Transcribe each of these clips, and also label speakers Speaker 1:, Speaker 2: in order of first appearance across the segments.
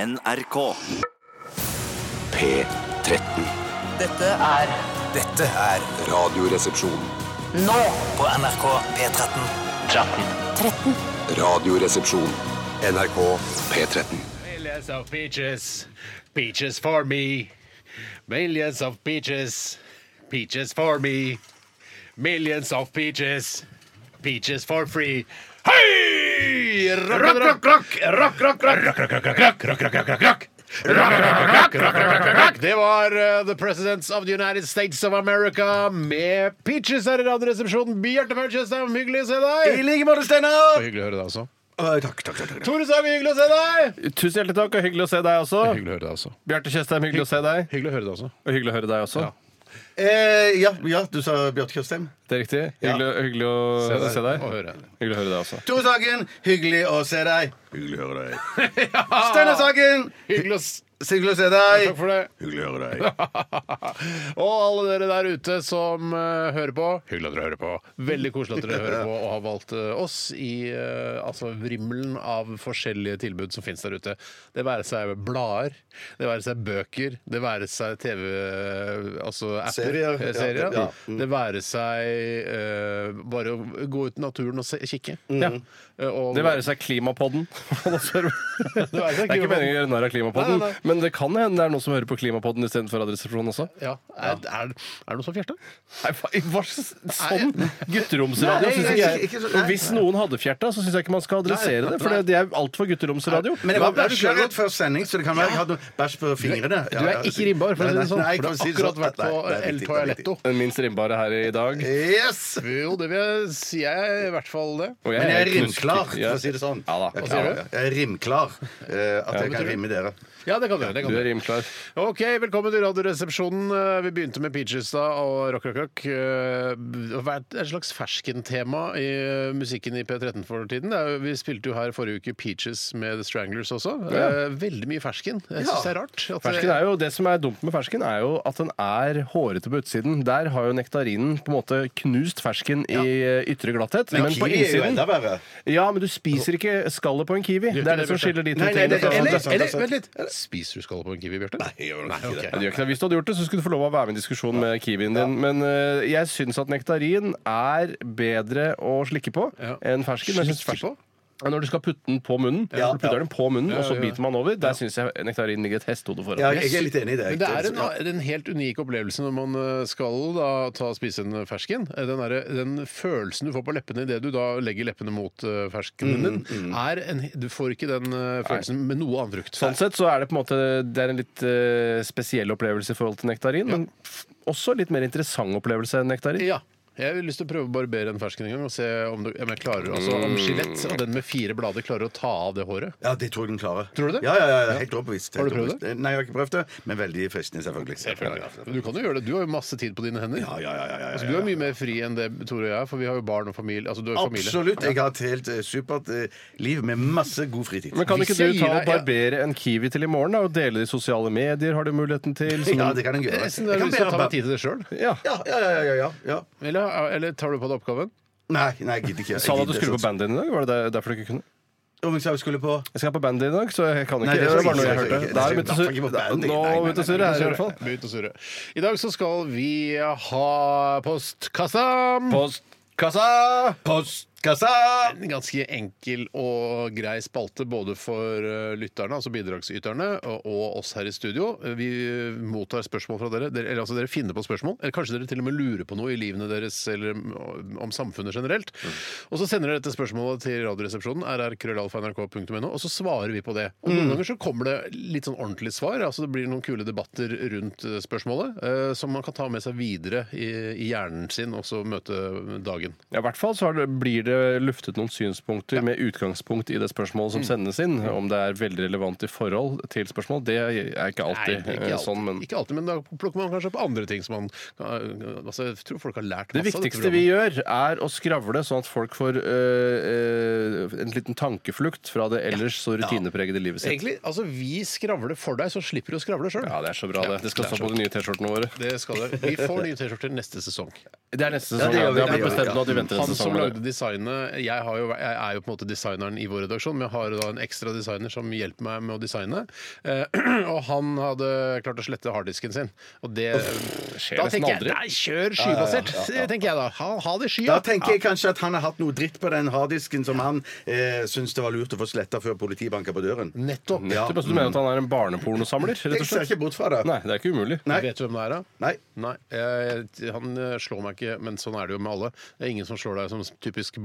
Speaker 1: NRK.
Speaker 2: P13.
Speaker 3: Dette er
Speaker 4: Dette er
Speaker 2: Radioresepsjon.
Speaker 3: nå
Speaker 4: på NRK P13.
Speaker 2: Radioresepsjon. NRK P13.
Speaker 5: Millions of peaches, peaches for me. Millions of peaches, peaches for me. Millions of peaches, peaches for free. Hei! Rock, rock, rock, rock, rock, rock, rock, rock, rock, rock, rock, rock, rock, rock, rock, rock. Det var eh, The Presidents of the United States of America med Peaches her i Radioresepsjonen. Bjarte Manchester, hyggelig å se deg!
Speaker 6: like måte, Steinar!
Speaker 5: Og hyggelig å høre deg også.
Speaker 6: Takk, takk, takk.
Speaker 5: Tore Sagen, hyggelig å se deg!
Speaker 6: Tusen hjertelig takk, og hyggelig å se deg også.
Speaker 5: Hyggelig å høre deg også.
Speaker 6: Bjarte Tjøstheim, hyggelig å se deg.
Speaker 5: Hyggelig å høre deg også.
Speaker 6: Og hyggelig å høre deg også.
Speaker 5: Ja.
Speaker 7: Eh, ja, ja, du sa Bjarte Tjøstheim.
Speaker 6: Det er riktig. Hyggelig, hyggelig
Speaker 5: Se
Speaker 6: å
Speaker 5: deg.
Speaker 6: se deg.
Speaker 5: Og høre.
Speaker 6: Hyggelig å høre deg også.
Speaker 7: Tore Sagen, hyggelig å se deg. Hyggelig å høre deg.
Speaker 6: Ah!
Speaker 7: Steinar Sagen,
Speaker 5: Hyggelig å s-
Speaker 7: hyggelig å se deg.
Speaker 5: Takk for det.
Speaker 7: Hyggelig å høre deg.
Speaker 5: Og alle dere der ute som eh, hører på. Hyggelig at dere hører på. Veldig koselig at dere hører på og har valgt eh, oss i eh, altså vrimmelen av forskjellige tilbud som finnes der ute. Det være seg blader, det være seg bøker, det være seg TV Altså apper.
Speaker 7: Serier.
Speaker 5: eh, serier.
Speaker 7: Ja, Mm.
Speaker 5: Det være seg eh, bare å gå ut i naturen og se, kikke.
Speaker 7: Mm.
Speaker 6: Ja.
Speaker 5: Eh, og-
Speaker 6: Det være seg Klimapodden. det
Speaker 5: være seg
Speaker 6: er ikke
Speaker 5: Klimapodden.
Speaker 6: meningen å gjøre narr av Klimapodden,
Speaker 5: Nei, nei,
Speaker 6: men det kan hende det er noen som hører på Klimapodden istedenfor Radioresepsjonen også.
Speaker 5: ja. Er, er, er det noe som fjerter?
Speaker 6: Nei, hva, hva slags sånn gutteromsradio
Speaker 5: Nei,
Speaker 6: syns
Speaker 7: nei,
Speaker 6: ikke
Speaker 7: ikke-
Speaker 6: jeg
Speaker 7: ikke så-
Speaker 6: Og hvis noen hadde fjerta, så syns jeg ikke man skal adressere det, for det, det er altfor gutteromsradio.
Speaker 7: Men jeg
Speaker 5: Ja,
Speaker 7: var
Speaker 5: er du
Speaker 7: bæsja
Speaker 5: klar over-
Speaker 7: rett før sending, så det kan være jeg hadde bæsj på fingrene. altså.
Speaker 5: Du er ikke rimbar, for å si det sånn. For du har akkurat vært på El Toaletto.
Speaker 6: Den minst rimbare her i dag.
Speaker 7: Yes!
Speaker 5: Jo, det vil jeg si. Jeg er i hvert fall det.
Speaker 6: Og
Speaker 7: Men jeg er
Speaker 6: knusk-
Speaker 7: rimklar,
Speaker 6: Ja.
Speaker 7: for å si det sånn.
Speaker 6: Ja da.
Speaker 7: Jeg er
Speaker 6: Hva
Speaker 5: sier
Speaker 7: klar.
Speaker 5: du?
Speaker 7: Jeg er rimklar. eh, At jeg kan rimme dere.
Speaker 5: Ja, det kan du. Det kan
Speaker 6: Du er
Speaker 5: du.
Speaker 6: rimklar.
Speaker 5: Ok, Velkommen til Radioresepsjonen. Eh, Vi begynte med Peaches da og Rock Rock Rock. Eh, Det har vært et slags ferskentema i eh, musikken i P13 for tiden. Det er jo- Vi spilte jo her forrige uke Peaches med The Stranglers også. Eh, Veldig mye fersken. Jeg syns det er rart. at eh, det-
Speaker 6: Fersken er jo, det som er dumt med fersken, er jo at den er hårete på utsiden. Der har jo nektarinen på en måte knust fersken i ytre glatthet. Men, på
Speaker 7: kiwi er jo
Speaker 6: innsiden
Speaker 7: enda verre.
Speaker 6: Ja, men du spiser ikke skallet på en kiwi. Det er det som skiller de to
Speaker 7: Nei, nei,
Speaker 6: tingene.
Speaker 7: det-
Speaker 6: fra
Speaker 7: eller-
Speaker 6: hverandre.
Speaker 7: eller-
Speaker 5: Vent litt. Spiser du skallet på en kiwi, Bjarte? Nei, ok.
Speaker 6: Ja, det gjør ikke det. Hvis du hadde gjort det, så skulle du få lov å være med i en diskusjon med kiwien din. Men eh, jeg syns at nektarin er bedre å slikke på
Speaker 5: Ja.
Speaker 6: enn fersken. Men jeg syns
Speaker 5: Slikke
Speaker 6: fersken- Ja, Når du skal putte den på munnen, du putter den på munnen, og så
Speaker 5: ja, ja.
Speaker 6: biter man over. Der syns jeg nektarin ligger et hestehode foran.
Speaker 7: Ja, jeg er litt enig i det.
Speaker 5: Men det er en, en helt unik opplevelse når man eh, skal da ta og spise en fersken. Eh, Den, derre- den følelsen du får på leppene idet du da legger leppene mot eh, ferskenen din,
Speaker 7: Mm,
Speaker 5: er en, du får ikke den eh, følelsen med noe annen frukt.
Speaker 6: Sånn sett så er det på en måte Det er en litt eh, spesiell opplevelse i forhold til nektarin, men f- også litt mer interessant opplevelse enn nektarin.
Speaker 5: Ja. Jeg har lyst til å prøve å barbere en fersken en gang og se om, du, om jeg klarer altså,
Speaker 7: Mm.
Speaker 5: om skjelett og den med fire blader klarer å ta av det håret.
Speaker 7: Ja, det tror jeg den klarer.
Speaker 5: Tror du det?
Speaker 7: Ja, ja, ja, ja. Helt overbevist.
Speaker 5: Har du
Speaker 7: Helt
Speaker 5: prøvd
Speaker 7: overbevist. Nei, jeg har ikke prøvd det, men veldig fristende, selvfølgelig.
Speaker 5: Men Du kan jo gjøre det. Du har jo masse tid på dine hender.
Speaker 7: Ja, ja, ja, ja, ja,
Speaker 5: Altså,
Speaker 7: ja,
Speaker 5: du
Speaker 7: ja.
Speaker 5: er mye mer fri enn det Tore og jeg, for vi har jo barn og familie. Altså, du er familie.
Speaker 7: Absolutt. Jeg har et helt eh, supert eh, liv med masse god fritid.
Speaker 6: Men kan
Speaker 5: Hvis
Speaker 6: ikke
Speaker 5: jeg
Speaker 6: du
Speaker 5: gir
Speaker 6: ta og
Speaker 5: deg- ja.
Speaker 6: barbere en kiwi til i morgen da, og dele det i sosiale medier? Har du muligheten til? som-
Speaker 7: Ja, det kan jeg
Speaker 5: Jeg
Speaker 7: gjøre.
Speaker 5: Eh, har nesten
Speaker 7: Jeg kan
Speaker 5: lyst til å ta
Speaker 7: bare-
Speaker 5: meg tid til det sjøl.
Speaker 6: Ja.
Speaker 7: Ja, ja, ja, ja, ja, ja.
Speaker 5: Eller, eller tar du på deg oppgaven?
Speaker 7: Nei, nei, jeg gidder ikke. Jeg
Speaker 6: Sa du at du
Speaker 7: gidder
Speaker 6: skulle på
Speaker 7: sånn.
Speaker 6: bandet i dag? Var det der- derfor du ikke kunne?
Speaker 7: Om jeg sa jeg skulle på
Speaker 6: Jeg skal på bandet i dag, så jeg kan ikke.
Speaker 7: Nei, det
Speaker 6: det var bare
Speaker 7: skal
Speaker 6: noe jeg
Speaker 7: jeg
Speaker 6: hørte. Da er
Speaker 7: ikke.
Speaker 6: det
Speaker 7: Det
Speaker 6: begynt å
Speaker 7: skal jeg ikke på
Speaker 6: surre.
Speaker 7: bandet. Nei,
Speaker 6: Nå
Speaker 7: nei, nei,
Speaker 6: begynte å surre her i hvert fall.
Speaker 5: Begynte å surre. I dag så skal vi ha postkassa.
Speaker 6: Postkassa!
Speaker 7: Postkassa!
Speaker 5: En ganske enkel og grei spalte både for eh, lytterne, altså bidragsyterne, og- og oss her i studio. Eh, Vi eh, mottar spørsmål fra dere. dere. Eller altså dere finner på spørsmål. Eller kanskje dere til og med lurer på noe i livene deres eller mm, om- om samfunnet generelt. Og så sender dere dette spørsmålet til Radioresepsjonen, rrkrøllalfa.nrk.no, og så svarer vi på det. Og noen ganger så kommer det litt sånn ordentlig svar. altså Det blir noen kule debatter rundt eh, spørsmålet eh, som man kan ta med seg videre i, i hjernen sin og så møte dagen.
Speaker 6: Ja, I hvert fall så har det, blir det luftet noen synspunkter med utgangspunkt i det spørsmålet som sendes inn. Om det er veldig relevant i forhold til spørsmål, det er ikke alltid,
Speaker 5: Nei,
Speaker 6: eh,
Speaker 5: ikke alltid,
Speaker 6: sånn. Men
Speaker 5: ikke alltid, men da plukker man kanskje opp andre ting som man altså, Jeg tror folk har lært
Speaker 6: det
Speaker 5: masse av dette
Speaker 6: viktigste vi gjør, er å skravle sånn at folk får eh, eh, en liten tankeflukt fra det ellers så rutinepregede livet
Speaker 5: programmet.
Speaker 6: sitt.
Speaker 5: Egentlig, altså Vi skravler for deg, så slipper du å skravle sjøl.
Speaker 6: Ja, det er så bra, det. Det skal stå på de nye T-skjortene våre.
Speaker 5: Det skal det. Vi får nye T-skjorter neste sesong.
Speaker 6: Det er neste
Speaker 7: Ja,
Speaker 6: sesong.
Speaker 7: det
Speaker 6: Ja,
Speaker 7: gjør vi,
Speaker 6: det har
Speaker 7: det
Speaker 6: blitt
Speaker 7: gjør vi,
Speaker 6: bestemt
Speaker 7: ja.
Speaker 6: nå at vi venter
Speaker 5: Han
Speaker 6: neste
Speaker 5: som
Speaker 6: sesong. med
Speaker 5: lagde
Speaker 6: det.
Speaker 5: designet designe jeg, har jo, jeg er jo på en måte designeren i vår redaksjon, men jeg har da en ekstra designer som hjelper meg med å designe. Eh, og han hadde klart å slette harddisken sin. Og det
Speaker 6: skjer
Speaker 5: Da
Speaker 6: nesten
Speaker 5: tenker jeg
Speaker 6: aldri.
Speaker 5: nei, kjør skybasert! tenker jeg da. Ha, ha det i skya!
Speaker 7: Da tenker jeg kanskje at han har hatt noe dritt på den harddisken som han eh, syns det var lurt å få sletta før politiet banka på døren.
Speaker 5: Nettopp.
Speaker 7: Ja.
Speaker 6: Nettopp, altså, Du mener at han er en barnepornosamler? rett og
Speaker 7: Jeg ser
Speaker 6: slett?
Speaker 7: ikke bort fra det.
Speaker 6: Nei, det er ikke umulig.
Speaker 7: Nei.
Speaker 5: Vet du hvem det er, da?
Speaker 7: Nei.
Speaker 5: Nei, jeg, han eh, slår meg ikke, men sånn er det jo med alle. Det er ingen som slår deg som typisk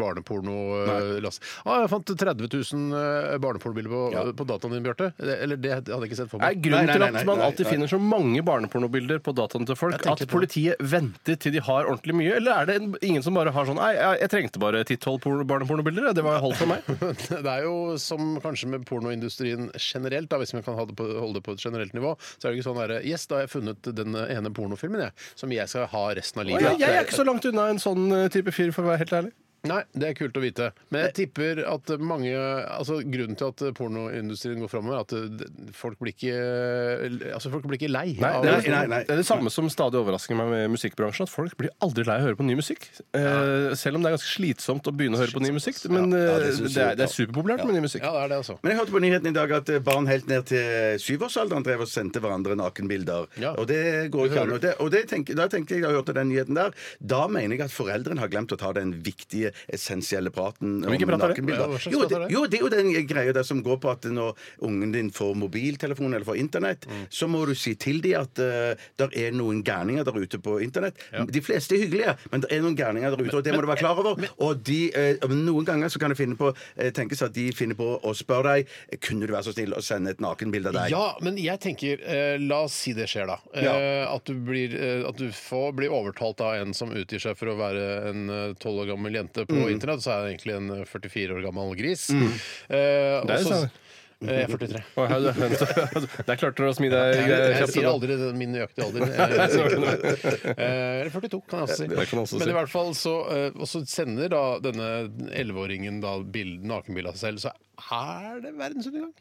Speaker 5: barneporno-lass. Ah, jeg fant 30 000 eh, barnepornobilder på, på dataen din, Bjarte. Det- Eller det hadde jeg ikke sett for
Speaker 6: Er
Speaker 5: meg.
Speaker 6: grunnen
Speaker 7: Nei, nei,
Speaker 6: til
Speaker 7: nei,
Speaker 6: at
Speaker 7: nei,
Speaker 6: man
Speaker 7: nei,
Speaker 6: alltid
Speaker 7: nei.
Speaker 6: finner så mange barnepornobilder på dataene til folk,
Speaker 5: tenker
Speaker 6: at
Speaker 5: på det.
Speaker 6: politiet venter til de har ordentlig mye? Eller er det en- ingen som bare har sånn Nei, jeg, jeg trengte bare 10-12 porno- barnepornobilder. jeg. Det var holdt for meg.
Speaker 5: Det er jo som kanskje med pornoindustrien generelt, da, hvis vi kan ha det på, holde det på et generelt nivå, så er det ikke sånn derre Yes, da har jeg funnet den eh, ene pornofilmen, jeg, som jeg skal ha resten av livet.
Speaker 6: Jeg, jeg er ikke så langt unna en sånn eh, type fyr, for å være helt ærlig.
Speaker 5: Nei, det er kult å vite. Men jeg tipper at mange Altså, grunnen til at pornoindustrien går framover, er at det- folk blir ikke Altså, folk blir ikke lei. av-
Speaker 6: det, er,
Speaker 7: nei,
Speaker 6: liksom
Speaker 7: nei, nei.
Speaker 6: det er det samme som stadig overrasker meg med musikkbransjen. At folk blir aldri lei av å høre på ny musikk. Eh, Selv om det er ganske slitsomt å begynne å høre på ny musikk. Men eh,
Speaker 7: Ja, det
Speaker 6: det,
Speaker 7: synes jeg
Speaker 6: er, det er
Speaker 7: også.
Speaker 6: superpopulært med ny musikk.
Speaker 5: Ja, det er det, altså.
Speaker 7: Men jeg hørte på nyheten i dag at eh, barn helt ned til syvårsalderen drev og sendte hverandre nakenbilder.
Speaker 5: Ja.
Speaker 7: Og det går ikke an. Og, det, og det tenker, da tenkte jeg da jeg hørte den nyheten der, da mener jeg at foreldrene har glemt å ta den viktige, essensielle praten om
Speaker 6: Hvilken prat er det?
Speaker 5: Ja,
Speaker 7: nakenbilder.
Speaker 5: hva slags
Speaker 7: jo,
Speaker 5: prat
Speaker 7: det,
Speaker 5: er det?
Speaker 7: jo, det er jo den greia der som går på at når ungen din får mobiltelefon eller får internett, så må du si til dem at det er noen gærninger der ute på internett. De fleste er hyggelige, men det er noen gærninger der ute, og det må du være klar over. og de, eh, noen ganger så kan det finne på, eh, tenkes at de finner på å spørre deg kunne du være så snill å sende et nakenbilde av deg.
Speaker 5: Ja, men jeg tenker eh, La oss si det skjer, da. Eh,
Speaker 7: Ja.
Speaker 5: At du, blir, eh, at du får, blir overtalt av en som utgir seg for å være en eh, tolv år gammel jente på
Speaker 6: Mm.
Speaker 5: internett, så er det egentlig en eh, 44 år gammel gris. Eh,
Speaker 6: Det er sånn.
Speaker 5: og så-
Speaker 6: sant.
Speaker 5: Eh, jeg er 43.
Speaker 6: Å, her- Der klarte du å smi deg
Speaker 5: Jeg,
Speaker 6: eh,
Speaker 5: jeg
Speaker 6: kjapt
Speaker 5: sier
Speaker 6: unna.
Speaker 5: aldri den- min nøyaktige alder. Eh, Eh, Eller 42, kan jeg også si.
Speaker 6: Det kan jeg også si.
Speaker 5: Men i hvert fall så eh, Og så sender da denne 11-åringen da bild- nakenbilde av seg selv, så er det verdensundergang.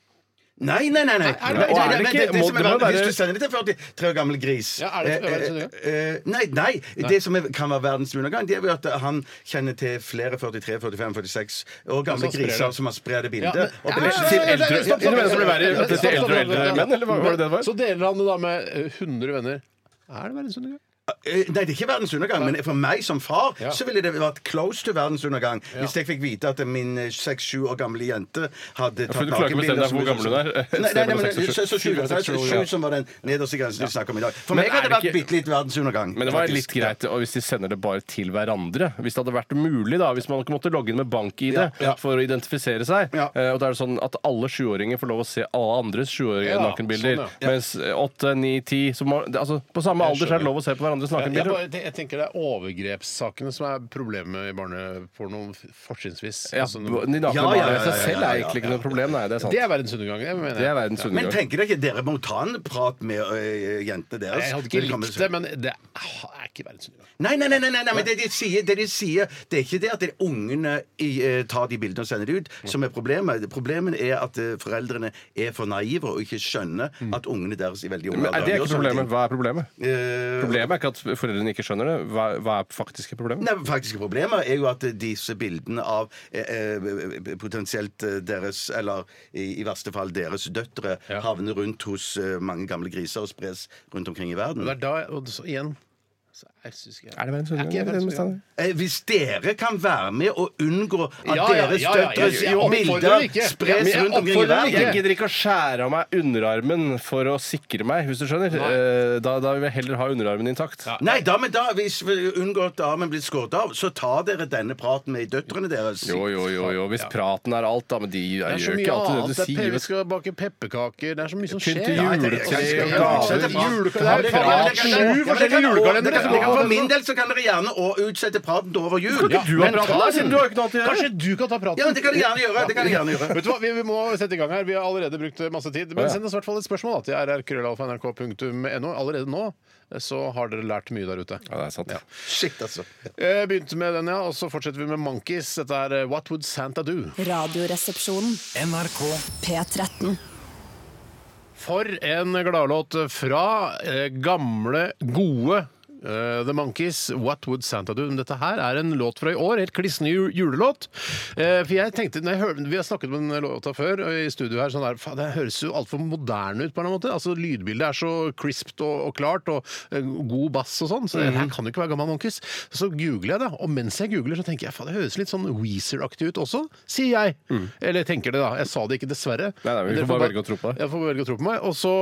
Speaker 7: Nei, nei, nei! nei.
Speaker 5: er det-
Speaker 7: Nei,
Speaker 5: og er
Speaker 6: det
Speaker 7: nei, nei,
Speaker 6: ikke-
Speaker 7: det- det
Speaker 6: må-
Speaker 7: som
Speaker 6: det
Speaker 7: er
Speaker 6: må
Speaker 7: verden-
Speaker 6: være-
Speaker 7: Hvis du sender det til en 43 år gammel gris
Speaker 5: Ja, er det-
Speaker 7: Eh,
Speaker 5: er det-
Speaker 7: eh, eh, Nei, nei, det som er, kan være verdens undergang, det er jo at han kjenner til flere 43, 45, 46 år gamle
Speaker 5: Og så sprer
Speaker 7: griser
Speaker 5: det.
Speaker 7: som har sprer det
Speaker 5: Ja,
Speaker 7: bildet.
Speaker 5: men-
Speaker 7: og det
Speaker 5: Ja,
Speaker 7: blir
Speaker 5: ja,
Speaker 7: ikke
Speaker 5: ja,
Speaker 7: til
Speaker 5: ja,
Speaker 7: eldre.
Speaker 5: ja, stopp, stopp,
Speaker 6: Du mener som det verre
Speaker 5: stopp,
Speaker 6: til
Speaker 5: stopp,
Speaker 6: eldre og
Speaker 5: stopp,
Speaker 6: eldre
Speaker 5: stopp,
Speaker 6: menn, eller hva var det det var?
Speaker 5: Så deler han det da med eh, 100 venner. Er det verdensundergang?
Speaker 7: Eh, Nei, det er ikke verdens undergang, men for meg som far
Speaker 5: Ja.
Speaker 7: så ville det vært close to verdens undergang hvis jeg fikk vite at min eh, 6-7 år gamle jente hadde
Speaker 6: for
Speaker 7: tatt
Speaker 6: du klarer ikke å bestemme
Speaker 7: nakenbilder
Speaker 6: deg
Speaker 7: som-
Speaker 6: hvor gammel hun er.
Speaker 7: Nei, nei, nei, men
Speaker 6: Seks og sju.
Speaker 7: så- så sju,
Speaker 6: Sju,
Speaker 7: det er
Speaker 6: seks, sju, ja.
Speaker 7: sju som var den nederste grensen vi snakker om i dag. For
Speaker 6: Men er
Speaker 7: meg hadde det
Speaker 6: det
Speaker 7: vært
Speaker 6: ikke-
Speaker 7: bitte litt verdens undergang.
Speaker 6: Men det var
Speaker 7: faktisk.
Speaker 6: litt greit og hvis de sender det bare til hverandre. Hvis det hadde vært mulig, da, hvis man ikke måtte logge inn med bank-ID
Speaker 7: Ja, ja.
Speaker 6: for å identifisere seg.
Speaker 7: Ja.
Speaker 6: Eh, og da er det sånn at alle sjuåringer får lov å se alle andres sjuårige
Speaker 5: Ja,
Speaker 6: nakenbilder.
Speaker 5: sånn,
Speaker 6: Mens eh, åtte, ni, ti så må, det, altså, På samme alder så er det lov å se på hverandres
Speaker 5: Jeg,
Speaker 6: nakenbilder.
Speaker 5: bare, te- jeg tenker det er overgrepssakene som er problemet i barnepornoen, f- fortrinnsvis.
Speaker 6: Ja,
Speaker 5: Altså, når-
Speaker 6: de nakne
Speaker 7: Ja, ja,
Speaker 6: barna i seg
Speaker 7: ja, ja,
Speaker 6: selv
Speaker 7: ja,
Speaker 6: er
Speaker 7: ja,
Speaker 6: egentlig ikke noe problem, nei. Det er sant.
Speaker 5: det er verdensundergang, det mener jeg.
Speaker 6: Det er verdens
Speaker 7: Men
Speaker 6: undergang.
Speaker 7: tenker dere ikke dere må ta en prat med øh, jentene deres?
Speaker 5: Jeg hadde
Speaker 7: Når
Speaker 5: ikke
Speaker 7: de kommer-
Speaker 5: likt det, men det er ikke verdensundergang.
Speaker 7: Nei, nei, nei, nei, nei, nei, men det de sier, det de sier Det er ikke det at det er ungene i, eh, tar de bildene og sender det ut, som er problemet. Problemet er at eh, foreldrene er for naive og ikke skjønner at ungene deres i veldig ung
Speaker 6: Mm. Men er det er ikke problemet. Hva er problemet?
Speaker 7: Eh,
Speaker 6: Problemet er ikke at foreldrene ikke skjønner det. Hva, hva er faktiske problemet?
Speaker 7: Nei, men faktiske problemer er jo at eh, disse bildene av eh, eh, potensielt eh, deres, eller i, i verste fall deres døtre, havner rundt hos eh, mange gamle griser og spres rundt omkring i verden.
Speaker 5: Og det er da, og så igjen så jeg synes ikke-
Speaker 6: Er det verdens
Speaker 5: Er ikke
Speaker 6: undergang?
Speaker 5: verdens undergang?
Speaker 7: Eh, Hvis dere kan være med og unngå at
Speaker 5: Ja, ja, ja,
Speaker 7: deres
Speaker 5: ja, ja,
Speaker 7: døtres
Speaker 5: jeg oppfordrer
Speaker 7: bilder
Speaker 5: ikke.
Speaker 6: Ja, men
Speaker 7: spres
Speaker 6: jeg
Speaker 7: rundt omkring i
Speaker 6: oppfordrer deg ikke. Jeg
Speaker 7: verden
Speaker 6: gidder ikke å skjære av meg underarmen for å sikre meg, hvis du skjønner. Eh, Da, da vil jeg heller ha underarmen intakt.
Speaker 7: Nei, da, men da, hvis vi unngår at armen blir skåret av, så tar dere denne praten med døtrene deres.
Speaker 6: Jo, jo, jo, jo. Hvis praten er alt, da. Men de
Speaker 5: Det er så
Speaker 6: gjør
Speaker 5: mye
Speaker 6: ikke alltid det
Speaker 5: annet.
Speaker 6: du
Speaker 5: Det er pe- vi
Speaker 6: sier.
Speaker 5: skal bake pepperkaker, det er så mye som
Speaker 6: Pynt
Speaker 5: skjer.
Speaker 6: til
Speaker 5: Nei,
Speaker 7: det-
Speaker 6: juletre
Speaker 7: jeg skal- jeg
Speaker 6: og
Speaker 7: skal-
Speaker 6: gaver.
Speaker 7: jeg skal-
Speaker 5: Julekalender.
Speaker 6: Det er prat. Sju forskjellige julekalendere! som
Speaker 7: Dere-
Speaker 6: går
Speaker 7: For
Speaker 6: på.
Speaker 7: min del så kan dere gjerne å utsette praten til over jul.
Speaker 6: Kan ikke du ha
Speaker 7: men,
Speaker 6: praten, da, siden du har jo ikke noe annet å gjøre?
Speaker 5: Kanskje du kan ta praten?
Speaker 7: ja, men det kan dere gjerne gjøre. Det kan dere gjerne gjøre.
Speaker 5: Vet du hva, vi, vi må sette i gang her. Vi har allerede brukt masse tid. Men
Speaker 6: Å, ja.
Speaker 5: send oss i hvert fall et spørsmål da, til rrkrøllalfa.nrk.no. Allerede nå eh, så har dere lært mye der ute.
Speaker 6: Ja, det er sant.
Speaker 7: Shit, altså.
Speaker 5: Eh, Begynte med den, ja, og så fortsetter vi med Monkeys. Dette er eh, What Would Santa Do?
Speaker 8: Radioresepsjonen.
Speaker 9: NRK
Speaker 8: P13.
Speaker 5: For en gladlåt fra eh, gamle, gode Eh, The Monkees, What Would Santa Do? Men Dette her er en låt fra i år, helt klissende ju- julelåt. Eh, For jeg tenkte, når jeg hør, Vi har snakket om den låta før og i studio her. sånn der, faen, Det høres jo altfor moderne ut på en eller annen måte. Altså, Lydbildet er så crispt og, og klart, og eh, god bass og sånn. Så det her
Speaker 6: Mhm.
Speaker 5: kan jo ikke være Gamma Monkees. Så googler jeg det, og mens jeg googler, så tenker jeg faen, det høres litt sånn Weezer-aktig ut også, sier jeg. Eller tenker det, da. Jeg sa det ikke, dessverre.
Speaker 6: Mm. Nei, nei, vi
Speaker 5: Dere
Speaker 6: får bare velge å tro på det.
Speaker 5: ja, får velge å tro på meg. Og så,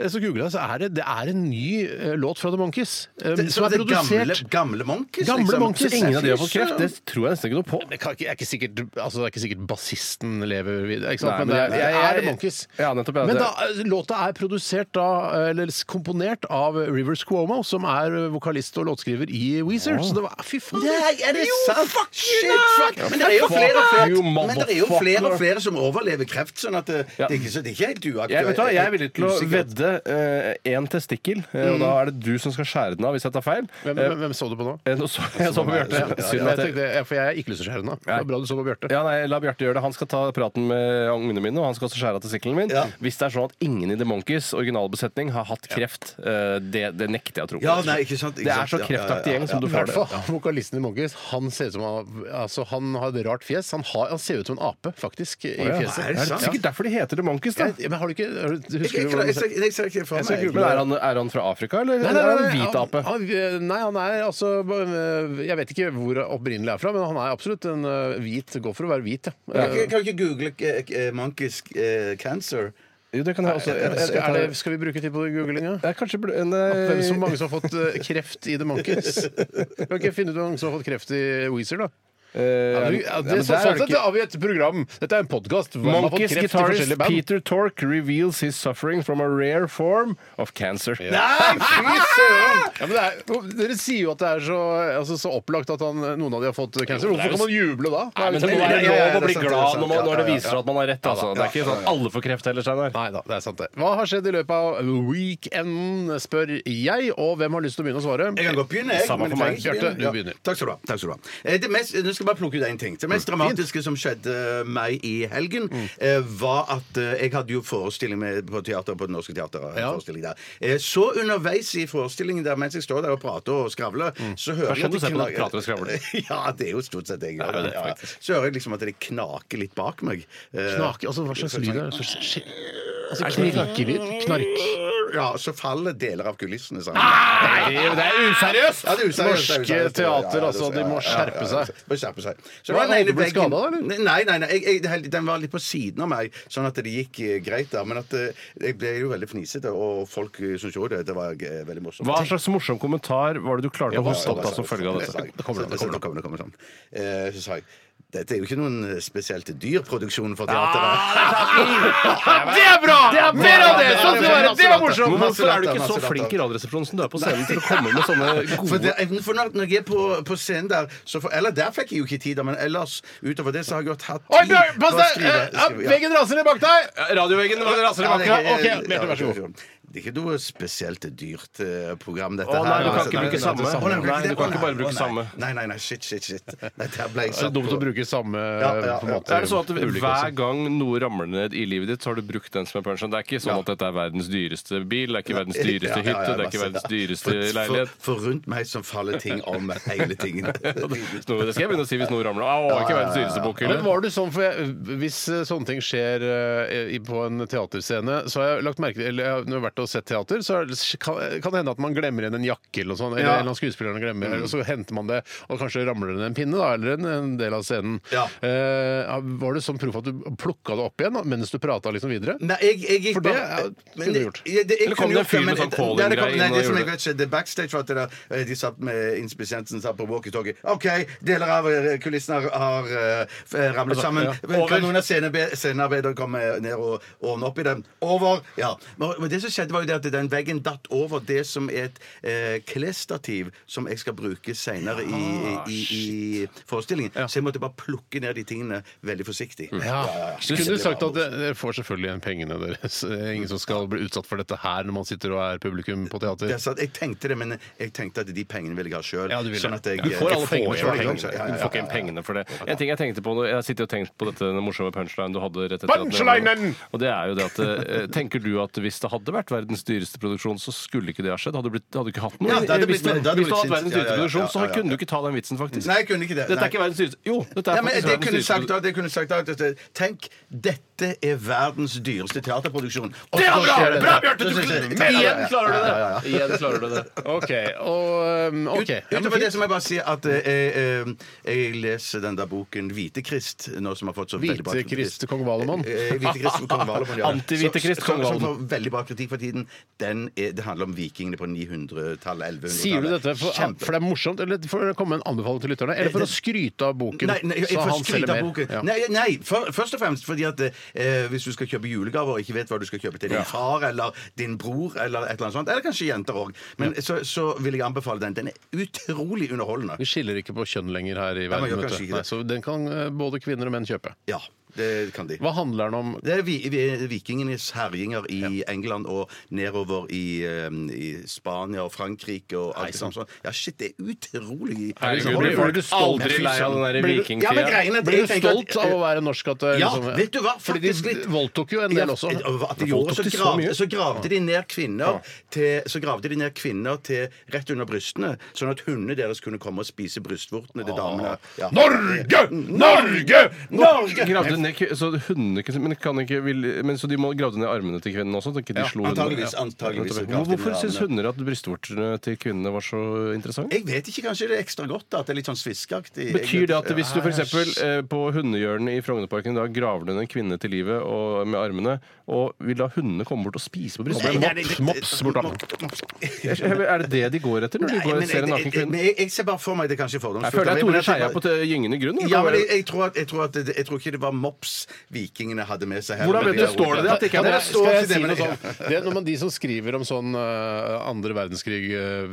Speaker 5: eh, så googla jeg, så er det, det er en ny eh, låt fra The Monkees. eh,
Speaker 7: Det,
Speaker 5: som
Speaker 7: så
Speaker 5: er
Speaker 7: det gamle,
Speaker 5: produsert
Speaker 7: gamle Monkeys?
Speaker 5: Gamle
Speaker 7: liksom.
Speaker 5: Monkeys,
Speaker 7: Så
Speaker 6: Ingen av de har fått
Speaker 7: fy
Speaker 6: kreft.
Speaker 7: søren.
Speaker 6: Det tror jeg nesten ikke noe på.
Speaker 5: det, kan ikke, er ikke sikkert, altså, det er ikke sikkert bassisten lever videre, ikke sant?
Speaker 6: Nei,
Speaker 5: men,
Speaker 6: men
Speaker 5: det er,
Speaker 6: jeg-
Speaker 5: det er
Speaker 6: jeg-
Speaker 5: The Monkees.
Speaker 6: Ja, nettopp, ja,
Speaker 5: men
Speaker 6: det-
Speaker 5: da, eh, låta er produsert da, eller s- komponert av Rivers Cuomo, som er eh, vokalist og låtskriver i Weezer. Så det var ah, Fy faen!
Speaker 7: Nei, er det sant? Shit, fuck. Men det er jo
Speaker 6: Fuck
Speaker 7: flere
Speaker 6: you,
Speaker 7: og flere, men det er jo
Speaker 6: motherfucker.
Speaker 7: flere, og flere som overlever kreft, sånn at det,
Speaker 6: Ja.
Speaker 7: det, er, ikke, så det er ikke helt uaktuelt.
Speaker 6: Jeg, vet du, hva, jeg er villig til å
Speaker 7: Usikkert.
Speaker 6: vedde én testikkel, eh, og da er det du som skal skjære den av hvis jeg tar feil.
Speaker 5: Hvem, hvem, hvem så du på nå?
Speaker 6: Eh, nå så, jeg så på Bjarte.
Speaker 5: Ja,
Speaker 6: Synd
Speaker 5: jeg
Speaker 6: at jeg-
Speaker 5: tenkte, ja, for jeg er ikke lyst til å skjære den av. Det var bra du så på Bjarte.
Speaker 6: Ja, nei, La Bjarte gjøre det. Han skal ta praten med ungene mine, og han skal også skjære av testikkelen min.
Speaker 7: Ja.
Speaker 6: Hvis det er sånn at ingen i The Monkees originalbesetning har hatt kreft, eh, det, det nekter jeg å tro på.
Speaker 7: Ja, nei, ikke sant, ikke
Speaker 6: det er
Speaker 7: sant.
Speaker 6: så
Speaker 7: Ja, ja, ja,
Speaker 6: kreftaktig gjeng som du
Speaker 5: I
Speaker 6: får
Speaker 5: hvert
Speaker 6: det.
Speaker 5: fall vokalisten i Monkees. Han ser ut som han, altså, han har et rart fjes. Han, har, han ser ut som en ape, faktisk, i
Speaker 6: Ja,
Speaker 5: fjeset.
Speaker 7: er det sant?
Speaker 6: sikkert derfor de heter The Monkees, da.
Speaker 5: Jeg, men har du ikke har du-
Speaker 7: Jeg-
Speaker 5: Husker du
Speaker 7: jeg-
Speaker 5: hvordan
Speaker 7: jeg- jeg- jeg ser ikke for
Speaker 5: Jeg skal
Speaker 7: meg.
Speaker 5: google
Speaker 6: Men er han, er han fra Afrika, eller
Speaker 5: Nei,
Speaker 6: eller
Speaker 5: nei,
Speaker 6: er
Speaker 5: nei,
Speaker 6: han
Speaker 5: nei,
Speaker 6: hvit ape?
Speaker 5: Han, han, nei, han er altså øh, Jeg vet ikke hvor opprinnelig er fra, men han er absolutt en øh, hvit. Går for å være hvit, ja.
Speaker 7: Kan ikke- kan ikke google eh, eh, Monkeys eh, cancer?
Speaker 6: Jo, det kan jeg også. Jeg, jeg,
Speaker 5: Skal,
Speaker 6: jeg,
Speaker 5: er
Speaker 6: jeg,
Speaker 5: det, skal vi bruke tid på googlinga?
Speaker 6: jeg, kanskje burde- en,
Speaker 5: Hvem
Speaker 6: eh,
Speaker 5: så mange som har fått øh, kreft i The Monkees? Kan ikke jeg finne ut hvem som har fått kreft i Weezer, da?
Speaker 6: eh,
Speaker 5: Ja, du,
Speaker 6: ja,
Speaker 5: ja,
Speaker 6: men
Speaker 5: det,
Speaker 6: der
Speaker 5: så,
Speaker 6: er
Speaker 5: sånn
Speaker 6: det
Speaker 5: sett
Speaker 6: ikke-
Speaker 5: har vi et program. Dette er en podkast.
Speaker 6: Monkeys guitarist Peter Tork reveals his suffering from a rare form of cancer.
Speaker 7: Nei, fy søren!
Speaker 5: Ja, men det er, dere sier jo at det er så, altså, så opplagt at han, noen av de har fått cancer. Hvorfor kan man juble da?
Speaker 6: Nei, men det må
Speaker 7: Nei,
Speaker 6: være
Speaker 7: nei, nei,
Speaker 6: lov å
Speaker 7: det er
Speaker 6: bli
Speaker 7: sant, det er
Speaker 6: glad
Speaker 7: sant.
Speaker 6: når, man,
Speaker 7: Ja,
Speaker 6: når det
Speaker 7: ja,
Speaker 6: viser at man har rett. Altså. Det er ikke sånn at alle får kreft heller, Steinar.
Speaker 5: Nei da, det er sant det. Hva har skjedd i løpet av weekenden, spør jeg, og hvem har lyst til å begynne å svare?
Speaker 7: Jeg kan godt begynne. jeg,
Speaker 5: Samme
Speaker 7: men
Speaker 5: for meg.
Speaker 7: jeg trenger ikke
Speaker 5: Bjarte,
Speaker 7: begynne.
Speaker 5: du
Speaker 7: Ja,
Speaker 5: begynner.
Speaker 7: Takk skal du ha. Takk skal du ha. Eh, Det mest, nå skal jeg bare plukke ut én ting. Det mest dramatiske som skjedde meg i helgen, eh, var at eh, jeg hadde jo forestilling med, på teater, på Det Norske Teatret.
Speaker 5: Ja.
Speaker 7: forestilling der. Eh, Så underveis i forestillingen, der, mens jeg står der og prater og skravler, så
Speaker 6: Det er
Speaker 7: hører
Speaker 6: sånn
Speaker 7: jeg at
Speaker 6: du ser
Speaker 7: det
Speaker 6: på når
Speaker 7: knager-
Speaker 6: du prater og skravler.
Speaker 7: ja, det er jo stort sett det jeg
Speaker 6: Det er
Speaker 7: gjør.
Speaker 6: det,
Speaker 7: Ja.
Speaker 6: faktisk.
Speaker 7: Så hører jeg liksom at det knaker litt bak meg. Eh,
Speaker 5: Knake, altså hva slags lyd er det? Så- sk- Altså, knirkelyd? Knark?
Speaker 7: Ja, så faller deler av kulissene sammen.
Speaker 6: Nei, det er useriøst!
Speaker 7: Ja, det er useriøst, det er
Speaker 5: Norske
Speaker 7: useriøst.
Speaker 5: teater, altså,
Speaker 7: det er-
Speaker 5: de må skjerpe seg.
Speaker 7: de må skjerpe seg.
Speaker 5: Hva,
Speaker 7: Så det var den ene
Speaker 5: ble
Speaker 7: veggen-
Speaker 5: skadet, eller?
Speaker 7: Nei, nei, nei jeg, jeg, det hel- den var litt på siden av meg, sånn at det gikk eh, greit der. Men at eh, jeg ble jo veldig fnisete, og folk eh, syntes jo det. Det var eh, veldig morsomt.
Speaker 6: Hva slags morsom kommentar var det du klarte å hoste opp da som følge av dette?
Speaker 7: Det kommer, det kommer, det kommer, det kommer sånn. Eh, Så sa jeg dette er jo ikke noen eh, spesielt dyr produksjon for teateret.
Speaker 5: Det er bra! Det er mer av det! Sånn skal det være! Det var morsomt!
Speaker 6: Hvorfor er du ikke så flink i Radioresepsjonen som du er på scenen til å komme med sånne
Speaker 7: For, det,
Speaker 6: gode
Speaker 7: for når når jeg er på, på scenen der så får- Eller der fikk jeg jo ikke tid, da, men ellers utover det så har jeg godt hatt tid
Speaker 5: Oi, Bjørn, pass
Speaker 7: på å
Speaker 5: deg!
Speaker 7: skrive-
Speaker 5: Eh, ja,
Speaker 7: skrive- ja.
Speaker 5: Veggen raser ned bak deg!
Speaker 6: Radioveggen raser i
Speaker 7: Ja, det
Speaker 6: bakgrunnen.
Speaker 7: er-
Speaker 5: Ok, Bjarte, vær så god.
Speaker 7: Det er ikke noe spesielt dyrt eh, program, dette
Speaker 6: Å, nei, du
Speaker 7: her.
Speaker 6: kan
Speaker 7: altså.
Speaker 6: ikke bruke samme.
Speaker 7: Å, nei,
Speaker 6: Nei, du kan ikke bare
Speaker 7: Å,
Speaker 6: bruke
Speaker 7: nei.
Speaker 6: samme.
Speaker 7: Nei, nei, nei, shit, shit, shit. Nei, der ble jeg
Speaker 5: Det er
Speaker 7: satt
Speaker 5: dumt
Speaker 7: på.
Speaker 5: å bruke samme
Speaker 7: Ja, ja, ja.
Speaker 5: format.
Speaker 6: Er det sånn at
Speaker 5: Ulike
Speaker 6: Hver gang noe ramler ned i livet ditt, så har du brukt den som en punch? Det er ikke sånn at dette er verdens dyreste bil, det er ikke verdens dyreste
Speaker 7: Ja, ja, ja,
Speaker 6: hytte, det er ikke
Speaker 7: masse,
Speaker 6: verdens
Speaker 7: ja.
Speaker 6: dyreste
Speaker 7: For-
Speaker 6: leilighet.
Speaker 7: For, for rundt meg som faller ting om hele tingen.
Speaker 6: Så Det skal jeg begynne å si hvis noe ramler. Å, ikke verdens dyreste bokhylle.
Speaker 5: Men var du sånn, for jeg, Hvis eh, sånne ting skjer eh, i- på en teaterscene så har jeg lagt merke til, eller jeg har- Når jeg har vært og sett teater, så er det- kan kan det hende at man glemmer igjen en jakke eller noe sånt. Eller
Speaker 7: Ja. Mm.
Speaker 5: en eller annen skuespiller glemmer, og så henter man det, og kanskje ramler det ned en pinne da, eller en, en del av scenen.
Speaker 7: Ja.
Speaker 5: Eh, var du sånn proff at du plukka det opp igjen da, mens du prata liksom videre?
Speaker 7: Nei, jeg, jeg gikk
Speaker 5: For det
Speaker 7: bare-
Speaker 5: er-
Speaker 7: Men
Speaker 5: kunne du
Speaker 7: jeg-
Speaker 5: gjort.
Speaker 7: jeg- jeg
Speaker 6: Eller kom
Speaker 7: kunne
Speaker 6: det en
Speaker 7: gjort
Speaker 6: fyr med
Speaker 7: men-
Speaker 6: sånn
Speaker 7: det-
Speaker 6: calling-greie
Speaker 7: det kom-
Speaker 6: inn
Speaker 7: Nei,
Speaker 6: og
Speaker 7: det som
Speaker 6: gjorde
Speaker 7: jeg vet skjedde backstage, var at det der, eh, de satt med Inn Spesiensen satt på walkietalkie. OK, deler av eh, kulissene har, har eh, f- eh,
Speaker 6: Altså,
Speaker 7: ramlet sammen. Men Kan noen av scenearbe- scenearbeidere komme ned og ordne opp i dem? Over! Ja. Men men det som skjedde, var jo det at den veggen datt over det som er et eh, klesstativ som jeg skal bruke seinere i,
Speaker 6: Ah,
Speaker 7: i, i, i forestillingen. Så jeg måtte bare plukke ned de tingene veldig forsiktig.
Speaker 6: Mm.
Speaker 5: Skulle du sagt at eh, dere får selvfølgelig igjen pengene deres. Det er Ingen som skal bli utsatt for dette her når man sitter og er publikum på teater.
Speaker 7: Det er sant, jeg tenkte det, men jeg tenkte at de pengene ville jeg ha sjøl.
Speaker 5: Ja, du ville.
Speaker 7: sånn at jeg,
Speaker 6: Du får alle
Speaker 7: jeg
Speaker 6: pengene
Speaker 7: jo
Speaker 6: for det.
Speaker 7: pengene. Ja, ja,
Speaker 6: Du får ikke
Speaker 7: ja,
Speaker 6: inn
Speaker 7: ja.
Speaker 6: pengene for det. En ting Jeg tenkte på, nå- jeg sitter og tenkt på dette den morsomme punchlinen du hadde rett etter at-
Speaker 5: Punchlinen!
Speaker 6: Og det er jo det at eh, Tenker du at hvis det hadde vært verdens dyreste produksjon, så skulle ikke det ha skjedd. Hadde du, blitt, hadde du ikke hatt noe?
Speaker 7: Ja, det hadde
Speaker 6: hvis
Speaker 7: blitt-
Speaker 6: hvis
Speaker 7: det
Speaker 6: du
Speaker 7: hadde
Speaker 6: hadde
Speaker 7: blitt
Speaker 6: hatt verdens
Speaker 7: sint.
Speaker 6: dyreste
Speaker 7: Ja, ja,
Speaker 6: produksjon,
Speaker 7: ja,
Speaker 6: så
Speaker 7: ja, ja,
Speaker 6: kunne
Speaker 7: ja.
Speaker 6: du ikke ta den vitsen, faktisk.
Speaker 7: Nei, jeg kunne ikke det.
Speaker 6: Dette
Speaker 7: Nei.
Speaker 6: er ikke verdens dyreste Jo, dette er
Speaker 7: Ja, men
Speaker 6: faktisk
Speaker 7: det
Speaker 6: verdens
Speaker 7: kunne
Speaker 6: dyreste
Speaker 7: sagt da, det kunne sagt da at det- Tenk, dette er verdens dyreste teaterproduksjon. Og
Speaker 5: Det var
Speaker 7: så
Speaker 5: bra!
Speaker 7: skjer det.
Speaker 5: Bra, Bjarte, du
Speaker 7: Så skjer det.
Speaker 5: klarer-
Speaker 7: Ja, ja,
Speaker 5: Igjen
Speaker 7: ja.
Speaker 5: klarer du
Speaker 7: Ja, ja, ja.
Speaker 5: det! Igjen klarer du det. OK. Og um, OK.
Speaker 7: Ut-
Speaker 5: Ja, men
Speaker 7: Utover det
Speaker 5: fint.
Speaker 7: så må jeg bare si at eh, eh, jeg leser den der boken Hvitekrist nå som har fått så veldig bra
Speaker 5: Hvite Krist kong Valemon.
Speaker 7: Eh, Hvitekrist for kong Valemon, ja.
Speaker 6: Anti-Hvite Krist,
Speaker 7: Som-
Speaker 6: kong
Speaker 7: som- Som
Speaker 6: Valemon.
Speaker 7: får veldig bra kritikk for tiden. Den er, det handler om vikingene på 900-tallet, 1100-tallet.
Speaker 5: Sier du dette for, ah,
Speaker 7: Kjempe-
Speaker 5: for det er morsomt, eller for å komme med en anbefaling til lytterne? Eller for å skryte av boken?
Speaker 7: Nei, nei, jeg
Speaker 5: så
Speaker 7: får
Speaker 5: han selger
Speaker 7: skryte av
Speaker 5: mer?
Speaker 7: boken.
Speaker 5: Ja.
Speaker 7: Nei, nei for, først og fremst fordi at eh, hvis du skal kjøpe julegaver og ikke vet hva du skal kjøpe til din far eller din bror eller et eller annet sånt, eller kanskje jenter òg, Men så, så vil jeg anbefale den. Den er utrolig underholdende.
Speaker 5: Vi skiller ikke på kjønn lenger her i
Speaker 7: man
Speaker 5: verden.
Speaker 7: gjør
Speaker 5: vet du.
Speaker 7: kanskje ikke det.
Speaker 5: Nei, så den kan eh, både kvinner og menn kjøpe.
Speaker 7: Ja, det kan de.
Speaker 5: Hva handler den om?
Speaker 7: Det er vi, vi, vikingenes herjinger i England og nedover i, eh, i Spania og Frankrike og alt det sånt. sånt. Ja, shit, det er utrolig
Speaker 6: Herregud,
Speaker 7: underholdende.
Speaker 6: blir- blir du stolt?
Speaker 7: Men fy
Speaker 6: Aldri lei av den der
Speaker 7: søren. Blir du-
Speaker 6: vikingtida.
Speaker 7: Ja, men greiene er at
Speaker 5: Blir
Speaker 7: jeg
Speaker 5: du
Speaker 7: tenker at-
Speaker 5: stolt av å være norsk? At, eh,
Speaker 7: Ja,
Speaker 6: sånn,
Speaker 5: liksom-
Speaker 7: vet du hva?
Speaker 5: Fordi
Speaker 7: Faktisk
Speaker 5: de
Speaker 7: litt.
Speaker 5: voldtok jo en del også.
Speaker 7: Ja, at de
Speaker 6: Ja,
Speaker 7: gjorde,
Speaker 6: folk
Speaker 7: så,
Speaker 6: tok til så
Speaker 7: gravde,
Speaker 6: mye.
Speaker 7: så gravde de ned kvinner til, Så gravde de ned kvinner til rett under brystene, sånn at hundene deres kunne komme og spise brystvortene
Speaker 6: Ah,
Speaker 7: til damene. Ja.
Speaker 5: Norge! Norge!
Speaker 7: Norge!
Speaker 6: Gravde ned, k- så hundene kunne- men, kan ikke, vil, men så de må gravde ned armene til kvinnen også? så ikke de slo hundene?
Speaker 7: Antageligvis, antageligvis så
Speaker 6: Hvor-
Speaker 7: gravde de
Speaker 6: Hvorfor
Speaker 7: ned
Speaker 6: syns
Speaker 7: armene.
Speaker 6: hunder at brystvortene til kvinnene var så interessante?
Speaker 7: Jeg vet ikke, kanskje det er ekstra godt da, at det er litt sånn sviskeaktig.
Speaker 6: Betyr det at hvis du
Speaker 7: Ja, ja.
Speaker 6: f.eks. Eh, på hundehjørnet i Frognerparken da graver du ned en kvinne til livet og, med armene, og vil la hundene komme bort og spise på brystet?
Speaker 7: Nei, nei, det-
Speaker 5: Mops, mops bort da.
Speaker 7: Mops, mops.
Speaker 6: Er det det de går etter når de
Speaker 7: Nei,
Speaker 6: går
Speaker 7: men
Speaker 6: og ser en
Speaker 7: jeg-
Speaker 6: naken
Speaker 7: jeg-
Speaker 6: kvinne?
Speaker 7: men Jeg jeg ser bare for meg det er kanskje fordomsfullt.
Speaker 6: Jeg føler det er
Speaker 7: men
Speaker 6: Tore
Speaker 7: jeg tenker-
Speaker 6: Skeia på eh, gyngende grunn. eller?
Speaker 7: Ja, men jeg, jeg, tror at, jeg, tror at det, jeg tror ikke det var mops vikingene hadde med seg her.
Speaker 6: Hvordan
Speaker 7: men
Speaker 6: vet du? Står det det at det ikke er
Speaker 7: Ja,
Speaker 6: mops?
Speaker 7: det
Speaker 5: Skal
Speaker 7: står
Speaker 5: jeg
Speaker 7: ikke
Speaker 5: si
Speaker 7: det, men
Speaker 5: noe sånn? Det er når man, de som skriver om sånn eh, andre verdenskrig,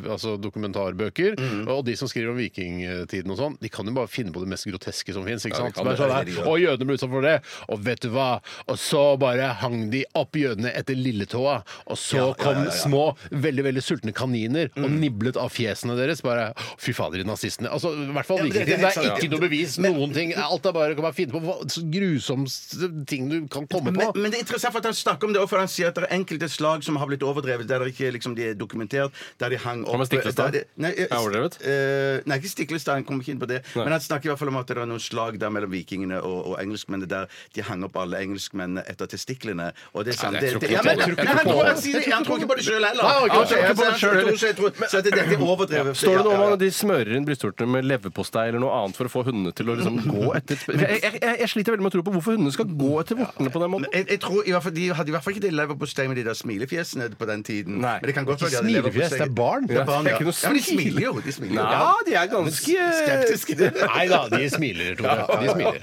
Speaker 5: eh, altså dokumentarbøker, og de som skriver om vikingtiden og sånn, de kan jo bare finne på det mest groteske som fins.
Speaker 6: de kan det.
Speaker 5: og sånn jødene ble utsatt for det, og vet du hva? Og så bare hang de opp jødene etter lilletåa, og så kom små, veldig veldig sultne kaniner og niblet av fjesene deres. Bare fy fader, de nazistene. Altså, i hvert fall
Speaker 7: Ja, men det- det er
Speaker 5: vikingtiden. Det
Speaker 7: helt
Speaker 5: er
Speaker 7: sant,
Speaker 5: ikke
Speaker 7: ja.
Speaker 5: noe bevis, noen ting. Alt er bare å bare finne på hva- så grusomste ting du kan komme
Speaker 7: Men,
Speaker 5: på.
Speaker 7: men det er interessant for at han snakker om det også, for han sier at det er enkelte slag som har blitt overdrevet, der det ikke liksom, de er dokumentert, der de hang opp
Speaker 6: Thomas Stiklestad?
Speaker 7: der de- Nei, eh,
Speaker 6: Er overdrevet?
Speaker 7: eh, nei, ikke Stiklestad, han kom ikke inn på det.
Speaker 6: Nei.
Speaker 7: Men han snakker i hvert fall om at det er noen slag der mellom vikingene og, og engelskmennene, der de hang opp alle engelskmennene etter testiklene. Og det er sant.
Speaker 6: Nei, jeg tror
Speaker 7: Det- det-
Speaker 6: ikke
Speaker 7: ja,
Speaker 6: på
Speaker 7: men-
Speaker 6: det. Jeg tror
Speaker 7: nei, Han
Speaker 6: ikke på
Speaker 7: tror-
Speaker 6: det.
Speaker 7: han sier det. Han tror ikke på det sjøl heller.
Speaker 5: Nei, ok,
Speaker 7: Han tror
Speaker 5: jeg tror
Speaker 6: ikke på det selv
Speaker 7: han tror- så jeg tror- Så det- dette er overdrevet.
Speaker 6: Står det noe
Speaker 7: Ja,
Speaker 6: om
Speaker 7: ja,
Speaker 6: at de smører inn brystvortene med leverpostei eller noe annet for å få hundene til å liksom gå etter et sp- jeg, jeg, jeg, jeg sliter veldig med å tro på hvorfor hundene skal gå etter vortene på den måten.
Speaker 7: Jeg, jeg tror i hvert fall, De hadde i hvert fall ikke det leverpostei med de der smilefjesene på den tiden.
Speaker 6: Nei.
Speaker 7: Men det kan godt være de hadde
Speaker 5: Smilefjes,
Speaker 7: leverpostei.
Speaker 5: det er barn.
Speaker 7: Det er barn,
Speaker 6: Det
Speaker 7: ja.
Speaker 6: er ikke noe
Speaker 7: ja men de
Speaker 6: smil.
Speaker 7: smiler jo. De smiler jo.
Speaker 6: Nei, de er ganske
Speaker 7: Skeptiske.
Speaker 5: Nei da, de smiler, Tore. De smiler.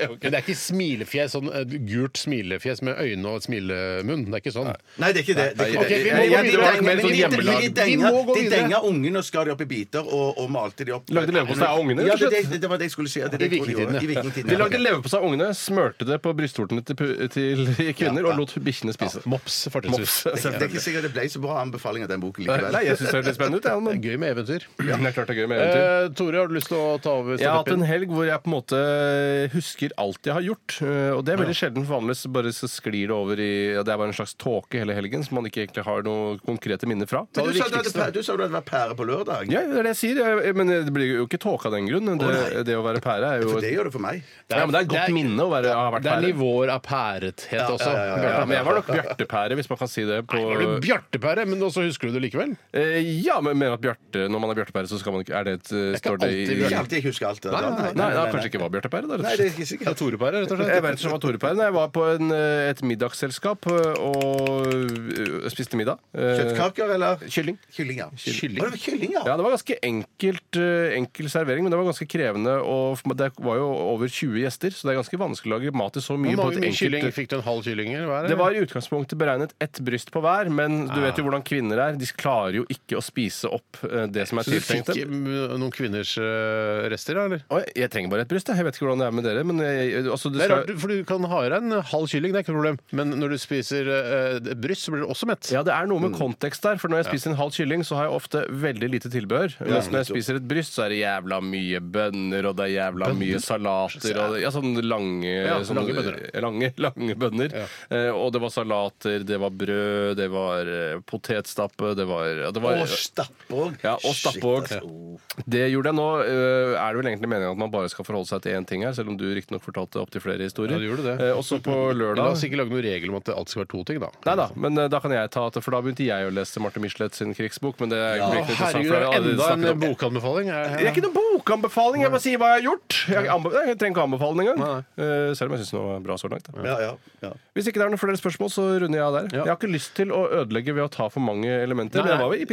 Speaker 5: Men det er ikke smilefjes, sånn eh, gult smilefjes med øyne og smilemunn. Det er ikke sånn.
Speaker 7: Nei, det er ikke det. det, er ikke
Speaker 5: Ok, vi
Speaker 7: det.
Speaker 5: må
Speaker 7: Nei,
Speaker 5: gå
Speaker 7: ja, de
Speaker 5: videre.
Speaker 7: denger-
Speaker 5: Mer
Speaker 7: de-
Speaker 5: sånn
Speaker 7: de-
Speaker 5: hjemmelag. Vi
Speaker 7: de denger-
Speaker 5: må gå
Speaker 7: De
Speaker 5: videre.
Speaker 7: denga ungene og skar de opp i biter, og, og malte de opp.
Speaker 6: Lagde leverpostei av ungene,
Speaker 7: Ja,
Speaker 6: rett og
Speaker 7: det,
Speaker 6: slett?
Speaker 7: det, det var det jeg skulle si. ja, Det, er det
Speaker 5: I
Speaker 7: jeg tror de gjorde.
Speaker 5: vikingtiden, ja.
Speaker 7: I vikingtiden.
Speaker 6: De
Speaker 7: ja.
Speaker 6: lagde leverpostei av ungene, smørte det på brystvortene til, pu- til kvinner og lot bikkjene spise.
Speaker 5: Mops, fortrinnsvis.
Speaker 6: Mops.
Speaker 7: Det er ikke sikkert det ble så bra anbefaling av den boken likevel.
Speaker 6: Nei, jeg syns det høres litt spennende ut. jeg,
Speaker 5: Det
Speaker 6: men-
Speaker 5: er gøy med eventyr.
Speaker 6: Ja, det er klart det er gøy med eventyr.
Speaker 5: Eh, Tore, har du lyst til å ta over
Speaker 6: Jeg har hatt en
Speaker 5: stafettpinnen?
Speaker 6: helg hvor jeg på en måte eh, husker alt jeg har gjort. eh, Og det er veldig sjelden. for Vanligvis bare så sklir det over i ja, Det er bare en slags tåke hele helgen som man ikke egentlig har noe konkrete minner fra.
Speaker 7: Men du,
Speaker 6: Det
Speaker 7: sa du, hadde,
Speaker 6: viktigste-
Speaker 7: pæ- du sa du hadde vært pære på lørdag.
Speaker 6: Ja, det er det jeg sier. Jeg- Men det blir jo ikke tåke av den grunn.
Speaker 7: nei.
Speaker 6: Det, det å være pære er jo
Speaker 7: For det gjør det for meg.
Speaker 6: Ja, men det er et godt
Speaker 5: det er-
Speaker 6: minne å være, ha vært
Speaker 5: Det er
Speaker 6: pære.
Speaker 5: nivåer av pærethet også.
Speaker 6: Ja, men jeg var nok Bjarte-pære, hvis man kan si det. På,
Speaker 5: Nei, var du bjartepære, men også husker du det likevel?
Speaker 6: Eh, ja, men mener at Bjarte, når man er Bjarte-pære, så skal man ikke Er det et eh,
Speaker 5: ikke
Speaker 6: Står det i
Speaker 5: alltid
Speaker 7: Ikke
Speaker 5: Bjarte.
Speaker 6: Nei,
Speaker 7: alltid jeg husker alt. det.
Speaker 6: nei, nei, nei, kanskje ikke var Bjarte-pære, da.
Speaker 7: Nei,
Speaker 6: rett og
Speaker 7: det er
Speaker 6: slett.
Speaker 7: ikke sikkert.
Speaker 5: Torepære, rett og
Speaker 6: Jeg vet ikke om det var Tore-pære. Nei, Jeg var på en, eh, et middagsselskap eh, og eh, spiste middag. Eh,
Speaker 7: Kjøttkaker eller
Speaker 6: Kylling.
Speaker 7: Kylling, ja.
Speaker 5: Kylling.
Speaker 7: Å, det var kylling, ja.
Speaker 6: Ja, det var ganske enkelt, eh, enkel servering, men det var ganske krevende. Og f- det var jo over 20 gjester, så det er ganske vanskelig å lage mat til så mye.
Speaker 5: Hvor
Speaker 6: på et
Speaker 5: mange
Speaker 6: enkelt-
Speaker 5: kylling fikk du? En halv kylling? eller hva er
Speaker 6: Det var i utgangspunktet beregnet ett bryst på hver, men du vet jo
Speaker 5: Ah.
Speaker 6: hvordan kvinner er. De klarer jo ikke å spise opp eh, det som er
Speaker 5: Så du fikk
Speaker 6: tiltenkt
Speaker 5: eh,
Speaker 6: dem.
Speaker 5: noen kvinners eh, rester, da, eller?
Speaker 6: Oi, Jeg trenger bare et bryst. jeg. Jeg vet ikke hvordan det er med dere. Men jeg, altså, du
Speaker 5: Det er
Speaker 6: skal...
Speaker 5: rart, for du kan ha i deg en halv kylling, det er ikke noe problem. Men når du spiser eh, et bryst, så blir du også mett. rett.
Speaker 6: Ja, det er noe med kontekst der, for når jeg spiser en halv kylling, så har jeg ofte veldig lite tilbehør. Mens når jeg spiser et bryst, så er det jævla mye bønner, og det er jævla mye salater, og ja, sånne lange
Speaker 5: Ja,
Speaker 6: sånne,
Speaker 5: lange bønner.
Speaker 6: Lange, lange bønner. Eh, og det var salater, det var brød, det var eh, potetstappe, det var, ja, det var
Speaker 7: Og altså. stappe òg.
Speaker 6: ja, og stappe òg.
Speaker 5: altså.
Speaker 6: Det gjorde jeg nå. eh, Er det vel egentlig meningen at man bare skal forholde seg til én ting her, selv om du riktignok fortalte opptil flere historier.
Speaker 5: Ja, du gjorde det.
Speaker 6: Eh, Også på
Speaker 5: La
Speaker 6: lørdag
Speaker 5: oss ikke lage noen regel om at det alltid skal være to ting, da.
Speaker 6: Nei da, men eh, da kan jeg ta at For da begynte jeg å lese Marte Michelet sin krigsbok, men det er
Speaker 5: Å,
Speaker 6: ikke riktig interessant.
Speaker 5: herregud,
Speaker 6: for
Speaker 5: det
Speaker 6: jeg har
Speaker 5: er
Speaker 6: allerede
Speaker 5: enda en
Speaker 6: snakket om det.
Speaker 5: bokanbefaling. Er-
Speaker 6: det er ikke noen bokanbefaling! Jeg bare sier hva jeg har gjort. Jeg, anbe- jeg trenger ikke anbefale den engang. Eh, Selv om jeg syns den var bra så langt. Da.
Speaker 7: Ja, ja, ja.
Speaker 6: Hvis ikke det er noen flere spørsmål, så runder jeg av der.
Speaker 5: Ja.
Speaker 6: Jeg har ikke lyst til å ødelegge ved å ta for mange elementer.
Speaker 5: Nei,
Speaker 6: Men jeg
Speaker 5: nei.
Speaker 6: var jo i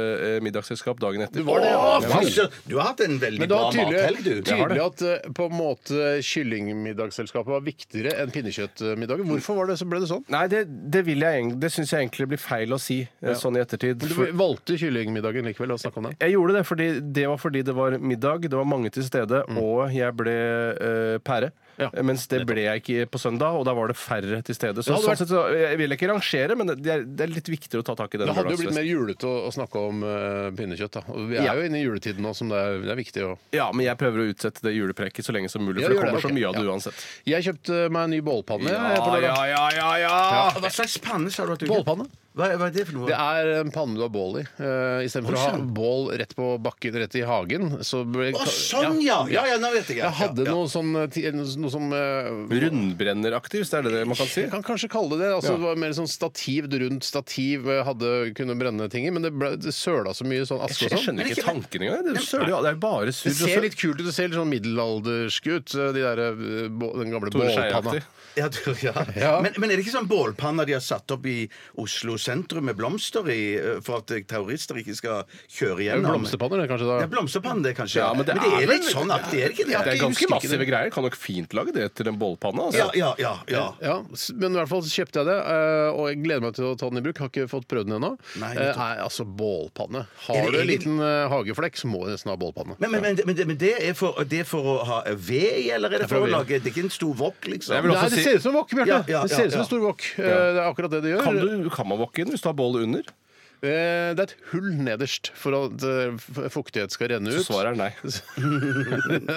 Speaker 6: pinnekjøttmiddagsselskap dagen etter.
Speaker 5: Du var det, ja.
Speaker 6: Åh,
Speaker 7: Ja,
Speaker 5: faen!
Speaker 7: fy søren, Du har hatt en veldig
Speaker 5: Men det
Speaker 7: bra
Speaker 5: var tydelig,
Speaker 7: mathelg, du.
Speaker 5: tydelig at eh, på en måte kyllingmiddagsselskapet var viktigere enn pinnekjøttmiddagen. Hvorfor var det, så ble det sånn?
Speaker 6: Nei, det, det, vil jeg, egentlig- det syns jeg egentlig blir feil å si eh, sånn i ettertid.
Speaker 5: Du
Speaker 6: for-
Speaker 5: valgte kyllingmiddagen likevel å snakke om den.
Speaker 6: Jeg gjorde det fordi det var fordi det var middag, det var mange til stede, og jeg ble eh, pære.
Speaker 5: Mm. Ja,
Speaker 6: Mens det ble jeg ikke på søndag, og da var det færre til stede. Så,
Speaker 5: Det hadde
Speaker 6: sånn
Speaker 5: vært-
Speaker 6: sett, så jeg vil ikke rangere, men det er, det er litt viktigere å ta tak i den
Speaker 5: Det hadde jo blitt
Speaker 6: lørdagsfesten.
Speaker 5: mer julete å, å snakke om eh, pinnekjøtt. Da. Og vi er
Speaker 6: Ja.
Speaker 5: jo inne i juletiden nå, som det er, det er viktig å
Speaker 6: Ja, men jeg prøver å utsette det juleprekket så lenge som mulig,
Speaker 5: Ja,
Speaker 6: for det
Speaker 5: gjør det,
Speaker 6: kommer så
Speaker 5: ok.
Speaker 6: mye av det
Speaker 5: Ja.
Speaker 6: uansett.
Speaker 5: Jeg kjøpte meg en ny bålpanne. jeg, på lørdag.
Speaker 6: ja, ja,
Speaker 7: Ja, Hva slags panne sa du at du
Speaker 5: Bålpanne.
Speaker 7: Hva, hva er det for noe?
Speaker 5: Det er en panne du har bål i. Uh, Istedenfor å ha bål rett på bakken, rett i hagen, så ble
Speaker 7: Å, sånn, ja! Ja, ja, nå vet jeg.
Speaker 5: Jeg hadde
Speaker 7: ja, ja.
Speaker 5: noe sånn eh, ti- noe som eh,
Speaker 6: Rundbrenneraktiv, så er det det man kan si?
Speaker 5: Jeg kan kanskje kalle det det. Altså,
Speaker 6: Ja.
Speaker 5: Det var mer sånn stativ, rundt stativ eh, hadde kunne brenne ting i, men det, ble, det søla så mye sånn
Speaker 6: Jeg
Speaker 5: aske og sånn.
Speaker 6: skjønner ikke tanken engang. Det, søler jo- det er jo bare surr
Speaker 5: Det
Speaker 6: og
Speaker 5: ser
Speaker 6: søl.
Speaker 5: litt kult ut, det ser litt sånn middelaldersk ut, eh, de der, eh, bå- den gamle
Speaker 6: Tore
Speaker 5: bålpanna.
Speaker 6: Skei-aktig.
Speaker 7: Ja, du, ja.
Speaker 5: Ja.
Speaker 7: Men, men er det ikke sånn bålpanner de har satt opp i Oslo sentrum med blomster i, eh, for at eh, terrorister ikke skal kjøre
Speaker 5: Det er jo
Speaker 7: gjennom?
Speaker 5: Blomsterpanner, det, kanskje? da
Speaker 7: Ja, blomsterpanne, det, kanskje.
Speaker 6: Ja, men det er
Speaker 7: er
Speaker 6: vel-
Speaker 7: litt sånn aktig, er det ikke det?
Speaker 6: Det er
Speaker 7: Jeg
Speaker 6: ganske
Speaker 7: husker ikke
Speaker 6: massive
Speaker 7: det.
Speaker 6: greier. Kan nok fint lage det til en bålpanne. Altså.
Speaker 7: Ja, ja, ja. ja.
Speaker 5: Ja, s- men i hvert fall så kjøpte jeg det, eh, og jeg gleder meg til å ta den i bruk. Har ikke fått prøvd den ennå. Eh,
Speaker 7: Nei, nettopp.
Speaker 5: Nei, altså, bålpanne.
Speaker 7: Er
Speaker 5: Har
Speaker 7: det
Speaker 5: du en
Speaker 7: egentlig-
Speaker 5: liten eh, hageflekk, så må du nesten ha bålpanne.
Speaker 7: Men, men, men, men, det- men det, er for, det er for å ha ved i, eller er det for
Speaker 5: for
Speaker 7: å
Speaker 5: ved.
Speaker 7: lage Det er ikke en stor wok,
Speaker 6: Jeg
Speaker 7: liksom?
Speaker 6: vil også
Speaker 5: Nei, det
Speaker 6: si-
Speaker 5: ser ut som en wok, Bjarte.
Speaker 7: Ja, ja,
Speaker 5: det ser ut som
Speaker 7: ja,
Speaker 5: en stor wok. Eh, Det er akkurat det det gjør.
Speaker 6: Kan, du, kan man wokke inn hvis du har bålet under?
Speaker 5: Eh, Det er et hull nederst for at eh, f- fuktighet skal renne ut.
Speaker 6: Så svaret er nei.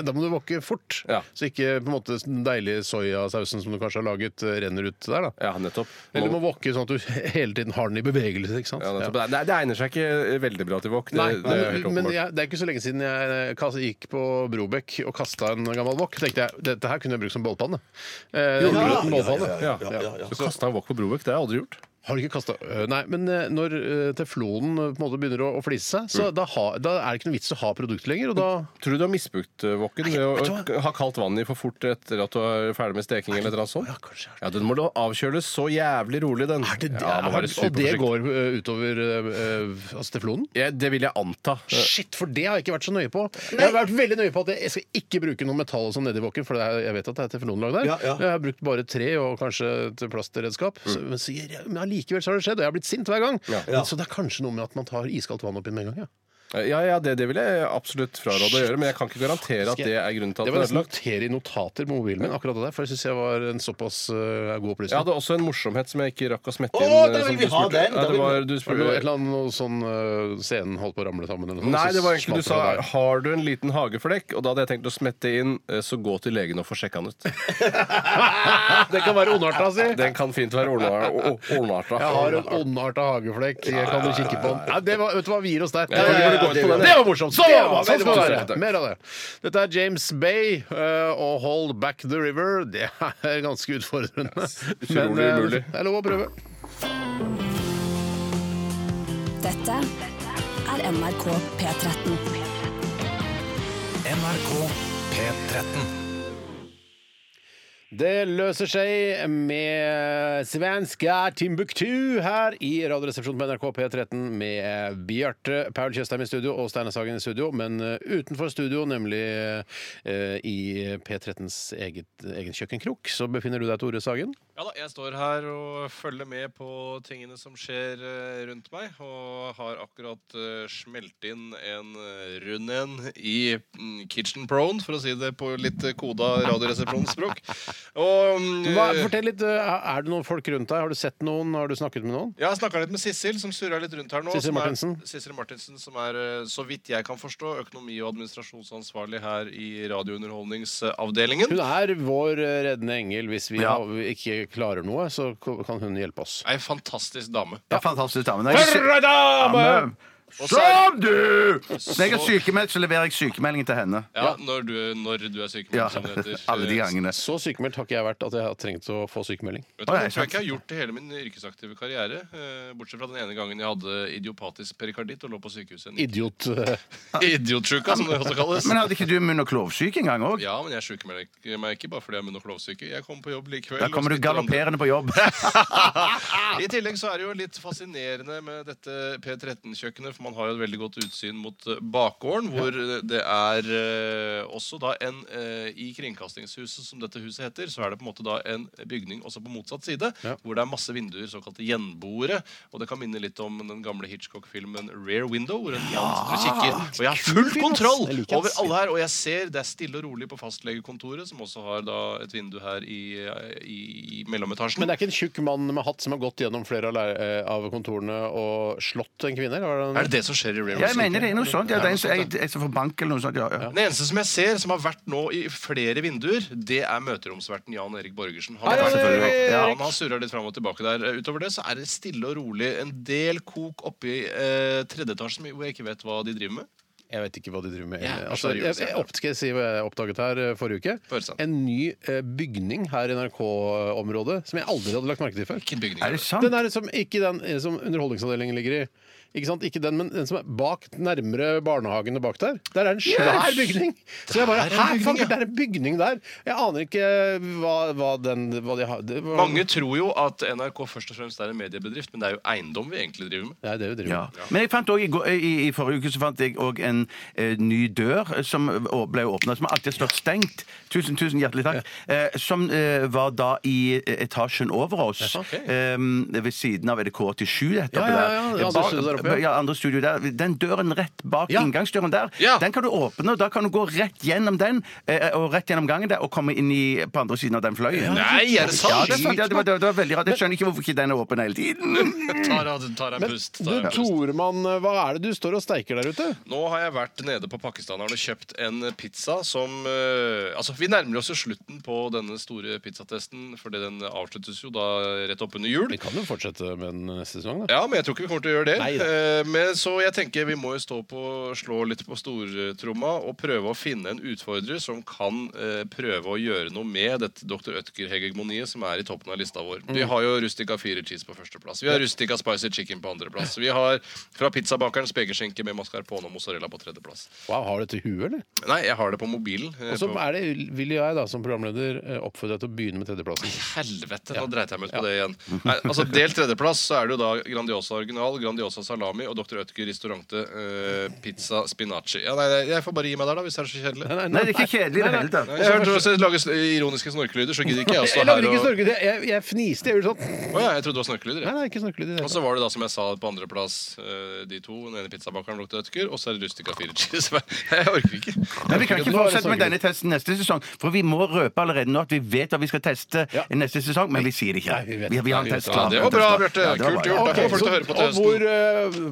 Speaker 5: da må du wokke fort,
Speaker 6: Ja.
Speaker 5: så ikke på en måte den deilige soyasausen som du kanskje har laget, eh, renner ut der. da.
Speaker 6: Ja, nettopp.
Speaker 5: Eller du må wokke sånn at du hele tiden har den i bevegelse. ikke sant?
Speaker 6: ja,
Speaker 5: Ja.
Speaker 6: nettopp. Nei, det egner seg ikke veldig bra til wok. Det,
Speaker 5: Nei,
Speaker 6: det er helt
Speaker 5: men, men
Speaker 6: åpenbart.
Speaker 5: jeg, det er ikke så lenge siden jeg eh, kas- gikk på Brobekk og kasta en gammel wok. tenkte jeg, Dette her kunne jeg brukt som bålpanne. Eh,
Speaker 7: Ja, ja,
Speaker 5: grøten
Speaker 7: ja,
Speaker 5: bålpanne.
Speaker 7: ja, ja, ja, ja.
Speaker 6: Du kasta en wok på Brobekk, det har jeg aldri gjort.
Speaker 5: Har du ikke kastet? Øh, Nei, men eh, når eh, teflonen eh, på en måte begynner å, å flise seg,
Speaker 6: Mm.
Speaker 5: så da, ha, da er det ikke noe vits å ha produktet lenger. og da...
Speaker 6: Tror du du har misbrukt eh, woken ved å ha kaldt vann i for fort etter at du er ferdig med steking? eller et eller annet sånt?
Speaker 5: Ja, kanskje er det.
Speaker 6: Ja, Den må da avkjøles så jævlig rolig, den. Ja, må
Speaker 5: er,
Speaker 6: være
Speaker 5: og det
Speaker 6: superforsiktig.
Speaker 5: går eh, utover eh, eh, altså teflonen?
Speaker 6: Ja, det vil jeg anta.
Speaker 5: Shit, for det har jeg ikke vært så nøye på. Jeg har vært veldig nøye på at jeg skal ikke bruke noe metall og sånn nedi woken, for det er, jeg vet at det er teflonlag der.
Speaker 7: Ja, ja.
Speaker 5: Jeg har brukt bare tre og kanskje et plastredskap. Så,
Speaker 6: Mm.
Speaker 5: men så- men allikevel så har det skjedd, og jeg har blitt sint hver gang. Men, så det er kanskje noe med at man tar iskaldt vann oppi med en gang, ja.
Speaker 6: Eh, Ja, ja, det, det vil jeg absolutt fraråde å gjøre, men jeg kan ikke garantere at det er grunnen til at
Speaker 5: Det
Speaker 6: den er
Speaker 5: var nesten
Speaker 6: ødelagt.
Speaker 5: notere i notater på mobilen min, akkurat det der, for jeg syns jeg var en såpass eh, god
Speaker 6: Jeg
Speaker 5: opplysning.
Speaker 6: hadde også en morsomhet som jeg ikke rakk å smette
Speaker 7: Å,
Speaker 6: inn.
Speaker 7: da
Speaker 6: eh,
Speaker 7: vil
Speaker 6: som
Speaker 7: vi
Speaker 6: du
Speaker 7: ha
Speaker 6: spurte.
Speaker 7: den,
Speaker 6: Ja,
Speaker 7: da vil
Speaker 6: det
Speaker 7: vi-
Speaker 6: var, du
Speaker 5: Var det
Speaker 6: spurte,
Speaker 5: noe, et eller annet noe sånn eh, scenen holdt på å ramle sammen eller noe?
Speaker 6: Nei,
Speaker 5: så
Speaker 6: det var egentlig du sa
Speaker 5: smalt det der.
Speaker 6: 'har du en liten hageflekk', og da hadde jeg tenkt å smette inn eh, 'så gå til legen og få sjekka den ut'.
Speaker 5: Det kan være ondarta, si!
Speaker 6: Den kan fint være ordna- o- o- ordnarta.
Speaker 5: Jeg har en ondarta hageflekk. Jeg kan du kikke på den. Nei, det var, vet du hva, vi gir oss der.
Speaker 6: Ja, ja, ja, ja,
Speaker 5: det,
Speaker 6: det gjør vi.
Speaker 5: var morsomt! Sånn,
Speaker 6: Det var veldig
Speaker 5: sånn skal det
Speaker 6: morsomt.
Speaker 5: være! Mer av det. Dette er James Bay eh, og 'Hold Back The River'. Det er ganske utfordrende.
Speaker 6: utrolig
Speaker 5: eh,
Speaker 6: umulig.
Speaker 5: det er lov å prøve.
Speaker 8: Dette er NRK P13.
Speaker 10: NRK P13.
Speaker 5: Det løser seg med svenska Timbuktu her i Radioresepsjonen på NRK P13 med Bjarte Paul Tjøstheim i studio og Steinar Sagen i studio, men eh, utenfor studio, nemlig eh, i P13s eget, egen kjøkkenkrok, så befinner du deg, Tore Sagen.
Speaker 6: Ja da, jeg står her og følger med på tingene som skjer eh, rundt meg, og har akkurat eh, smelt inn en eh, rund en i mm, Kitchen Prone, for å si det på litt eh, koda radioresepsjonsspråk. Og mm,
Speaker 5: Hva, fortell litt, eh, Er det noen folk rundt deg? Har du sett noen? Har du snakket med noen?
Speaker 6: jeg har snakka litt med Sissel, som surrer litt rundt her nå.
Speaker 5: Sissel
Speaker 6: som
Speaker 5: Martinsen.
Speaker 6: Er, Sissel Martinsen, som er, eh, så vidt jeg kan forstå, økonomi- og administrasjonsansvarlig her i Radiounderholdningsavdelingen.
Speaker 5: Hun er vår eh, reddende engel. Hvis vi
Speaker 7: Ja.
Speaker 5: har- ikke klarer noe, så ko- kan hun hjelpe oss.
Speaker 6: Ei fantastisk dame.
Speaker 7: Ja, fantastisk dame. Når jeg,
Speaker 5: Hurra, dame!
Speaker 6: Og så er-
Speaker 7: som du! Når jeg er sykemeldt, så leverer jeg sykemelding til henne.
Speaker 6: Ja, når du, når du er sykemeldt,
Speaker 7: Ja,
Speaker 6: som det heter.
Speaker 7: alle de gangene.
Speaker 5: Så sykemeldt har ikke jeg vært at jeg har trengt å få sykemelding.
Speaker 6: Vet du,
Speaker 7: Å,
Speaker 6: hva,
Speaker 7: nei,
Speaker 6: jeg tror
Speaker 7: sant.
Speaker 6: jeg ikke jeg har gjort det hele min yrkesaktive karriere. eh, Bortsett fra den ene gangen jeg hadde idiopatisk perikarditt og lå på sykehuset. en-
Speaker 5: Idiot. eh,
Speaker 6: Idiotsjuka, som det også kalles.
Speaker 7: Men hadde ikke du munn- og klovsyke en gang òg?
Speaker 6: Ja, men jeg sykemelder meg ikke bare fordi jeg er munn- og klovsyke. Jeg kommer på jobb likevel.
Speaker 7: Da
Speaker 6: og
Speaker 7: kommer du
Speaker 6: smitter andre.
Speaker 7: galopperende på jobb.
Speaker 6: I tillegg så er det jo litt fascinerende med dette P13-kjøkkenet, for man har jo et veldig godt utsyn mot eh, bakgården, hvor eh, det er eh, også da en eh, I Kringkastingshuset, som dette huset heter, så er det på en måte da en bygning også på motsatt side,
Speaker 5: Ja.
Speaker 6: hvor det er masse vinduer, såkalte gjenboere, og det kan minne litt om den gamle Hitchcock-filmen Rare Window, hvor en mann sitter og kikker. Og jeg har full
Speaker 5: film, ass.
Speaker 6: kontroll
Speaker 5: Jeg liker
Speaker 6: over
Speaker 5: den.
Speaker 6: alle her, og jeg ser det er stille og rolig på fastlegekontoret, som også har da et vindu her i, eh, i, i mellometasjen.
Speaker 5: Men det er ikke en tjukk mann med hatt som har gått gjennom flere av, leir- eh, av kontorene og slått en kvinne? Eller?
Speaker 6: Er
Speaker 5: var det en-
Speaker 6: det det som skjer i Rare
Speaker 7: Jeg
Speaker 6: Window?
Speaker 7: mener det er noe sånt. Ja, det er en som jeg- jeg som får bank eller noe sånt. Ja, ja.
Speaker 6: Den eneste som jeg ser som har vært nå i flere vinduer, det er møteromsverten Jan Erik Borgersen. Han,
Speaker 5: Hei,
Speaker 6: har-
Speaker 5: Jan Erik!
Speaker 6: Ja, han har surret litt fram og tilbake der. Eh, Utover det så er det stille og rolig. En del kok oppi eh, tredje etasjen hvor jeg ikke vet hva de driver med.
Speaker 5: Jeg vet ikke hva de driver med.
Speaker 6: Ja,
Speaker 5: altså, jeg, jeg, opp, skal jeg si hva jeg oppdaget her eh, forrige uke?
Speaker 6: Få høre, sånn. Stan.
Speaker 5: En ny eh, bygning her i NRK-området eh, som jeg aldri hadde lagt merke til før.
Speaker 6: Hvilken bygning
Speaker 7: Er
Speaker 6: er
Speaker 7: det
Speaker 6: det?
Speaker 7: sant?
Speaker 5: Den er som, ikke den eh, som underholdningsavdelingen ligger i. Ikke sant? Ikke den, men den som er bak, nærmere barnehagene bak der. Der er en svær bygning! Så jeg bare
Speaker 6: er en
Speaker 5: Hæ,
Speaker 6: bygning,
Speaker 5: faen,
Speaker 6: ja."
Speaker 5: det er en bygning der! Jeg aner ikke hva, hva den hva de har det var-
Speaker 6: Mange tror jo at NRK først og fremst er en mediebedrift, men det er jo eiendom vi egentlig driver med.
Speaker 5: Nei, det er jo drivet.
Speaker 7: Ja. Men jeg fant også, i, går- i, i forrige uke så fant jeg òg en eh, ny dør eh, som å- ble åpna, som alltid har stått stengt. Tusen, tusen hjertelig takk. Eh, som eh, var da i eh, etasjen over oss. eh, ved siden av EDK87.
Speaker 5: Ja, ja, ja, det andre studioet der oppe, ja.
Speaker 7: ja, andre studio der. Den døren rett bak
Speaker 5: Ja.
Speaker 7: inngangsdøren der,
Speaker 6: Ja.
Speaker 7: den kan du åpne, og da kan du gå rett gjennom den eh, og rett gjennom gangen der og komme inn i, på andre siden av den fløyen.
Speaker 6: Nei, er det sant?
Speaker 7: Ja, det, er sant. Ja, det, var, det, var, det var veldig rart. Jeg skjønner ikke hvorfor ikke den er åpen hele tiden.
Speaker 6: Tar av- tar en
Speaker 5: Men
Speaker 6: pust.
Speaker 5: du,
Speaker 6: Tar en pust.
Speaker 5: Toremann, hva er det du står og steiker der ute?
Speaker 6: Nå har jeg vært nede på Pakistaneren og kjøpt en pizza som eh, Altså, vi nærmer oss jo slutten på denne store pizzatesten, fordi den avsluttes jo da rett oppunder jul.
Speaker 5: Vi kan jo fortsette med den neste sesong, da.
Speaker 6: Ja, men jeg tror ikke vi kommer til å gjøre det.
Speaker 5: Nei da.
Speaker 6: Eh, Men så jeg tenker vi må jo stå på, slå litt på stortromma og prøve å finne en utfordrer som kan eh, prøve å gjøre noe med dette Dr. Ødker-hegemoniet som er i toppen av lista vår.
Speaker 5: Mm.
Speaker 6: Vi har jo Rustica 4 cheese på førsteplass. Vi har Rustica spicy chicken på andreplass. Vi har fra pizzabakerens spekeskinke med mascarpone og mozzarella på tredjeplass.
Speaker 5: Wow, har du dette i huet, eller?
Speaker 6: Nei, jeg har det på mobilen. eh,
Speaker 5: Og så
Speaker 6: på
Speaker 5: er det, vil jeg da, som programleder eh, oppfordre deg til å begynne med tredjeplassen.
Speaker 6: Helvete, da dreit jeg meg ut på det igjen. Nei, altså Delt tredjeplass så er det jo da Grandiosa original, Grandiosa salami og Dr. Ødker restaurante eh, pizza spinaci. Ja, nei, nei, jeg får bare gi meg der, da, hvis det er så kjedelig.
Speaker 7: Nei, det er ikke kjedelig i det hele tatt.
Speaker 6: Nei, Jeg hørte også lage s- ironiske snorkelyder, så gidder ikke jeg å stå
Speaker 5: Jeg
Speaker 6: her
Speaker 5: lager ikke
Speaker 6: og
Speaker 5: snorkelyder. Jeg, jeg fniste. Jeg gjorde sånn.
Speaker 6: Å ja, jeg trodde det var snorkelyder.
Speaker 5: Nei,
Speaker 6: jeg.
Speaker 5: nei, ikke snorkelyder. i det hele
Speaker 6: Og så var det da, som jeg sa, på andreplass eh, de to. Den ene pizzabakeren Dr. Ødker, og så er det Rustica Fire Cheese. Jeg orker ikke.
Speaker 7: Men vi kan
Speaker 5: Nå er
Speaker 7: ikke
Speaker 5: det
Speaker 7: fortsette med denne testen neste sesong, for vi må røpe allerede nå at vi vet hva vi skal teste
Speaker 5: Ja.
Speaker 7: neste sesong, men vi sier det ikke.
Speaker 5: Nei, vi vet.
Speaker 7: vi, vi har en test
Speaker 6: Ja,
Speaker 7: klar.
Speaker 6: det var bra, Bjarte.
Speaker 7: Ja, det var
Speaker 6: Kult
Speaker 7: bra.
Speaker 6: gjort. Da
Speaker 5: Ok,
Speaker 6: kommer folk til å
Speaker 5: så-
Speaker 6: høre på til
Speaker 5: og hvor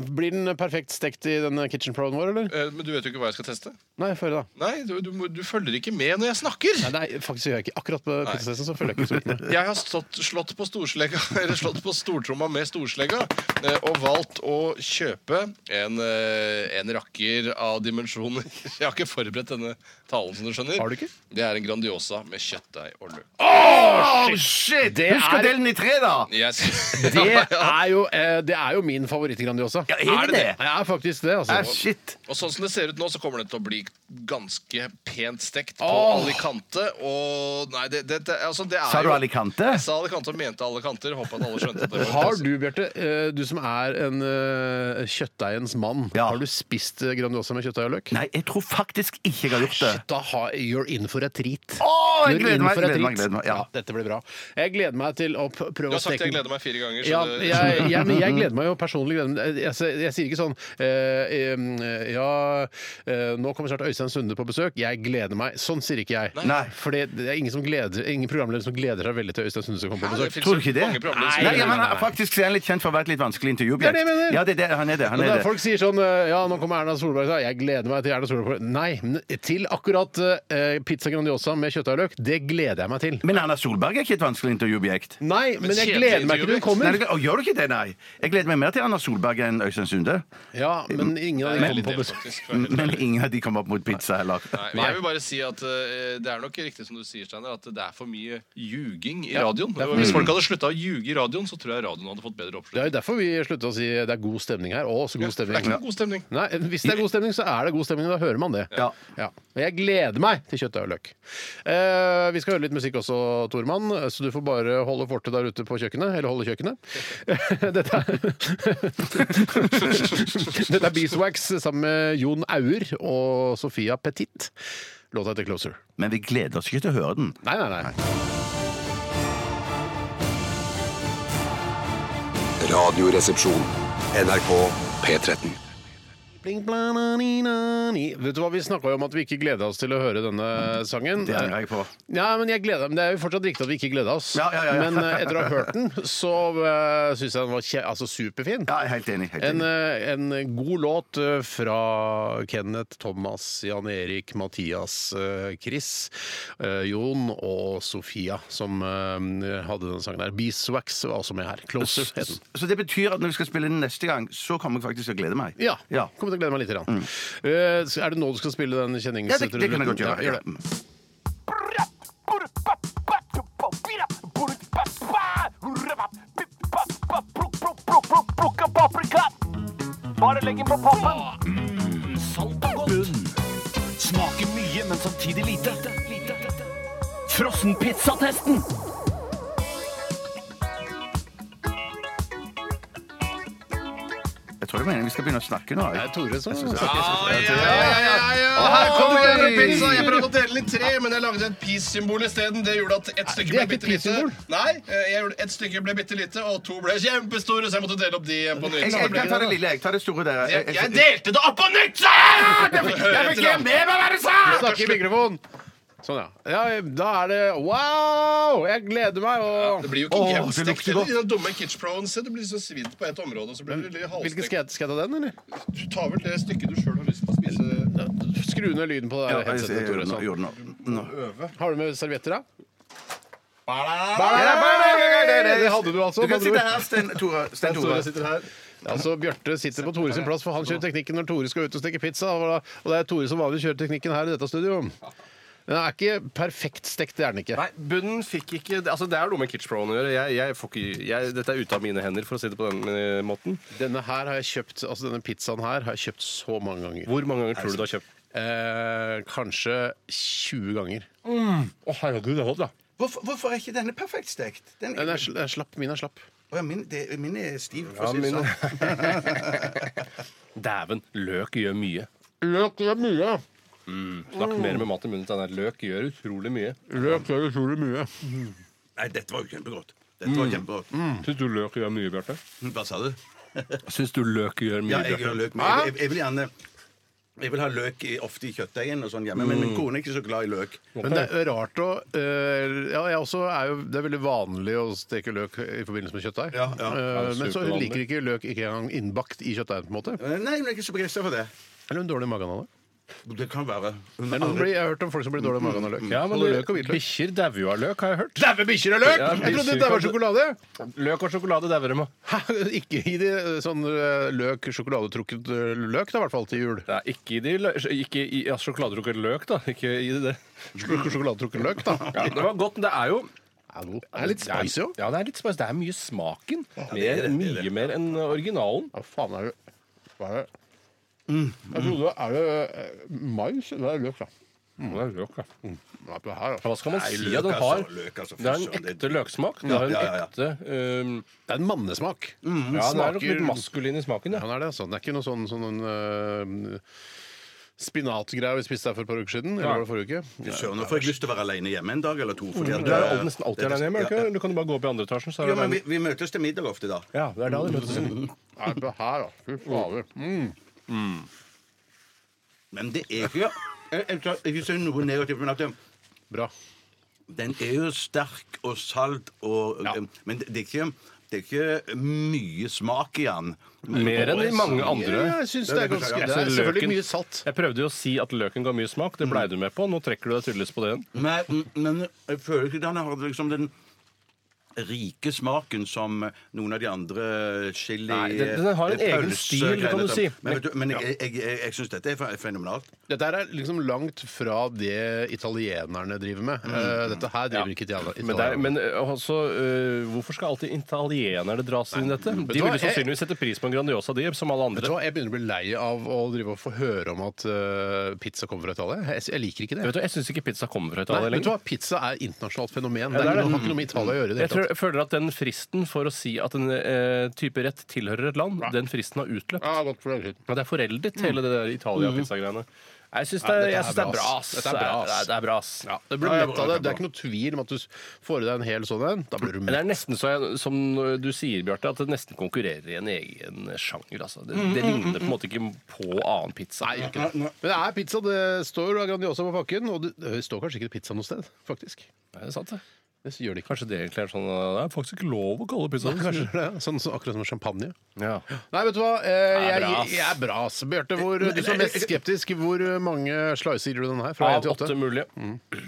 Speaker 5: eh, Blir den perfekt stekt i den kitchen proen vår, eller?
Speaker 6: Eh, Men du vet jo ikke hva jeg skal teste.
Speaker 5: Nei, få høre, da.
Speaker 6: Nei, du, du, må- du følger ikke med når jeg snakker.
Speaker 5: Nei, nei, faktisk gjør jeg ikke Akkurat på pizzatesten så følger jeg ikke så mye med.
Speaker 6: Jeg har stått, slått, på storslegga, eller slått på stortromma med storslegga eh, og valgt å kjøpe en, eh, en rakker av dimensjoner. Jeg har ikke forberedt denne talen, som du skjønner.
Speaker 5: Har du ikke? Ah!
Speaker 6: Det er en Grandiosa med kjøttdeig og løk.
Speaker 7: Oh, shit! Husk å
Speaker 5: er-
Speaker 7: dele den i tre, da!
Speaker 6: Jeg s-
Speaker 5: Det er jo, eh, det er jo min favoritt også.
Speaker 3: Ja, er det det?
Speaker 5: Jeg er faktisk det, altså.
Speaker 3: Ah, shit.
Speaker 6: Og sånn som det ser ut nå, så kommer det til å bli ganske pent stekt på
Speaker 5: Åh!
Speaker 6: Alicante. Og nei, det, det, det, altså, det er
Speaker 3: Sa du
Speaker 6: jo-
Speaker 3: Alicante?
Speaker 6: Jeg sa Alicante og mente alle kanter. Håper at alle skjønte at det. var-
Speaker 5: Har du, Bjarte, eh, du som er en eh, kjøttdeigens mann,
Speaker 3: Ja.
Speaker 5: har du spist eh, Grandiosa med kjøttdeig og løk?
Speaker 3: Nei, jeg tror faktisk ikke jeg har gjort det.
Speaker 5: Shit, da har you're in for a treat.
Speaker 3: Åh, jeg
Speaker 5: You're
Speaker 3: gleder
Speaker 5: in
Speaker 3: meg,
Speaker 5: for a
Speaker 3: gleder meg,
Speaker 5: treat.
Speaker 3: gleder meg, ja.
Speaker 5: Dette blir bra. Jeg gleder meg til å p-
Speaker 6: Du
Speaker 5: prøve
Speaker 6: har
Speaker 5: å
Speaker 6: sagt
Speaker 5: steke
Speaker 6: jeg gleder meg fire ganger. Så
Speaker 5: Ja,
Speaker 6: det,
Speaker 5: jeg, jeg, men jeg gleder meg jo personlig. gleder meg. Jeg, jeg, jeg sier ikke sånn eh, em, eh, Ja, eh, nå kommer snart Øystein Sunde på besøk. Jeg gleder meg. Sånn sier ikke jeg.
Speaker 3: Nei.
Speaker 5: For det det er ingen, som gleder, ingen programleder som gleder seg veldig til Øystein Sunde skal komme på
Speaker 6: Hæ, det
Speaker 5: besøk.
Speaker 6: finnes
Speaker 3: Tror du
Speaker 6: jo
Speaker 3: ikke det?
Speaker 6: mange programmer
Speaker 3: Nei,
Speaker 6: som-
Speaker 3: ja, men faktisk så er han litt kjent for å være et litt vanskelig intervjuobjekt.
Speaker 5: Det er det jeg mener.
Speaker 3: Ja, det er det, han er det. Han
Speaker 5: Og
Speaker 3: er
Speaker 5: da
Speaker 3: det.
Speaker 5: folk sier sånn eh, Ja, nå kommer Erna Solberg. Så jeg gleder meg til Erna Solberg. Nei, men til akkurat eh, pizza Grandiosa med kjøttdeig og løk, det gleder jeg meg til.
Speaker 3: Men Erna Solberg er ikke et vanskelig intervjuobjekt.
Speaker 5: Nei, men jeg
Speaker 6: kjedelig
Speaker 5: gleder meg ikke til hun
Speaker 3: Nei,
Speaker 6: intervjuobjekt.
Speaker 5: kommer.
Speaker 3: det- å, gjør du ikke det, nei? Jeg gleder meg mer til Erna Solberg enn Øystein Sunde.
Speaker 5: Ja, men ingen av
Speaker 6: Jeg
Speaker 5: de
Speaker 6: er litt enig,
Speaker 5: kommer på besøk.
Speaker 6: faktisk.
Speaker 3: Men ingen av de kommer opp mot pizza heller.
Speaker 6: Nei, men jeg vil bare si at eh, Det er nok riktig som du sier, Steiner, at det er for mye ljuging i radioen.
Speaker 5: det er for
Speaker 6: Hvis
Speaker 5: mye
Speaker 6: folk hadde slutta å ljuge i radioen, så tror jeg radioen hadde fått bedre
Speaker 5: Det
Speaker 6: oppslutning.
Speaker 5: er jo derfor vi slutta å si det er god stemning her. Å, så
Speaker 6: Det
Speaker 5: god
Speaker 6: er
Speaker 5: stemning.
Speaker 6: ikke noen god stemning.
Speaker 5: Nei, Hvis det er god stemning, så er det god stemning. Da hører man det.
Speaker 3: Ja.
Speaker 5: Og jeg gleder meg til kjøttdeig og løk. Eh, vi skal høre litt musikk også, Tormann, så du får bare holde fortet der ute på kjøkkenet. Eller holde kjøkkenet. Dette er Dette er Beeswax sammen med Jon Auer og Sofia Petit. Låta heter 'Closer'.
Speaker 3: Men vi gleder oss ikke til å høre den.
Speaker 5: Nei, nei, nei.
Speaker 2: Radioresepsjon. NRK P13.
Speaker 5: Bling, bla, na, ni, na, ni. Vet du hva, Vi snakka jo om at vi ikke gleda oss til å høre denne sangen.
Speaker 3: Det angrer jeg på.
Speaker 5: Ja, men jeg gleder, men Det er jo fortsatt riktig at vi ikke gleda oss.
Speaker 3: Ja, ja, ja.
Speaker 5: Men eh, etter å ha hørt den, så uh, syns jeg den var kje, altså, superfin.
Speaker 3: Ja, jeg er helt enig. Helt
Speaker 5: En,
Speaker 3: enig.
Speaker 5: eh, en god låt eh, fra Kenneth, Thomas, Jan Erik, Mathias, eh, Chris, eh, Jon og Sofia, som eh, hadde den sangen der. Beeswax var også med her. Closer het den.
Speaker 3: Så det betyr at når vi skal spille den neste gang, så kommer jeg faktisk til å glede meg.
Speaker 5: Ja.
Speaker 3: Ja. Mm.
Speaker 5: Kommer til å glede meg litt. grann. Eh, så er det nå du skal spille den kjennings...
Speaker 3: Ja, det, det kan jeg godt gjøre.
Speaker 5: Ja,
Speaker 3: Ja.
Speaker 5: gjør det.
Speaker 11: Plukka paprika. Bare legg den på pappen. Mm, Salt og bunn. Smaker mye, men samtidig lite. Frossenpizzatesten.
Speaker 3: Jeg tror det mener vi skal begynne å snakke nå.
Speaker 5: Det
Speaker 3: jeg.
Speaker 5: er Tore som
Speaker 6: Og her kommer
Speaker 3: Oi!
Speaker 6: denne pizza! Jeg prøvde å dele litt tre, men jeg lagde et peace-symbol isteden. Det gjorde at ett stykke ble
Speaker 5: det er ikke et
Speaker 6: bitte lite.
Speaker 5: peace-symbol.
Speaker 6: Nei, eh, jeg gjorde ett stykke ble bitte lite, og to ble kjempestore, så jeg måtte dele opp de igjen på nytt.
Speaker 3: Jeg,
Speaker 6: Så det
Speaker 3: jeg
Speaker 6: ble-
Speaker 3: kan ta det lille, jeg tar det store der.
Speaker 6: Jeg, jeg delte det opp på nytt! sa jeg! Det fikk- Jeg fikk ikke med meg hva du sa!
Speaker 5: Snakke i mikrofon! Sånn, ja. ja. Da er det Wow! Jeg gleder meg.
Speaker 6: Det
Speaker 5: Og...
Speaker 6: blir jo ikke
Speaker 3: Åh, det
Speaker 6: jevnstekt.
Speaker 3: lukter
Speaker 6: heller.
Speaker 3: godt.
Speaker 6: I den dumme Kitchproen sin, det blir så svidd på ett område, og så blir det litt
Speaker 5: Hvilken
Speaker 6: halvstekt.
Speaker 5: skal jeg, skal jeg ta den, eller?
Speaker 6: Du tar vel det stykket du sjøl har lyst til å spise.
Speaker 5: Skru ned lyden på det
Speaker 3: Ja, jeg- jeg
Speaker 5: der headsetet. Tore,
Speaker 3: gjorde det nå,
Speaker 5: sånn.
Speaker 3: gjorde det nå. Nå.
Speaker 5: Har du med servietter, da?
Speaker 3: Det
Speaker 5: Det hadde du altså.
Speaker 3: Du kan
Speaker 5: med
Speaker 3: sitte
Speaker 5: andre ord.
Speaker 3: her, Sten Tore. Sten
Speaker 5: Tore
Speaker 3: Tore.
Speaker 5: sitter her. Altså, Bjarte sitter på Tore sin plass, for han kjører teknikken når Tore skal ut og steke pizza. Og og det er Tore som vanlig kjører teknikken her i dette studioet. Den er ikke perfekt stekt, det er den ikke.
Speaker 12: Nei, bunnen fikk ikke Altså, Det er noe med Kitchproen å gjøre. Jeg, jeg får ikke, jeg, dette er ute av mine hender, for å si det på den eh, måten.
Speaker 5: Denne her har jeg kjøpt, altså denne pizzaen her har jeg kjøpt så mange ganger.
Speaker 12: Hvor mange ganger tror du du har kjøpt?
Speaker 5: Eh, kanskje 20 ganger.
Speaker 12: Å, herregud, det er godt, da.
Speaker 7: Hvorfor, hvorfor er ikke denne perfekt stekt? Den
Speaker 5: Den
Speaker 7: er,
Speaker 5: er, sl- den er slapp, min er slapp.
Speaker 7: Å ja, min, det, min er stiv, for å si det
Speaker 12: min-
Speaker 7: sånn.
Speaker 12: Dæven, løk gjør mye.
Speaker 5: Løk gjør mye.
Speaker 12: Snakk
Speaker 7: Mm.
Speaker 12: mer med mat i munnen til den der. Løk gjør utrolig mye.
Speaker 5: Løk gjør utrolig mye.
Speaker 7: Nei, dette var jo kjempegodt. Dette
Speaker 5: Mm.
Speaker 7: var kjempegodt.
Speaker 12: Syns Mm. du løk gjør mye, Bjarte?
Speaker 7: Hva sa du?
Speaker 12: Syns du løk gjør mye,
Speaker 7: Ja, jeg gjør løk med. Jeg, jeg, jeg vil gjerne jeg vil ha løk i, ofte i kjøttdeigen og sånn hjemme, men
Speaker 12: Mm.
Speaker 7: min kone er ikke så glad i løk.
Speaker 5: Men det er rart å eh, Ja, jeg også er jo, det er veldig vanlig å steke løk i forbindelse med kjøttdeig.
Speaker 7: Ja, ja.
Speaker 5: Eh, men så hun
Speaker 12: Supervanlig.
Speaker 5: liker ikke løk ikke engang innbakt i kjøttdeigen, på en måte.
Speaker 7: Eh, Nei, hun er ikke så begeistra for det.
Speaker 5: Eller hun er dårlig i magen av det.
Speaker 7: Det kan være. Hun
Speaker 5: Det er noen som blir- Jeg har hørt om folk som blir dårlig i magen av løk.
Speaker 12: Ja, men
Speaker 5: Både
Speaker 12: det-
Speaker 5: løk og hvitløk.
Speaker 12: Bikkjer dauer jo av løk, har jeg hørt.
Speaker 5: Dæve bikkjer og løk!
Speaker 12: Ja,
Speaker 5: Jeg trodde
Speaker 12: bikkjer
Speaker 5: det var
Speaker 12: kan-
Speaker 5: sjokolade!
Speaker 12: Løk og sjokolade dauer dem av.
Speaker 5: Hæ? Ikke i de eh, sånn eh, løk, sjokoladetrukket eh, løk, da, i hvert fall til jul.
Speaker 12: Nei, ikke i de lø- ikke i, ja, sjokoladerukket løk, da. Ikke i det.
Speaker 5: Sjokoladetrukket løk, da.
Speaker 12: Ja, det var godt, men det er jo
Speaker 5: er god. Det er litt spicy òg.
Speaker 12: Ja, det er litt spicy. Det er mye smaken.
Speaker 7: det er det, det
Speaker 12: mer, mye mer enn originalen.
Speaker 5: Hva faen er det Hva er det? Mm. Jeg trodde Er det eh, mais? Det er løk, da.
Speaker 12: Det er løk, ja.
Speaker 5: Ja, Det her,
Speaker 12: Hva
Speaker 5: altså.
Speaker 12: skal man
Speaker 7: Nei,
Speaker 12: si?
Speaker 7: løk,
Speaker 12: at den
Speaker 7: altså,
Speaker 12: har,
Speaker 7: løk, altså, fy
Speaker 12: det er en
Speaker 7: søren, det-
Speaker 12: ekte løksmak. Det har en
Speaker 7: Ja, ja, ja.
Speaker 12: ekte um,
Speaker 5: Det er en mannesmak.
Speaker 12: Mm, Ja, den er nok
Speaker 5: smaker-
Speaker 12: litt maskulin i smaken,
Speaker 5: Ja,
Speaker 12: ja.
Speaker 5: det er det, altså. Det er ikke noe sånn, sånn eh, spinatgreie vi spiste her for et par uker siden. Eller var det forrige uke?
Speaker 7: Fy søren, nå får jeg lyst til å være aleine hjemme en dag eller to. Fordi at,
Speaker 12: Du Mm. er jo nesten alltid alene hjemme. er du ikke? Du kan jo bare gå opp i andre etasjen. Så er
Speaker 7: Ja,
Speaker 12: det
Speaker 7: men vi, vi møtes til middag ofte, da.
Speaker 12: ja, det er da det møtes.
Speaker 5: Nei, det her, da. Fy fader. Mm.
Speaker 7: Men det er ikke Jeg, jeg, jeg, jeg synes noe negativt, men at det,
Speaker 5: Bra.
Speaker 7: den er jo sterk og salt og um, Men det, det, er ikke, det er ikke mye smak i den.
Speaker 12: Mer enn i mange andre.
Speaker 5: Ja, jeg syns det er ganske Det er
Speaker 12: Altså, løken-
Speaker 5: selvfølgelig mye salt.
Speaker 12: Jeg prøvde jo å si at løken ga mye smak. Det blei du med på. Nå trekker du deg tydeligvis på det igjen.
Speaker 7: Nei, m- men jeg føler ikke den har liksom den rike smaken som eh, noen av de andre eh, chili eh,
Speaker 12: Nei, den- den har en egen
Speaker 7: pølse-
Speaker 12: stil, kan du
Speaker 7: greiene.
Speaker 12: si.
Speaker 7: Men, vet du, men jeg, jeg, jeg, jeg syns dette er fe- fenomenalt.
Speaker 5: Dette her er liksom langt fra det italienerne driver med. Eh, Dette her driver
Speaker 12: Mm. Ja.
Speaker 5: ikke itali-
Speaker 12: Men, det er,
Speaker 5: italienerne med.
Speaker 12: men eh, altså, eh, hvorfor skal alltid italienerne dras inn i dette?
Speaker 5: du
Speaker 12: De vil
Speaker 5: hva,
Speaker 12: jo
Speaker 5: jeg-
Speaker 12: sannsynligvis sette pris på en Grandiosa, de, som alle
Speaker 5: Vet du
Speaker 12: andre.
Speaker 5: hva, Jeg begynner å bli lei av å drive og få høre om at eh, pizza kommer fra Italia. Jeg, jeg liker ikke det.
Speaker 12: Vet du, hva, Jeg syns ikke pizza kommer fra
Speaker 5: Nei,
Speaker 12: Italia
Speaker 5: vet du
Speaker 12: lenger.
Speaker 5: hva, Pizza er internasjonalt fenomen.
Speaker 12: Ja,
Speaker 5: det,
Speaker 12: det er
Speaker 5: er
Speaker 12: det.
Speaker 5: ikke noe, har ikke noe med Italia å gjøre. i Det,
Speaker 12: Jeg, tror,
Speaker 5: hele tatt.
Speaker 12: jeg føler at den fristen for å si at en eh, type rett tilhører et land, den fristen har utløpt.
Speaker 5: Ja, godt for deg.
Speaker 12: Og det er foreldet, hele det der Italia-pizzagreiene. Jeg syns det,
Speaker 5: Nei, dette
Speaker 12: jeg
Speaker 5: er
Speaker 12: syns det er
Speaker 5: bra,
Speaker 12: bra,
Speaker 5: ass.
Speaker 12: ass.
Speaker 5: Dette er bra, ass.
Speaker 12: Det er- Det er bra, ass.
Speaker 5: Ja, det blir mett av det. Det er ikke noe tvil om at du får i deg en hel sånn en. Da blir du
Speaker 12: Men Det
Speaker 5: mett.
Speaker 12: er nesten så jeg, som du sier, Bjarte, at det nesten konkurrerer i en egen sjanger. Altså. Det, det
Speaker 7: Mm,
Speaker 12: ligner på en måte ikke på annen pizza.
Speaker 5: Nei, gjør ikke det. Men det er pizza. Det står Grandiosa på pakken, og det, det står kanskje ikke pizza noe sted, faktisk.
Speaker 12: Er det sant, det?
Speaker 5: Det gjør det ikke.
Speaker 12: Kanskje det egentlig er sånn uh, Det er faktisk ikke lov å kalle pizza
Speaker 5: Kanskje det er sånn, sånn akkurat som champagne.
Speaker 12: Ja.
Speaker 5: Nei, vet du hva? Eh,
Speaker 12: Det er
Speaker 5: jeg,
Speaker 12: bra, ass.
Speaker 5: jeg er bra, Eh, ass. Bjarte, hvor- du som er mest skeptisk, hvor mange slicer gir du den her? Fra én
Speaker 12: Av
Speaker 5: til
Speaker 12: åtte
Speaker 5: åtte?
Speaker 12: mulige.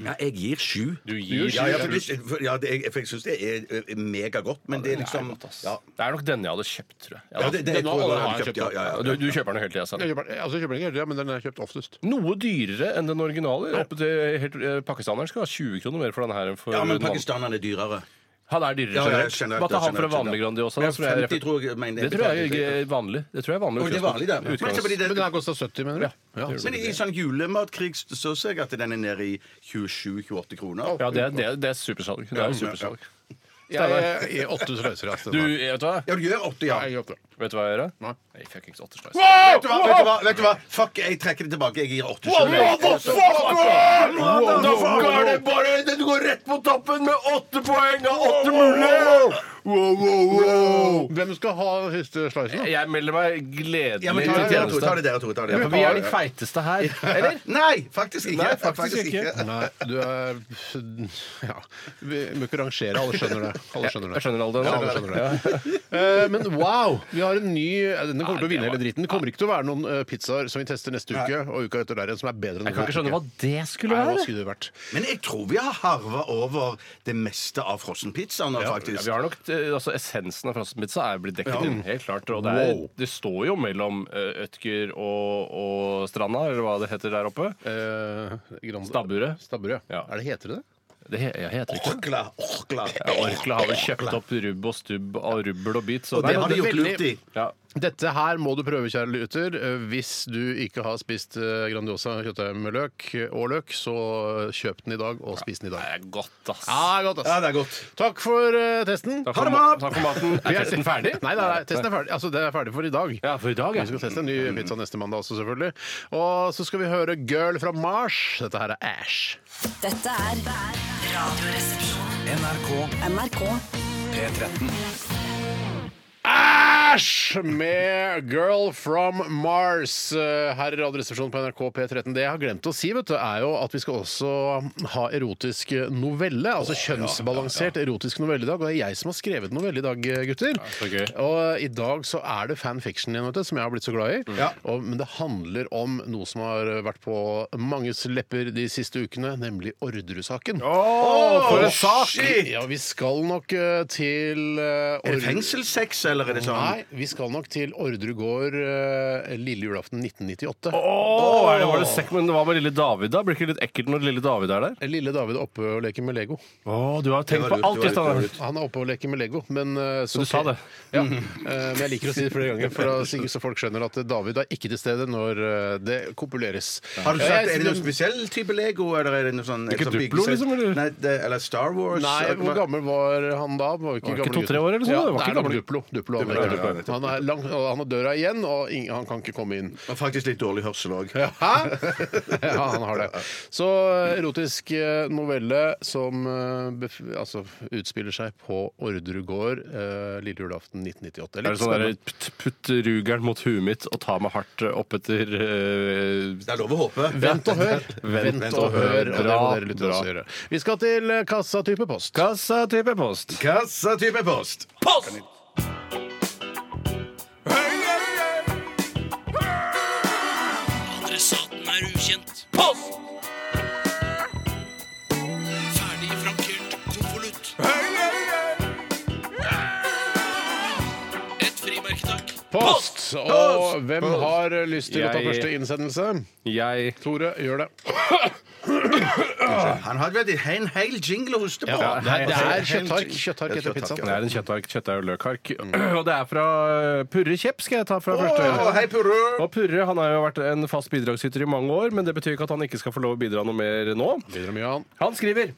Speaker 7: Ja, jeg gir sju.
Speaker 12: Du gir
Speaker 7: Ja, ja, for, hvis- for, ja, det, jeg, for jeg syns det er eh, megagodt, men det er liksom ja.
Speaker 12: Det er nok denne jeg hadde kjøpt, tror jeg.
Speaker 7: Ja,
Speaker 12: jeg. hadde-
Speaker 7: det, det, jeg
Speaker 5: nå
Speaker 7: tror
Speaker 5: har
Speaker 7: jeg bare
Speaker 5: jeg
Speaker 7: hadde
Speaker 5: kjøpt
Speaker 7: kjøpt, ja, ja, ja.
Speaker 12: du, du kjøper den jo hele tida,
Speaker 5: Jeg kjøper, altså, jeg kjøper den ikke hele tida, men den er kjøpt oftest.
Speaker 12: Noe dyrere enn den originale. Oppe til helt, eh, Pakistaneren skal ha 20 kroner mer for den her enn for
Speaker 7: Ja, men
Speaker 12: den andre.
Speaker 7: pakistanerne er dyrere.
Speaker 12: Han er dyrere
Speaker 7: Ja, ja,
Speaker 12: generelt.
Speaker 7: generelt,
Speaker 12: Hva tar
Speaker 7: ja,
Speaker 12: han for en
Speaker 7: generelt,
Speaker 12: vanlig
Speaker 7: ja.
Speaker 12: Grandiosa?
Speaker 7: Ja,
Speaker 12: da, som jeg
Speaker 7: 50 tror jeg, men det
Speaker 12: det tror jeg
Speaker 7: betalte
Speaker 12: er vanlig. Det tror jeg er vanlig.
Speaker 7: Oi, det er vanlig, det. Men så blir
Speaker 12: Utgangspunkt.
Speaker 7: det-
Speaker 5: Men den her kosta 70, mener du?
Speaker 12: Ja. Ja.
Speaker 7: Men i sånn julematkrig så ser jeg at den er nede i 27-28 kroner.
Speaker 12: Ja, det er, det er, det er supersalg. Det er jo supersalg.
Speaker 5: Jeg jeg gir åtte slicer, ass. den
Speaker 12: Du,
Speaker 5: her.
Speaker 12: jeg vet du hva?
Speaker 7: Ja, du gjør 80, ja.
Speaker 5: Jeg gir åtte.
Speaker 12: Vet du hva jeg gjør? da?
Speaker 5: Nei.
Speaker 12: Nei, fuckings åtte slice.
Speaker 7: Vet du, hva, vet, du hva, vet du hva? Fuck, jeg trekker det tilbake. Jeg gir 80 selv.
Speaker 12: Nå går det bare Den går rett på toppen med åtte poeng av åtte mulige!
Speaker 5: Hvem skal ha den siste slicen? da?
Speaker 12: Jeg melder meg gledelig
Speaker 7: Ja, men
Speaker 12: til
Speaker 7: ta det, dere to, ta
Speaker 12: tjeneste.
Speaker 7: det dere to. Ta det,
Speaker 12: Ja, for
Speaker 7: dere.
Speaker 12: vi er de feiteste her, eller?
Speaker 7: Nei, faktisk ikke.
Speaker 12: Nei, faktisk ikke.
Speaker 5: Nei, du er Ja. Vi må ikke rangere, alle skjønner det. Alle skjønner det.
Speaker 12: Jeg skjønner alle det nå.
Speaker 5: Ja, alle skjønner det. Eh, Men wow! Vi har en ny Denne kommer til å vinne hele dritten. Det kommer ikke til å være noen eh, pizzaer som vi tester neste uke og uka etter der igjen, som er bedre enn
Speaker 12: Jeg kan ikke skjønne hva det skulle
Speaker 5: Nei, hva
Speaker 12: være.
Speaker 5: skulle det vært?
Speaker 7: Men jeg tror vi har harva over det meste av frossenpizzaen nå,
Speaker 12: Ja,
Speaker 7: faktisk.
Speaker 12: vi har nok, eh, altså Essensen av frossenpizza er blitt dekket inn. helt klart og det, er,
Speaker 5: Wow.
Speaker 12: det står jo mellom eh, Ødker og, og Stranda, eller hva det heter der oppe.
Speaker 5: Eh, Grand-
Speaker 12: Stabburet.
Speaker 5: Stabburet, ja.
Speaker 12: Ja.
Speaker 5: Er det heter det det?
Speaker 12: Det he, jeg heter ikke det.
Speaker 7: Orkla, orkla.
Speaker 12: Ja, Orkla har vel kjøpt opp rubb og stubb av rubbel og bit. Så
Speaker 7: Og det har de gjort
Speaker 5: veldig-
Speaker 7: lurt i.
Speaker 12: ja.
Speaker 5: Dette her må du prøve, kjære lytter. Eh, Hvis du ikke har spist eh, Grandiosa kjøttdeig med løk eh, og løk, så eh, kjøp den i dag og spis den i
Speaker 12: Det
Speaker 5: dag.
Speaker 12: er godt, ass.
Speaker 5: Ja, godt, ass.
Speaker 7: Ja, det er godt.
Speaker 5: Takk for eh, testen.
Speaker 12: Takk for,
Speaker 7: det bra!
Speaker 12: ma- takk for maten. Er testen ferdig?
Speaker 5: Nei, nei, nei, testen er ferdig. Altså, den er ferdig for i dag.
Speaker 12: Ja, for i dag,
Speaker 5: Vi skal
Speaker 12: ja.
Speaker 5: teste en ny pizza neste mandag også, selvfølgelig. Og så skal vi høre Girl fra Mars. Dette her er Ash.
Speaker 8: Dette er Radioresepsjonen.
Speaker 4: NRK
Speaker 8: NRK
Speaker 4: P13.
Speaker 5: Æsj! Med Girl from Mars eh, her i Radioresepsjonen på NRK P13. Det jeg har glemt å si, vet du, er jo at vi skal også ha erotisk novelle. Altså kjønnsbalansert erotisk novelle i dag. Og det er jeg som har skrevet novelle i dag, eh, gutter.
Speaker 12: så gøy.
Speaker 5: Og i dag så er det fanfiction igjen, vet du, som jeg har blitt så glad
Speaker 12: Mm.
Speaker 5: i. Og, men det handler om noe som har vært på manges lepper de siste ukene, nemlig Orderud-saken.
Speaker 12: for en sak!
Speaker 5: Ja, vi skal nok eh, til eh,
Speaker 7: Er det
Speaker 5: Orderud-
Speaker 7: fengselssex, eller er det sånn?
Speaker 5: Nei, Nei, vi skal nok til Orderud gård eh, lille julaften 1998.
Speaker 12: Åh, er det, var det sekk, men hva med lille David, da? Blir ikke det litt ekkelt når lille David er der?
Speaker 5: Lille David er oppe og leker med Lego.
Speaker 12: Åh, du har tenkt på alt, Kristian.
Speaker 5: Han er oppe og leker med Lego, men eh, så
Speaker 12: Du sa det.
Speaker 5: Ja, eh, men jeg liker å si det flere ganger, for da, sier- så folk skjønner at David er ikke til stede når eh, det kopuleres.
Speaker 7: Har du
Speaker 5: Ja,
Speaker 7: sagt,
Speaker 5: jeg-
Speaker 7: Er det noen spesiell type Lego? Eller er det noe sånn
Speaker 12: Ikke
Speaker 7: sånn
Speaker 12: Duplo,
Speaker 7: byggesett?
Speaker 12: liksom, eller?
Speaker 7: Nei, det, eller Star Wars?
Speaker 5: Nei, hvor gammel var han da? Var jo
Speaker 12: Var
Speaker 5: ikke
Speaker 12: ikke
Speaker 5: gammel
Speaker 12: to-tre
Speaker 5: gutten.
Speaker 12: år eller sånn,
Speaker 5: Ja,
Speaker 12: det var
Speaker 5: nei, det
Speaker 12: ikke
Speaker 5: var
Speaker 12: gammel.
Speaker 5: Duplo. Duplo, han,
Speaker 12: Duplo,
Speaker 5: er-
Speaker 12: ja, nettopp.
Speaker 5: han, er lang, og han har døra igjen, og ingen, han kan ikke komme inn.
Speaker 7: Og Faktisk litt dårlig hørsel òg.
Speaker 5: Ja. ja, han har det. Så erotisk eh, novelle som eh, bef altså, utspiller seg på Orderud gård eh, lille julaften 1998.
Speaker 12: Er det sånn der, putt, putt rugeren mot huet mitt og ta meg hardt eh, oppetter
Speaker 7: Det er altså- lov å håpe.
Speaker 5: Vent og hør!
Speaker 12: Vent
Speaker 5: Vent
Speaker 12: og
Speaker 5: og hør,
Speaker 12: hør.
Speaker 5: og det må
Speaker 12: Bra,
Speaker 5: dere lytte
Speaker 12: bra.
Speaker 5: også gjøre. Vi skal til eh, kassatype post.
Speaker 12: Kassa type post.
Speaker 7: Kassatype post!
Speaker 11: Adressaten er ukjent. Post! Ferdig frankert konvolutt. Et frimerke, takk.
Speaker 5: Post! Og hvem har eh, lyst til å ta
Speaker 12: Jeg-
Speaker 5: første innsendelse?
Speaker 12: Jeg
Speaker 5: Tore, gjør det.
Speaker 7: Han hadde vært en hel jingle å hoste på.
Speaker 5: Ja, det er- det er
Speaker 7: Altså, en hel
Speaker 5: kjøttark.
Speaker 7: jingle.
Speaker 5: Kjøttark etter
Speaker 7: Ja, kjøttark,
Speaker 5: pizzaen.
Speaker 12: Det er en kjøttark, kjøttdeig og løkhark. Og det er fra eh, Purre Kjepp, skal jeg ta fra
Speaker 7: Å,
Speaker 12: første.
Speaker 7: Mm. hei, Purre!
Speaker 12: Og Purre han har jo vært en fast bidragsyter i mange år, men det betyr ikke at han ikke skal få lov å bidra noe mer nå.
Speaker 5: Videre med Jan.
Speaker 12: Han skriver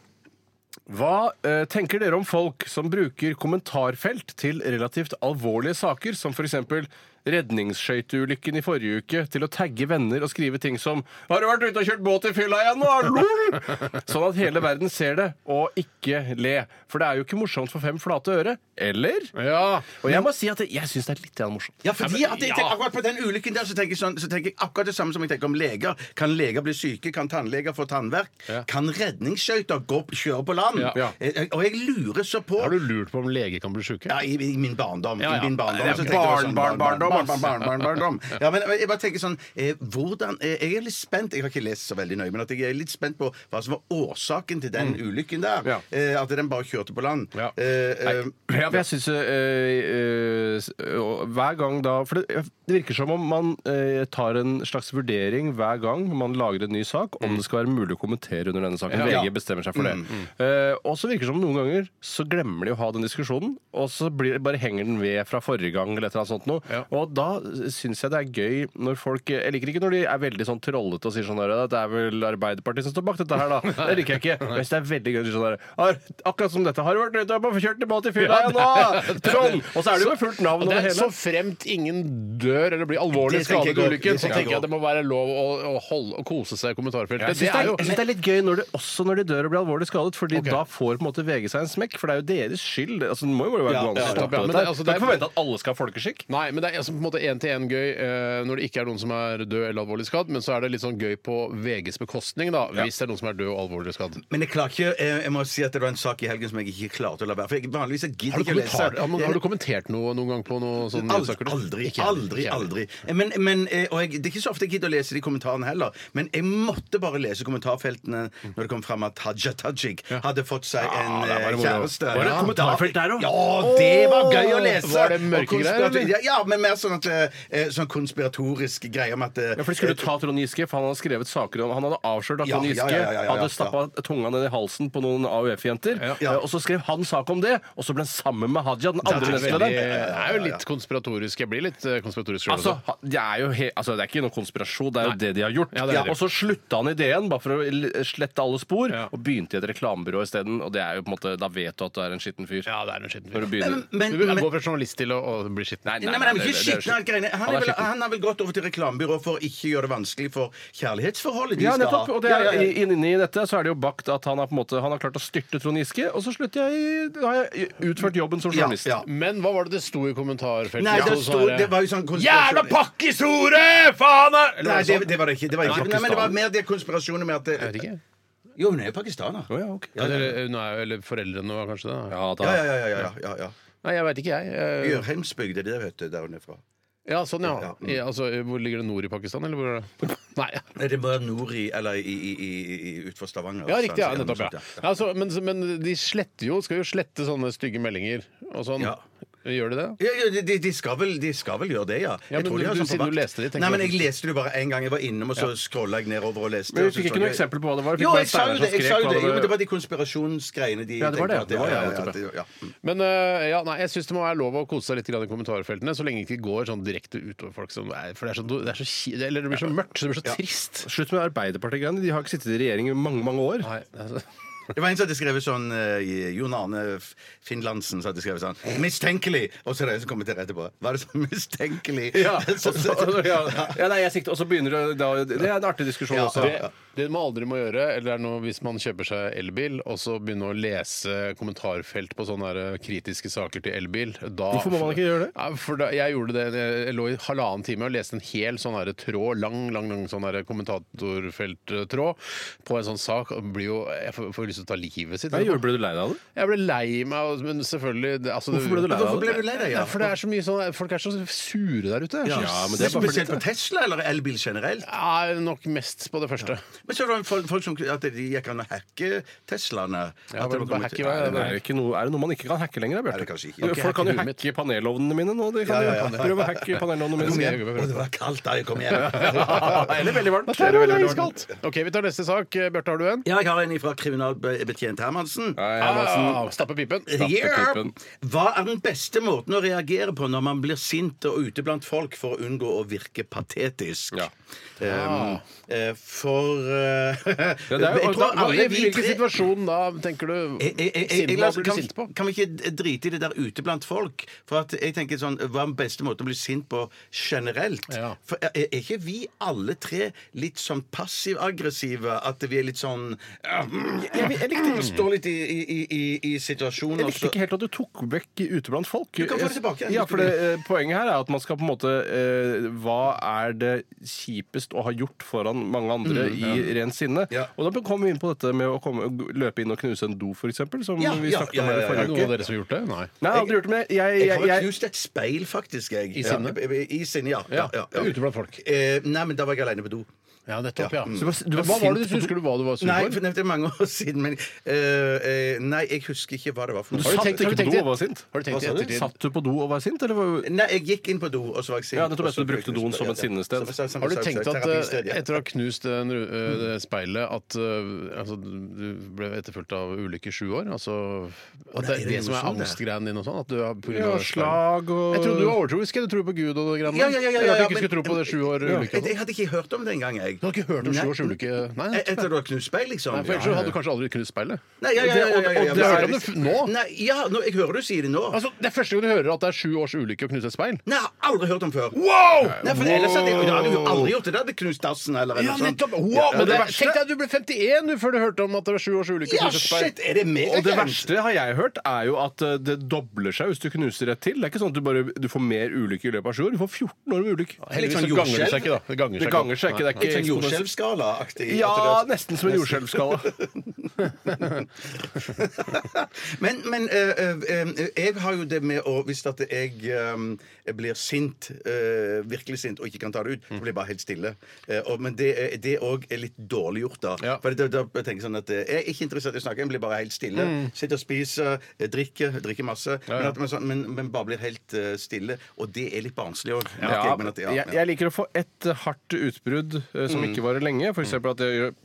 Speaker 12: hva eh, tenker dere om folk som bruker kommentarfelt til relativt alvorlige saker, som f.eks. redningsskøyteulykken i forrige uke, til å tagge venner og skrive ting som 'Har du vært ute og kjørt båt i fylla igjen, nå? Lol!' Sånn at hele verden ser det, og ikke le. For det er jo ikke morsomt for fem flate øre. Eller?
Speaker 5: Ja.
Speaker 12: Og jeg må si at det- jeg syns det er litt grann morsomt.
Speaker 7: Ja, fordi at jeg tenker akkurat på den ulykken der så tenker, jeg sånn, så tenker jeg akkurat det samme som jeg tenker om leger. Kan leger bli syke? Kan tannleger få tannverk? Kan redningsskøyter gå opp- kjøre på land?
Speaker 5: Ja.
Speaker 7: Eh, Og jeg lurer så på
Speaker 5: Har du lurt på om leger kan bli sjuke?
Speaker 7: ja, i, I min barndom.
Speaker 5: Ja, ja.
Speaker 7: I min barndom
Speaker 5: Det er
Speaker 7: så tenker jeg sånn,
Speaker 5: barn- barndom, ass.
Speaker 7: barn, barn, barn, barn, barndom. Ja, men jeg bare tenker sånn eh, hvordan, eh, Jeg er litt spent. Jeg har ikke lest så veldig nøye, men at jeg er litt spent på hva som var årsaken til den ulykken der.
Speaker 12: Ja.
Speaker 7: Eh, at den bare kjørte på land.
Speaker 5: Ja.
Speaker 7: Eh, eh,
Speaker 12: Ja, for jeg synes, øh, øh, s- øh, Hver gang da For det, det virker som om man øh, tar en slags vurdering hver gang man lager en ny sak, om
Speaker 7: Mm.
Speaker 12: det skal være mulig å kommentere under denne saken.
Speaker 5: Ja.
Speaker 12: VG bestemmer seg for
Speaker 5: Mm,
Speaker 12: det. Eh, og så virker det som noen ganger så glemmer de å ha den diskusjonen, og så blir, bare henger den ved fra forrige gang eller et eller annet sånt noe.
Speaker 5: Ja.
Speaker 12: Og da syns jeg det er gøy når folk Jeg liker ikke når de er veldig sånn trollete og sier sånn der, Det er vel Arbeiderpartiet som står bak dette her, da. Det liker jeg ikke. Men hvis det er veldig gøy å si sånn der «Har- Akkurat som dette. Har du vært ute og kjørt i båt i fylla igjen nå? Trond! Og så er det jo med fullt navn
Speaker 5: Og det
Speaker 12: og det
Speaker 5: er
Speaker 12: hele.
Speaker 5: Så fremt ingen dør eller blir alvorlig
Speaker 7: Det
Speaker 5: skadet
Speaker 7: tenker jeg
Speaker 5: i
Speaker 7: også.
Speaker 5: ulykken,
Speaker 7: Det
Speaker 5: så
Speaker 7: tenker jeg
Speaker 5: tenker jeg at det må være lov å, å, holde, å kose seg i kommentarfeltet.
Speaker 12: Jeg syns det,
Speaker 5: Det er
Speaker 12: er-
Speaker 5: jo
Speaker 12: jeg synes det er litt gøy når det, også når de dør og blir alvorlig skadet, Fordi
Speaker 5: Ok.
Speaker 12: da får på en måte VG seg en smekk. For det er jo deres skyld. Det- Altså, det må jo være
Speaker 5: Ja,
Speaker 12: noe
Speaker 5: ja,
Speaker 12: annet som
Speaker 5: ja,
Speaker 12: står på
Speaker 5: men
Speaker 12: dette
Speaker 5: det-
Speaker 12: her.
Speaker 5: altså,
Speaker 12: Du kan
Speaker 5: det
Speaker 12: ikke
Speaker 5: er-
Speaker 12: forvente at alle skal ha folkeskikk.
Speaker 5: Nei, men det er altså på en måte én-til-én gøy eh, når det ikke er noen som er død eller alvorlig skadd, men så er det litt sånn gøy på VGs bekostning, da, hvis det er noen som er død og alvorlig skadd.
Speaker 7: Men jeg klarer ikke, jeg, jeg må si at det var en sak i helgen som jeg ikke klarte å la være. For jeg, vanligvis jeg
Speaker 5: Har
Speaker 7: gidder
Speaker 5: du,
Speaker 7: ikke å lese.
Speaker 5: kommentar, ja, men, har du kommentert noe noen gang på noe sånn
Speaker 7: Aldri,
Speaker 5: nyhetssaker?
Speaker 7: aldri,
Speaker 5: Ikke jeg.
Speaker 7: aldri. aldri. Men, men, eh, og jeg, det er ikke så ofte jeg gidder å lese de kommentarene heller, men jeg måtte bare lese kommentarfeltene når det kom fram at Haja Tajik hadde fått seg en
Speaker 12: der var
Speaker 7: eh,
Speaker 12: det moro.
Speaker 7: kjæreste.
Speaker 12: Var det et
Speaker 7: Ja.
Speaker 12: kommentarfelt der også?
Speaker 7: Ja, det var gøy å lese!
Speaker 5: Var det
Speaker 7: Og
Speaker 5: mørke greier,
Speaker 7: konspiratorisk-
Speaker 5: eller?
Speaker 7: Ja, men mer sånn, at, eh, sånn konspiratorisk greie om at eh,
Speaker 12: Ja, for de skulle ta Trond Giske, for han hadde skrevet saker om Han hadde avslørt at
Speaker 7: Ja,
Speaker 12: Trond
Speaker 7: ja,
Speaker 12: Giske
Speaker 7: ja, ja, ja, ja, ja.
Speaker 12: hadde stappa tunga ned i halsen på noen AUF-jenter.
Speaker 7: Ja.
Speaker 12: Eh, Og så skrev han sak om det, og så ble han sammen med Hadia, den
Speaker 5: Det
Speaker 12: andre
Speaker 5: er, veldig,
Speaker 12: nestlederen.
Speaker 5: det er jo litt konspiratorisk. Jeg blir litt eh, konspiratorisk selv
Speaker 12: Altså,
Speaker 5: også.
Speaker 12: ha- det er jo he altså, det er ikke noe konspirasjon, det er jo
Speaker 5: Nei.
Speaker 12: det de har gjort.
Speaker 5: Ja, det er det.
Speaker 12: Og så slutta han i DN, bare for å l- slette alle spor,
Speaker 5: Ja.
Speaker 12: og begynte i et reklamebyrå isteden. Og det er jo på en måte, da vet du at du er en skitten fyr.
Speaker 5: Ja, det er en skitten
Speaker 12: Når
Speaker 5: fyr.
Speaker 12: du begynner.
Speaker 7: men,
Speaker 5: Du
Speaker 7: men,
Speaker 5: går fra journalist til å, å bli skitten.
Speaker 12: Nei,
Speaker 7: Nei, men Han er vel ikke
Speaker 12: det- det- det er
Speaker 7: skitten, han greiene. Han
Speaker 12: Han er
Speaker 7: er vel-
Speaker 12: skitten.
Speaker 7: han har vel gått over til reklamebyrå for ikke å gjøre det vanskelig for kjærlighetsforholdet de
Speaker 12: Ja,
Speaker 7: skal
Speaker 12: nettopp.
Speaker 7: ha.
Speaker 12: Og det er,
Speaker 7: Ja, ja.
Speaker 12: i- Inni dette så er det jo bakt at han har, på en måte, han har klart å styrte Trond Giske, og så slutter jeg i Da har jeg utført jobben som
Speaker 7: Ja,
Speaker 12: journalist.
Speaker 7: ja.
Speaker 5: Men hva var det det sto i kommentarfeltet?
Speaker 7: Nei, det,
Speaker 5: Sto
Speaker 7: sto,
Speaker 5: sånn her-
Speaker 7: det var jo sånn
Speaker 5: Jævla
Speaker 7: konspirasjon...
Speaker 5: pakkishore! Faen! er- Eller
Speaker 7: Nei,
Speaker 5: var det
Speaker 7: det,
Speaker 5: sånn?
Speaker 7: det var det ikke. Det var ikke.
Speaker 5: Pakistan.
Speaker 7: Nei, men det var mer det konspirasjonen med at
Speaker 5: Jeg vet
Speaker 7: det,
Speaker 5: ikke.
Speaker 7: Jo, hun er jo pakistaner.
Speaker 12: Å, ja, ok.
Speaker 7: Ja, ja,
Speaker 5: Eller,
Speaker 7: ja.
Speaker 5: hun er jo- eller foreldrene var kanskje det? da.
Speaker 12: Ja, da.
Speaker 7: Ja, ja, ja, ja, ja, ja.
Speaker 5: Nei, jeg veit ikke, jeg. Eh,
Speaker 7: Jørheimsbygd er det det heter der hun er fra.
Speaker 5: Ja, sånn, ja.
Speaker 7: Ja.
Speaker 5: I, altså, hvor ligger det nord i Pakistan, eller hvor er det? Nei.
Speaker 7: Nei, det var nord i Eller i, i, i, i utfor Stavanger.
Speaker 5: Ja, riktig. ja,
Speaker 7: sånn,
Speaker 5: nettopp, ja.
Speaker 7: sånn,
Speaker 5: Ja, altså, men, men de sletter jo, skal jo slette sånne stygge meldinger og sånn.
Speaker 7: Ja.
Speaker 5: Gjør de det?
Speaker 7: Ja, ja, de, de, skal vel, de skal vel gjøre det, ja.
Speaker 5: Ja, men du-
Speaker 7: tror de har
Speaker 5: du
Speaker 7: sånn
Speaker 5: sier
Speaker 7: forvakt-
Speaker 5: du leste det, tenker
Speaker 7: Nei,
Speaker 5: jeg.
Speaker 7: men jeg leste det bare en gang jeg var innom, og så scrolla jeg nedover og leste.
Speaker 12: Men vi
Speaker 7: og så
Speaker 12: fikk ikke
Speaker 7: så
Speaker 12: noe
Speaker 7: jeg-
Speaker 12: eksempel på hva det var. Vi fikk
Speaker 7: Jo,
Speaker 12: bare
Speaker 7: jeg sa jo
Speaker 12: Steinar
Speaker 7: det!
Speaker 12: som
Speaker 7: jeg sa jo
Speaker 12: skrek hva
Speaker 7: det.
Speaker 12: det
Speaker 7: Jo,
Speaker 12: var.
Speaker 7: men det var de konspirasjonsgreiene de
Speaker 12: Ja, det var det.
Speaker 7: tenkte at
Speaker 12: Det var det,
Speaker 7: ja, ja,
Speaker 12: nettopp,
Speaker 7: ja, ja.
Speaker 5: Men eh, ja, nei, jeg syns det må være lov å kose seg litt grann i kommentarfeltene, så lenge det ikke går sånn direkte utover folk. Som, nei, for det, er så, det, er så, ki- eller det blir så mørkt, så det blir så trist.
Speaker 12: Slutt med Arbeiderpartiet-greiene. De har ikke sittet i regjering i mange, mange år.
Speaker 5: Nei, altså.
Speaker 7: Det var en som hadde skrevet sånn eh, Jon Arne F- Finlandsen som hadde skrevet sånn 'Mistenkelig!' Og så er det en som kommenterer etterpå. Var det sånn mistenkelig?
Speaker 12: Ja, og så- ja. ja, nei, jeg sikter, og så begynner det da, Det er en artig diskusjon
Speaker 7: Ja,
Speaker 12: også.
Speaker 5: Det, det man aldri må gjøre, eller er noe hvis man kjøper seg elbil, og så begynne å lese kommentarfelt på sånne her eh, kritiske saker til elbil da,
Speaker 12: Hvorfor må man ikke gjøre det?
Speaker 5: Ja, for da, jeg gjorde det, jeg lå i halvannen time og leste en hel sånn her tråd, lang, lang, lang sånn her kommentatorfelttråd på en sånn sak, og blir jo, jeg får, får lyst til å ta livet sitt.
Speaker 12: Nei, gjorde- Ble du lei deg av det?
Speaker 5: Jeg ble lei meg, og- men selvfølgelig det- altså, det-
Speaker 12: Hvorfor ble du lei deg av
Speaker 7: Hvorfor ble du lei deg?
Speaker 5: Ja,
Speaker 7: Ja?
Speaker 5: for det er så mye sånn, folk er så sure der ute.
Speaker 12: Ja, men det er bare
Speaker 7: Spesielt på Tesla eller elbil generelt?
Speaker 5: Jeg er nok mest på det første.
Speaker 7: Men så var det folk, folk som at de gikk an å hacke Teslaene.
Speaker 5: Ja,
Speaker 7: At det
Speaker 5: men
Speaker 7: var kommet-
Speaker 5: hacke hva er det?
Speaker 12: Det er, jo ikke noe, er det noe man ikke kan hacke lenger,
Speaker 7: Er det
Speaker 12: Bjarte?
Speaker 7: kanskje ikke?
Speaker 12: Jo,
Speaker 7: Ok,
Speaker 12: Folk kan jo
Speaker 5: hacke huet
Speaker 12: hacke panelovnene mine nå. Det kan
Speaker 7: Ja,
Speaker 12: de
Speaker 7: ja, ja.
Speaker 12: gjøre. Prøv å hacke panelovnene
Speaker 5: Kom
Speaker 12: mine.
Speaker 5: igjen.
Speaker 7: Å, det var kaldt da jeg kom hjem.
Speaker 12: Eller veldig varmt.
Speaker 5: Det er
Speaker 12: Eller veldig
Speaker 5: veldig
Speaker 12: varmt.
Speaker 5: iskaldt. OK, vi tar neste sak. Eh, Bjarte, har du en?
Speaker 7: Ja, jeg har en fra kriminalbetjent Hermansen.
Speaker 12: Nei, Hermansen.
Speaker 5: Ah, Stappe pipen.
Speaker 7: Yeah.
Speaker 12: pipen.
Speaker 7: Hva er den beste måten å reagere på når man blir sint og ute blant folk for å unngå å virke patetisk?
Speaker 12: Ja.
Speaker 7: Um, eh, for eh,
Speaker 12: Ja, det er jo-
Speaker 7: Jeg tror
Speaker 12: da-
Speaker 7: alle
Speaker 5: I
Speaker 7: vi
Speaker 5: hvilken
Speaker 7: tre Eh,
Speaker 5: situasjon da tenker du
Speaker 7: Jeg- jeg- jeg- jeg-
Speaker 5: sint på? Hva
Speaker 7: la oss-
Speaker 5: blir du
Speaker 7: kan,
Speaker 5: sint på?
Speaker 7: kan vi ikke drite i det der ute blant folk? For at jeg tenker sånn, Hva er den beste måten å bli sint på generelt?
Speaker 5: Ja.
Speaker 7: For eh, er, er ikke vi alle tre litt sånn passiv-aggressive? At vi er litt sånn ja, Jeg, jeg likte å stå litt i, i, i- i, i situasjonen.
Speaker 12: Jeg
Speaker 7: og så-
Speaker 12: likte ikke helt at du tok vekk ute blant folk.
Speaker 7: kan få det tilbake.
Speaker 12: Ja, for det, eh, Poenget her er at man skal på en måte eh, Hva er det kjipest å ha gjort foran mange andre i rent sinne?
Speaker 7: Ja.
Speaker 12: Og da kom vi inn på dette med å komme, løpe inn og knuse en do, f.eks., som
Speaker 7: Ja,
Speaker 12: vi
Speaker 7: ja,
Speaker 12: snakket
Speaker 7: ja,
Speaker 12: om her
Speaker 5: Er
Speaker 7: ja, ja.
Speaker 12: i
Speaker 5: det
Speaker 12: forrige
Speaker 5: noen av
Speaker 12: uke.
Speaker 5: dere som har gjort det? Nei.
Speaker 12: Nei, jeg har aldri gjort det, men jeg, jeg,
Speaker 7: Jeg
Speaker 12: jeg,
Speaker 7: har
Speaker 12: jeg
Speaker 7: knust et speil, faktisk. Jeg.
Speaker 5: I sinne?
Speaker 7: Ja, I i sinne, ja. ja, ja, ja.
Speaker 5: Ute blant folk.
Speaker 7: Eh, nei, men da var jeg aleine på do.
Speaker 5: Ja, nettopp, ja.
Speaker 12: du var- du
Speaker 5: Men
Speaker 12: var
Speaker 5: Hva var det
Speaker 12: sint
Speaker 5: du
Speaker 12: på-
Speaker 5: husker du hva du var sur
Speaker 7: Nei, for
Speaker 5: for?
Speaker 7: det er mange år siden. Men eh, eh, Nei, jeg husker ikke hva det var for noe.
Speaker 5: Har du tenkt-
Speaker 12: satt
Speaker 5: har du
Speaker 12: ikke på
Speaker 5: tenkt
Speaker 12: do
Speaker 5: det?
Speaker 12: og var sint?
Speaker 5: Har du tenkt
Speaker 7: Hva
Speaker 5: i
Speaker 7: sa du?
Speaker 5: ettertid?
Speaker 12: Satt du på do og var sint, eller var
Speaker 7: Nei, jeg gikk inn på do, og så var jeg sint.
Speaker 12: Ja, nettopp,
Speaker 7: Og så
Speaker 12: så du brukte doen som et sinnested.
Speaker 7: Så- så- så-
Speaker 5: Har du
Speaker 7: så-
Speaker 5: tenkt
Speaker 7: så-
Speaker 5: at
Speaker 7: terapisted,
Speaker 5: eh,
Speaker 7: ja.
Speaker 5: etter å ha knust den, ru- eh, det speilet, at eh, altså, du ble etterfulgt av ulykke i sju år? Altså, at det er
Speaker 7: er det
Speaker 5: det
Speaker 7: noe
Speaker 5: som er
Speaker 7: sånn, det?
Speaker 5: angstgreien din og sånn? At du har på grunn
Speaker 12: Ja,
Speaker 5: av speilet?
Speaker 12: slag og
Speaker 5: Jeg trodde du var overtroisk. jeg. Du tror på Gud og det greiene
Speaker 7: Ja, ja, ja, ja,
Speaker 5: Eller at du
Speaker 7: ja,
Speaker 5: ikke
Speaker 7: men-
Speaker 5: skulle tro på det sju år ulykke.
Speaker 7: jeg, jeg hadde ikke hørt om det engang, jeg.
Speaker 5: Du har ikke hørt om
Speaker 7: Nei.
Speaker 5: sju års ulykke? Nei,
Speaker 7: E- Etter du har knust speil, liksom?
Speaker 5: Nei, for ellers så hadde du kanskje aldri knust speilet.
Speaker 7: Nei, ja, ja, ja, ja, ja, ja,
Speaker 5: Og det
Speaker 7: ja,
Speaker 5: hører
Speaker 7: ja.
Speaker 5: du f- nå.
Speaker 7: Nei, ja, nå, jeg hører du sier det nå.
Speaker 5: Altså, det er første gang du hører at det er sju års ulykke å knuse et speil.
Speaker 7: Nei, jeg har aldri hørt om før.
Speaker 5: Wow!
Speaker 7: Nei, for ellers hadde jeg, da hadde jeg jo aldri gjort det. Da hadde jeg knust dassen eller
Speaker 5: Ja,
Speaker 7: eller sånt.
Speaker 5: nettopp! Wow,
Speaker 7: Ja,
Speaker 5: men det
Speaker 7: ja.
Speaker 5: verste... Tenk deg at du ble 51 du, før du hørte om at det var sju års ulykke. å
Speaker 7: Ja,
Speaker 5: knuse et speil.
Speaker 7: shit! Er det mer
Speaker 12: Og det verste har jeg hørt, er jo at eh, det dobler seg hvis du knuser et til. Det er ikke sånn at du bare du får mer ulykker i løpet av sju år. Du får 14 år med ulykker.
Speaker 5: Heldigvis
Speaker 7: Litt sånn
Speaker 5: så ganger det seg
Speaker 7: jordskjelv.
Speaker 5: ikke, da. Det ganger
Speaker 12: Det
Speaker 5: seg
Speaker 12: ganger seg ikke. Det er
Speaker 7: Litt sånn
Speaker 12: ikke
Speaker 7: jordskjelvskala-aktig.
Speaker 12: eksponens- Ja,
Speaker 7: At det-
Speaker 12: nesten som en jordskjelvskala.
Speaker 7: Men, men øh, øh, øh, jeg har jo det med å Hvis at jeg øh, jeg blir sint, øh, virkelig sint, og ikke kan ta det ut, så blir jeg bare helt stille. Eh, og, men det er- det òg er litt dårlig gjort, da.
Speaker 5: Ja.
Speaker 7: For da, da tenker jeg sånn at eh, jeg er ikke interessert i å snakke, jeg blir bare helt stille. Sitter og spiser, eh, drikker, drikker masse. Men, at, men, sånn, men, men bare blir helt eh, stille. Og det er litt barnslig òg.
Speaker 12: Ja, jeg, jeg liker å få et eh, hardt utbrudd eh, som
Speaker 5: Mm.
Speaker 12: ikke varer lenge. F.eks. at jeg gjør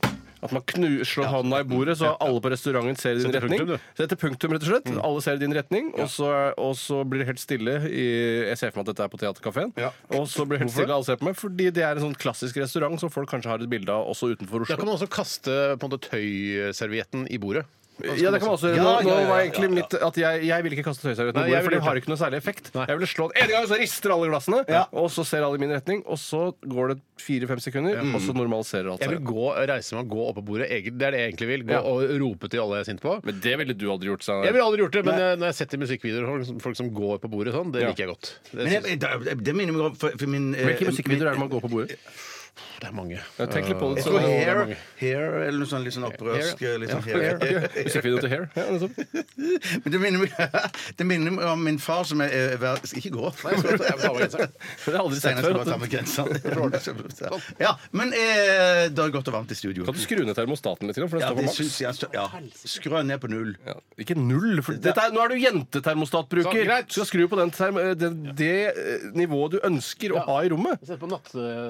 Speaker 12: at man knu, slår hånda i bordet, så alle på restauranten ser i din
Speaker 5: Setter
Speaker 12: retning.
Speaker 5: punktum, du. Mm.
Speaker 12: Setter punktum, rett og slett. Alle ser i din retning, og så, og så blir det helt stille. I, jeg ser for meg at dette er på Theatercaféen.
Speaker 7: Ja.
Speaker 12: Og så blir det helt stille, alle ser på meg, fordi det er en sånn klassisk restaurant som folk kanskje har et bilde av også utenfor
Speaker 5: Da kan
Speaker 12: Oslo.
Speaker 5: man også kaste på en måte tøyservietten i bordet.
Speaker 12: Ja, det kan man også gjøre.
Speaker 7: Ja,
Speaker 12: Nå,
Speaker 7: ja, ja,
Speaker 12: nå var
Speaker 7: ja,
Speaker 12: egentlig
Speaker 7: ja, ja.
Speaker 12: mitt at jeg, jeg vil ikke kaste tøyservietten
Speaker 5: Nei,
Speaker 12: i bordet,
Speaker 5: jeg
Speaker 12: for
Speaker 5: ville
Speaker 12: det har
Speaker 5: gjort
Speaker 12: ikke noe særlig effekt. Jeg ville slå den en gang, så rister alle glassene, og så ser alle i min retning, og så går det fire-fem sekunder, og så normaliserer alt
Speaker 5: Jeg vil
Speaker 12: seg.
Speaker 5: gå, reise meg og gå oppå bordet. Egen- Det er det jeg egentlig vil. Gå
Speaker 12: Ja.
Speaker 5: og rope til alle jeg er sint på.
Speaker 12: Men det ville du aldri gjort, sa
Speaker 5: Jeg ville aldri gjort det, men jeg, når jeg setter musikkvideoer folk som- folk som går på bordet sånn, det
Speaker 12: Ja.
Speaker 5: liker jeg godt. Det
Speaker 7: Men
Speaker 5: synes-
Speaker 7: jeg, det, det minner meg om for, for min eh,
Speaker 12: Eh, Hvilke musikkvideoer er det man går på bordet?
Speaker 5: Det er mange.
Speaker 12: Ja, tenk litt på det.
Speaker 7: Jeg
Speaker 12: Så,
Speaker 7: tror
Speaker 12: det er
Speaker 7: hair,
Speaker 12: mange.
Speaker 7: hair eller noe sånn litt sånn opprørsk litt sånn hair.
Speaker 12: Musikkvideo til Hair. Ja, nettopp.
Speaker 7: Men det minner, meg, det minner meg om min far som eh, er, er ver- Ikke gå.
Speaker 12: Det har jeg aldri sett
Speaker 7: Steinar skal
Speaker 12: før.
Speaker 7: bare ta
Speaker 12: At,
Speaker 7: med genseren. Ja, men eh, det er godt og varmt i studio.
Speaker 12: Sånn. kan du skru ned termostaten litt? grann, For
Speaker 7: Ja,
Speaker 12: den står på
Speaker 7: det
Speaker 12: maks.
Speaker 7: syns jeg. så- Ja. Skrå ned på null.
Speaker 12: Ja, ikke null. For dette er, nå er du jentetermostatbruker.
Speaker 5: Så, greit.
Speaker 12: Du skal skru på den term, det, det eh, nivået du ønsker å ha i rommet.
Speaker 13: Sett på natt...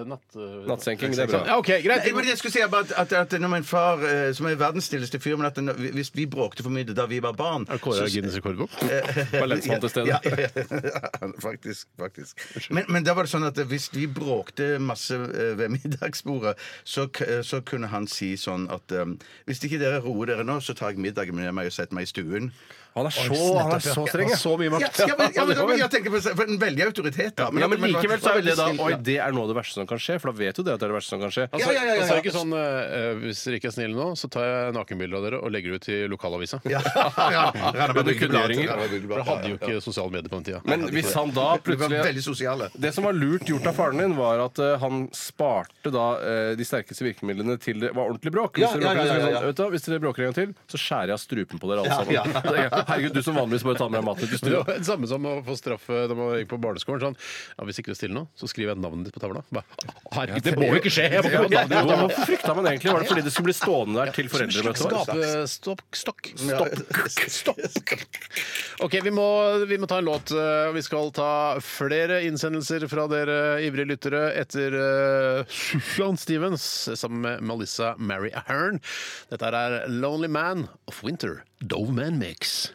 Speaker 13: natt
Speaker 12: Nattsenking, det er bra.
Speaker 5: Ja, OK, greit.
Speaker 7: Nei, men jeg skulle si bare at, at, at når min far, eh, som er verdens snilleste fyr men at den, Hvis vi bråkte for mye da vi var barn så-
Speaker 5: rekordbok?
Speaker 12: Bare lensmann til stede.
Speaker 7: Ja, ja, ja. Faktisk. faktisk. Men, men da var det sånn at hvis vi bråkte masse eh, ved middagsbordet, så, k- eh, så kunne han si sånn at eh, hvis ikke dere roer dere nå, så tar jeg middagen med meg og setter meg i stuen.
Speaker 12: Han er så, han er så streng. ja.
Speaker 5: Så mye
Speaker 7: Ja,
Speaker 5: makt.
Speaker 7: ja, men, ja, men, da- men jeg tenker på for en veldig autoritet, da.
Speaker 12: Ja, men
Speaker 7: det var-
Speaker 12: likevel så er jo
Speaker 7: var
Speaker 12: det da
Speaker 7: veldig
Speaker 12: Oi,
Speaker 7: snilt,
Speaker 12: det er noe av det verste som kan skje, for da vet du det at det er det verste som kan skje.
Speaker 7: Ja, ja, ja, ja,
Speaker 12: altså-
Speaker 5: Han sa
Speaker 7: ja.
Speaker 5: ikke sånn eh, Hvis dere ikke er snille nå, så tar jeg nakenbilder av dere og legger det ut i lokalavisa.
Speaker 7: ja. Ja, Randaberg
Speaker 12: Men du kunne
Speaker 7: Ukeblad,
Speaker 12: gjøre-
Speaker 7: Randaberg Ukeblad,
Speaker 5: For det hadde jo
Speaker 7: ja, ja.
Speaker 5: ikke sosiale medier på den tida.
Speaker 12: Men hvis han
Speaker 7: Vi
Speaker 12: da
Speaker 7: var
Speaker 12: plutselig
Speaker 7: veldig sosiale.
Speaker 12: Det som var lurt gjort av faren din, var at eh, han sparte da eh, de sterkeste virkemidlene til det var ordentlig bråk. Hvis,
Speaker 7: Ja, ja,
Speaker 12: dere, bråker,
Speaker 7: ja,
Speaker 12: så er det
Speaker 7: ja, ja.
Speaker 12: Sånn, vet du, hva, hvis dere bråker en gang til, så skjærer jeg av strupen på dere alle
Speaker 7: Ja,
Speaker 12: sammen.
Speaker 7: ja.
Speaker 12: Så tenker jeg, Herregud, du som vanligvis bare tar med deg maten ut i
Speaker 5: Men Det
Speaker 12: stua.
Speaker 5: var det samme som å få straffe da man gikk på barneskolen. Sånn, ja, 'Hvis ikke du er stille nå, så skriver jeg navnet ditt på tavla.' Bare, Herregud, det må jo ikke skje! Jeg må
Speaker 12: Ja,
Speaker 5: ikke få navnet
Speaker 12: ja,
Speaker 5: ditt på tavla.
Speaker 12: Hvorfor frykta man egentlig? Var det fordi det skulle bli stående der til foreldremøtet var?
Speaker 5: Skapestopp Stokk. Stopp. Stopp. OK, vi må, vi må ta en låt. eh, Vi skal ta flere innsendelser fra dere ivrige lyttere etter eh, Sufjan Stevens sammen med Melissa Mary Ahern. Dette er 'Lonely Man of Winter'. Dove Man Mix.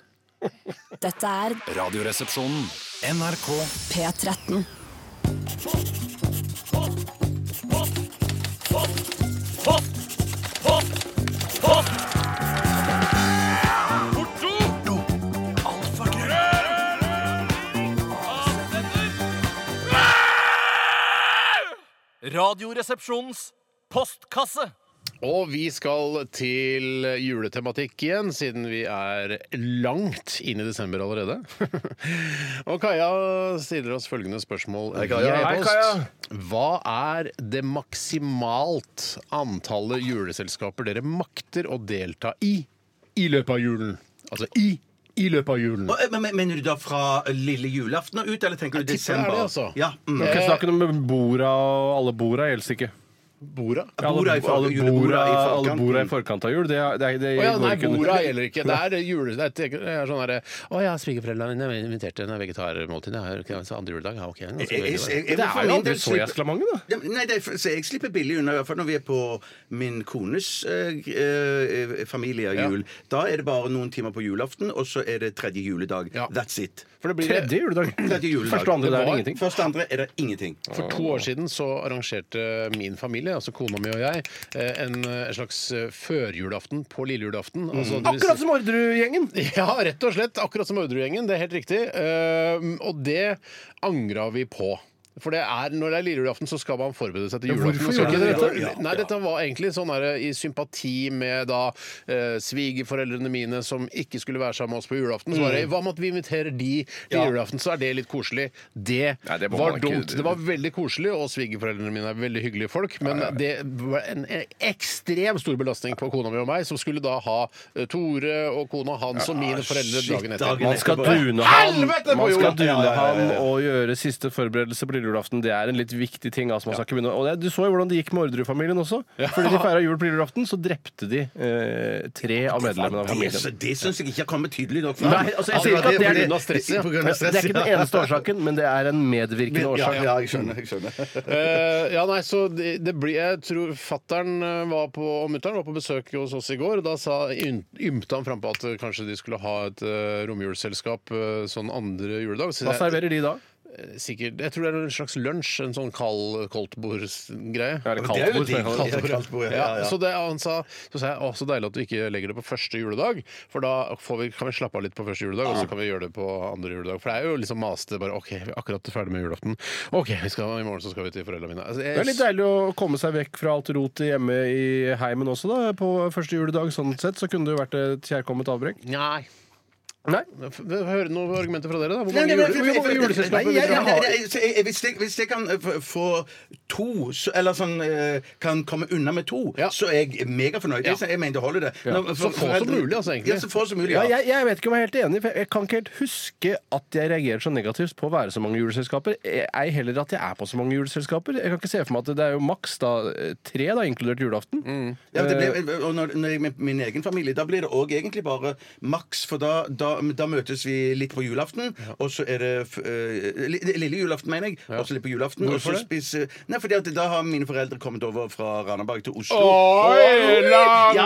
Speaker 8: Dette er
Speaker 4: Radioresepsjonen. NRK
Speaker 8: P13.
Speaker 11: Radioresepsjonens postkasse.
Speaker 5: Og vi skal til juletematikk igjen, siden vi er langt inn i desember allerede. og Kaja stiller oss følgende spørsmål. Hei,
Speaker 7: Kaja.
Speaker 12: Hei, Kaja.
Speaker 5: Hva er det maksimalt antallet juleselskaper dere makter å delta i i løpet av julen? Altså i i løpet av julen.
Speaker 7: Og, eh, Men, men, mener du da fra lille julaften og ut, eller tenker du
Speaker 5: tipper
Speaker 7: desember?
Speaker 5: det er det, altså.
Speaker 7: Ja, mm.
Speaker 12: Ikke snakk om borda og alle borda, helst ikke.
Speaker 5: Borda?
Speaker 12: Ja, Alle,
Speaker 7: Borda i for-
Speaker 12: alle, borda,
Speaker 7: juleborda i forkant.
Speaker 12: alle borda i forkant av jul, det, er- det, er-
Speaker 5: Å
Speaker 12: det
Speaker 5: ja,
Speaker 12: går
Speaker 5: nei,
Speaker 12: ikke under.
Speaker 5: borda gjelder ikke. Det er jule... Det er, det er sånn herre Å ja, svigerforeldrene mine inviterte en vegetarmåltid. Ja, ok, så andre juledag. Ja, ok.
Speaker 7: Jeg- jeg- jeg- jeg
Speaker 12: Det
Speaker 7: må for
Speaker 12: er jo
Speaker 7: min del
Speaker 12: aldri
Speaker 7: slippe-
Speaker 12: soyaskalamanget, da.
Speaker 7: Ja, men Nei, det er, for- så jeg slipper billig unna, i hvert fall når vi er på min kones eh, eh, familie av jul. Da er det bare noen timer på julaften, og så er det tredje juledag.
Speaker 5: Ja.
Speaker 7: That's it.
Speaker 5: For det blir
Speaker 12: Tredje juledag.
Speaker 7: Tredje juledag.
Speaker 12: Første og andre,
Speaker 7: Det
Speaker 12: det er
Speaker 7: var-
Speaker 12: ingenting.
Speaker 7: Først og andre er det ingenting.
Speaker 5: For to år siden så arrangerte min familie, altså kona mi og jeg, eh, en, eh, slags eh, førjulaften på lille julaften. Altså, det vil si-
Speaker 12: Mm. Akkurat som Orderud-gjengen!
Speaker 5: Ja, rett og slett. Akkurat som Orderud-gjengen. Det er helt riktig. Eh, og det angra vi på. For det er, når det er lille julaften, så skal man forberede seg til julaften.
Speaker 12: hvorfor
Speaker 5: og så
Speaker 12: gjorde
Speaker 5: ikke-
Speaker 12: dere dette?
Speaker 5: Ja. Nei, dette var egentlig sånn her, i sympati med da eh, svigerforeldrene mine som ikke skulle være sammen med oss på julaften. Så var
Speaker 12: Mm.
Speaker 5: det, Hva med at vi inviterer de til julaften, så er det litt koselig. Det,
Speaker 12: Nei, det må
Speaker 5: var
Speaker 12: man ikke-
Speaker 5: dumt. Det var veldig koselig, og svigerforeldrene mine er veldig hyggelige folk, men det var en en ekstrem stor belastning på kona mi og meg, som skulle da ha eh, Tore og kona hans og mine foreldre dagen etter.
Speaker 7: dagen
Speaker 12: Man skal
Speaker 7: etterpå.
Speaker 12: dune han,
Speaker 5: Helvete på
Speaker 12: man skal
Speaker 5: jorda!
Speaker 12: dune
Speaker 5: Ja, ja, ja,
Speaker 12: han og gjøre siste forberedelse på lille julaften. Det er en litt viktig ting. Altså, man skal ikke begynne. Og det, du så jo hvordan det gikk med Orderud-familien også. Fordi de feira jul på lille julaften, så drepte de eh, tre av medlemmene av
Speaker 7: Det, så
Speaker 12: familien.
Speaker 7: det syns jeg ikke har kommet tydelig nok fram.
Speaker 12: Nei, altså, jeg sier ikke at det er
Speaker 7: Fordi-
Speaker 12: grunn av stress, ja.
Speaker 7: På
Speaker 12: Det
Speaker 7: grunn av stress,
Speaker 12: er ikke den
Speaker 7: ja.
Speaker 12: eneste årsaken, men det er en medvirkende
Speaker 7: Ja,
Speaker 12: årsak.
Speaker 7: ja, jeg skjønner. Jeg skjønner.
Speaker 5: Eh, ja, nei, så det, det blir Jeg tror fattern eh, var på, og mutter'n var på besøk hos oss i går. og Da sa, ym- ymta han frampå at eh, kanskje de skulle ha et uh, romjulsselskap eh, sånn andre juledag. Så
Speaker 12: Hva
Speaker 5: jeg,
Speaker 12: serverer de da?
Speaker 5: sikkert, jeg tror det er en slags lunsj, en sånn kald koldtbordsgreie.
Speaker 12: Er det
Speaker 7: Det er jo
Speaker 12: kaldtbord? som
Speaker 7: digg.
Speaker 12: jeg kaller det?
Speaker 7: Ja, kaldt bord, ja,
Speaker 5: Ja,
Speaker 7: ja, ja.
Speaker 5: Så, det, han sa, så sa jeg å, så deilig at du ikke legger det på første juledag, for da får vi, kan vi slappe av litt på første juledag, og så kan vi gjøre det på andre juledag. For det er jo liksom maste bare OK, vi er akkurat ferdig med julaften. OK, vi skal, i morgen så skal vi til foreldrene mine. Altså, jeg-
Speaker 12: Det er litt deilig å komme seg vekk fra alt rotet hjemme i heimen også, da. På første juledag, sånn sett, så kunne det jo vært et kjærkomment avbrekk.
Speaker 5: Nei.
Speaker 12: Nei.
Speaker 5: F- Hør noen argumenter fra dere, da. Hvor mange
Speaker 7: Nei, nei, nei,
Speaker 5: jule- hvor
Speaker 7: nei,
Speaker 5: mange
Speaker 7: nei,
Speaker 5: juleselskaper
Speaker 7: nei,
Speaker 5: vil dere
Speaker 7: nei,
Speaker 5: ha?
Speaker 7: nei, nei, så jeg- jeg- Hvis jeg, hvis jeg kan eh, f- få to, så, eller sånn eh, kan komme unna med to,
Speaker 5: Ja.
Speaker 7: så er jeg megafornøyd. Jeg, jeg mener det holder, det. Når-
Speaker 5: Så få som
Speaker 7: foreldre-
Speaker 5: mulig, altså, egentlig.
Speaker 7: Ja, så få som mulig,
Speaker 12: Ja,
Speaker 7: ja.
Speaker 12: jeg, jeg vet ikke om jeg er helt enig, for jeg- jeg kan ikke helt huske at jeg reagerer så negativt på å være så mange juleselskaper. Jeg- Ei heller at jeg er på så mange juleselskaper. Jeg kan ikke se for meg at det det er jo maks da, eh, tre, da, inkludert julaften. Eh,
Speaker 7: Ja, det ble, og når, når jeg med min egen familie, da blir det òg egentlig bare maks, for da, da, da møtes vi litt på julaften, og så er det f- eh, li- lille julaften, mener jeg, og så litt på julaften, og så
Speaker 5: Hvorfor det?
Speaker 7: spiser Nei, fordi at da har mine foreldre kommet over fra Randaberg til Oslo.
Speaker 5: Oi,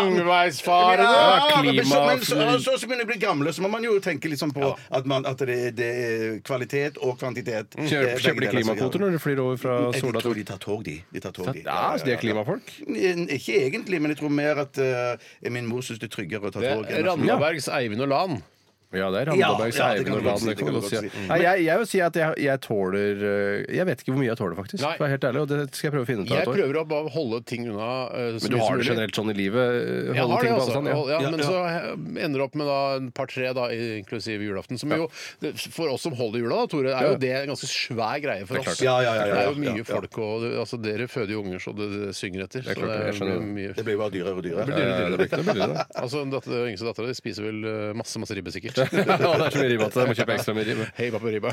Speaker 7: Ja,
Speaker 5: langveisfarende!
Speaker 7: men så, men så, så, så, begynner jeg å bli gamle, så må man jo tenke litt sånn på at, man, at det, det er kvalitet og kvantitet.
Speaker 12: Kjøper,
Speaker 7: Eh,
Speaker 12: kjøper de
Speaker 7: begge deler, så-
Speaker 12: klimakvoter når du flyr over fra
Speaker 7: Mm. Jeg
Speaker 12: Sola
Speaker 7: tror
Speaker 12: til
Speaker 7: de tar tog, de. de, tar tog, de.
Speaker 12: Ja, altså, de er klimafolk.
Speaker 7: N- Ikke egentlig, men jeg tror mer at eh, min mor syns det er tryggere å ta
Speaker 5: Det
Speaker 7: tog.
Speaker 5: er
Speaker 7: enn at-
Speaker 5: Randabergs Eivind og Lan.
Speaker 12: Ja, det er Randabergs
Speaker 7: Ja, ja, det kan
Speaker 12: Eivind og
Speaker 7: du godt si,
Speaker 12: Laden. det
Speaker 7: det kan
Speaker 12: kan du
Speaker 7: du
Speaker 12: godt
Speaker 7: godt
Speaker 12: si.
Speaker 7: si.
Speaker 12: Nei, Jeg jeg vil si at jeg, jeg tåler eh, Jeg vet ikke hvor mye jeg tåler, faktisk.
Speaker 5: Nei.
Speaker 12: For jeg er helt ærlig, og det skal jeg prøve å finne ut av
Speaker 5: Jeg
Speaker 12: et år.
Speaker 5: prøver å bare holde ting unna eh, så mye
Speaker 12: Men du
Speaker 5: som
Speaker 12: har det
Speaker 5: mulig.
Speaker 12: generelt sånn i livet? eh,
Speaker 5: Jeg
Speaker 12: holde
Speaker 5: har det,
Speaker 12: ting på
Speaker 5: altså.
Speaker 12: avstand, ja.
Speaker 5: Ja,
Speaker 7: Ja,
Speaker 5: men
Speaker 7: ja.
Speaker 5: så he- ender det opp med da en par-tre, da, inklusiv julaften. Som jo, det- for oss som holder jula, da, Tore, er
Speaker 12: Ja.
Speaker 5: jo det en ganske svær greie for
Speaker 12: Det er
Speaker 5: oss.
Speaker 12: klart.
Speaker 7: Ja, ja, ja, ja,
Speaker 5: Det er jo
Speaker 7: ja,
Speaker 5: mye
Speaker 7: ja.
Speaker 5: folk, og det- altså, dere føder jo unger så det, det synger etter.
Speaker 12: er klart det, jeg
Speaker 5: så det
Speaker 12: skjønner
Speaker 5: blir mye
Speaker 7: Det blir jo bare dyrere og dyrere.
Speaker 5: blir dyrere og
Speaker 12: Eh, det blir ikke noe billig, det.
Speaker 5: Altså, den datter- den yngste dattera di spiser vel eh, masse masse ribbe, sikkert.
Speaker 12: Ja, det er så mye ribbe at jeg må kjøpe ekstra mye ribbe.
Speaker 5: Hei, pappa ribba.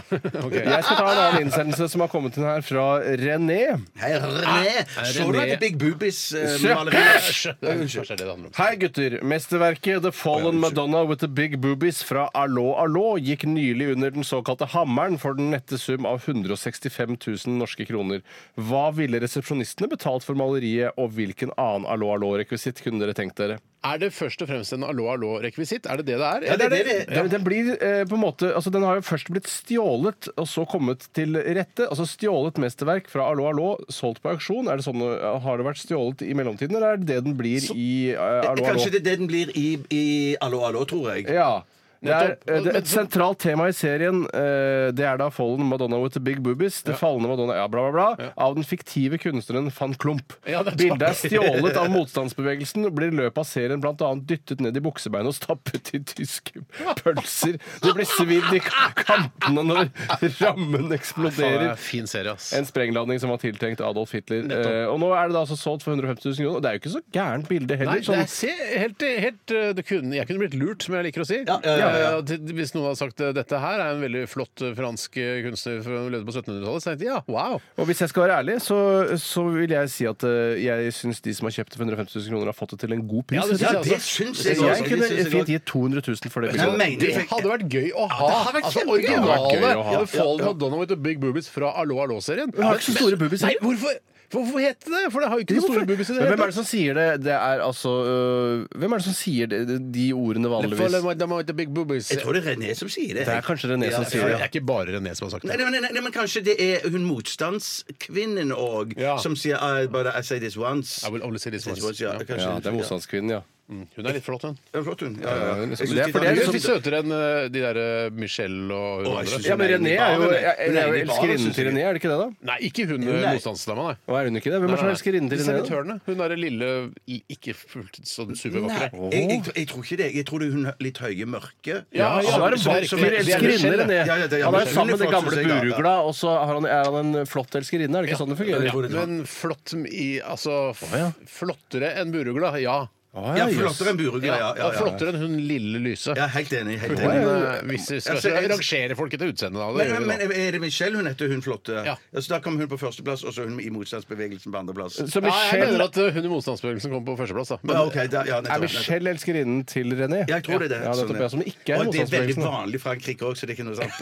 Speaker 5: Ok.
Speaker 12: Jeg skal ta en annen innsendelse som har kommet inn her fra René.
Speaker 7: Hei, René! Så du
Speaker 5: René.
Speaker 7: at Big Boobies eh,
Speaker 12: Sø-
Speaker 7: maleri?
Speaker 5: Det er kanskje det det handler om.
Speaker 12: Hei, gutter. Mesterverket The Fallen Madonna with the Big Boobies fra Allo Allo gikk nylig under den såkalte hammeren for den nette sum av 165 000 norske kroner. Hva ville resepsjonistene betalt for maleriet, og hvilken annen Allo Allo-rekvisitt kunne dere tenkt dere?
Speaker 5: Er det først og fremst en allo allo-rekvisitt? Er det det det er?
Speaker 7: Ja, det er det det er.
Speaker 12: Den, den blir eh, på en måte Altså, den har jo først blitt stjålet, og så kommet til rette. Altså stjålet mesterverk fra Allo Allo, solgt på auksjon. Er det sånn, eh, har det vært stjålet i mellomtiden, eller er det det den blir i eh, Allo Allo?
Speaker 7: Kanskje det er det den blir i, i Allo Allo, tror jeg.
Speaker 12: Ja. Det er,
Speaker 5: Nettopp.
Speaker 12: eh, det, et sentralt tema i serien eh, Det er da Fallen Madonna with the Big Boobies. Det fallende Madonna ja, bla, bla, bla, av den fiktive kunstneren van Klump.
Speaker 5: Ja, det er
Speaker 12: Bildet er stjålet av motstandsbevegelsen og blir i løpet av serien bl.a. dyttet ned i buksebeinet og stappet i tyske pølser. Det blir svidd i kantene når rammen
Speaker 5: Faen, det er
Speaker 12: eksploderer.
Speaker 5: en Fin serie, ass.
Speaker 12: En sprengladning som var tiltenkt Adolf Hitler.
Speaker 5: Nettopp.
Speaker 12: Eh, og nå er det da altså solgt for 150 000 kroner. Og det er jo ikke så gærent bilde heller.
Speaker 5: Nei, det
Speaker 12: sånn-
Speaker 5: er, se, helt, helt, eh, det kunne, jeg kunne blitt lurt, som jeg liker å si.
Speaker 7: ja, ja, ja.
Speaker 5: Eh, til- Hvis noen hadde sagt eh, dette her er en veldig flott eh, fransk eh, kunstner som levde på 1700-tallet, så tenkte jeg ja, wow.
Speaker 12: Og hvis jeg skal være ærlig, så, så vil jeg si at eh, jeg syns de som har kjøpt det for 150 000 kroner, har fått det til en god pris.
Speaker 5: Ja, det synes
Speaker 7: Ja,
Speaker 12: jeg,
Speaker 5: altså.
Speaker 7: det syns jeg
Speaker 12: jeg,
Speaker 7: også.
Speaker 12: kunne
Speaker 7: Det syns jeg
Speaker 12: fint
Speaker 7: også.
Speaker 12: gitt 200 000 for det
Speaker 7: Jeg
Speaker 12: bildet.
Speaker 7: mener
Speaker 5: Det
Speaker 7: jeg fikk-
Speaker 5: hadde vært gøy å ha!
Speaker 7: hadde vært
Speaker 5: altså
Speaker 7: kjempegøy.
Speaker 12: Det hadde vært
Speaker 5: originale
Speaker 12: gøy å ha.
Speaker 5: ja, Fall Madonna with the Big Boobies fra Allo Allo serien.
Speaker 12: Hun har ikke så store boobies.
Speaker 5: Nei, hvorfor, hvorfor het det det? For det har jo ikke noen store boobies i det
Speaker 12: Men hvem er det som sier det? Det er altså øh, Hvem er det som sier det, de ordene
Speaker 5: The Fall
Speaker 12: vanligvis?
Speaker 5: Madonna with the Big Boobies.
Speaker 7: Jeg tror det er René som sier det.
Speaker 12: Det er kanskje René som
Speaker 5: Ja,
Speaker 12: sier
Speaker 5: for
Speaker 12: det.
Speaker 5: Det er ikke bare René som har sagt
Speaker 7: Nei,
Speaker 5: det.
Speaker 7: nei, nei, nei, men kanskje det er hun motstandskvinnen òg,
Speaker 5: Ja.
Speaker 7: som sier I, but I say this once.
Speaker 5: I will only say this
Speaker 7: This
Speaker 5: once.
Speaker 7: once, ja,
Speaker 5: Ja.
Speaker 7: kanskje
Speaker 12: Ja, det er
Speaker 7: ja.
Speaker 12: motstandskvinnen, ja.
Speaker 5: Hun er litt flott, hun.
Speaker 7: Ja, Flott, hun. Ja, ja.
Speaker 12: Ja, men
Speaker 7: Jeg syns
Speaker 12: det er fordi
Speaker 5: Hun
Speaker 7: de-
Speaker 5: er
Speaker 12: Sånn-
Speaker 5: litt søtere enn eh, de der eh, Michelle og hun
Speaker 7: Å, jeg
Speaker 5: andre.
Speaker 7: synes
Speaker 12: Ja, men
Speaker 7: Hun er
Speaker 12: René
Speaker 7: egentlig
Speaker 12: er jo
Speaker 7: bare-
Speaker 12: jeg, jeg,
Speaker 7: hun er
Speaker 12: er
Speaker 7: egentlig
Speaker 12: jo
Speaker 7: bare,
Speaker 12: elskerinnen
Speaker 7: synes
Speaker 12: til
Speaker 7: jeg.
Speaker 12: René, er det ikke det, da?
Speaker 5: Nei, ikke hun eh,
Speaker 7: Nei.
Speaker 5: motstandsdama, nei.
Speaker 12: Og er hun ikke det? Hvem er det som er elskerinnen til René? da?
Speaker 5: Servitørene. Hun derre lille, i- ikke fullt sånn
Speaker 7: Nei,
Speaker 5: supervakre.
Speaker 7: jeg, jeg, jeg tror ikke det. Jeg tror det er hun litt høye, mørke.
Speaker 5: Ja,
Speaker 12: Ja,
Speaker 5: ja,
Speaker 12: han er
Speaker 5: som-
Speaker 12: en
Speaker 5: som- det
Speaker 12: vakker
Speaker 5: er
Speaker 12: elskerinne,
Speaker 5: Michelle,
Speaker 12: René.
Speaker 7: ja. Ja, ja, det er
Speaker 12: Han er
Speaker 7: Michelle
Speaker 12: sammen med det
Speaker 7: Fox,
Speaker 12: gamle
Speaker 7: synes jeg, ja, ja.
Speaker 12: burugla, og så har han- er han en flott elskerinne. Er det ikke sånn det fungerer?
Speaker 5: Ja, men flott i Altså, f
Speaker 12: ja.
Speaker 5: flottere enn Burugla, ja.
Speaker 12: Å,
Speaker 7: Ja,
Speaker 12: jøss.
Speaker 7: flottere enn Burugla. Ja, ja,
Speaker 5: og
Speaker 7: ja, ja.
Speaker 5: Flottere enn hun lille lyse.
Speaker 7: ja, helt enig. Helt
Speaker 5: Men,
Speaker 7: enig.
Speaker 5: eh, hvis vi skal
Speaker 7: Altså, jeg-
Speaker 5: rangere folk etter utseende, da. Det
Speaker 7: Men,
Speaker 5: gjør vi
Speaker 7: men
Speaker 5: da.
Speaker 7: er det Michelle hun heter, hun flotte?
Speaker 5: Ja.
Speaker 7: Ja. så da kom hun på førsteplass, og så hun i motstandsbevegelsen på andreplass.
Speaker 5: Ja,
Speaker 12: Så
Speaker 5: jeg mener
Speaker 12: Michelle
Speaker 5: at eh, hun i motstandsbevegelsen kommer på førsteplass, da. Men
Speaker 7: Ja, ok, da, ja,
Speaker 12: er
Speaker 7: nettopp, nettopp.
Speaker 12: Michelle elskerinnen til René?
Speaker 7: Ja, jeg tror det er det.
Speaker 12: Ja, nettopp, ja, som
Speaker 7: og
Speaker 12: ikke er
Speaker 7: det er veldig
Speaker 12: motstandsbevegelsen.
Speaker 7: vanlig i Frankrike òg, så det er ikke noe sant.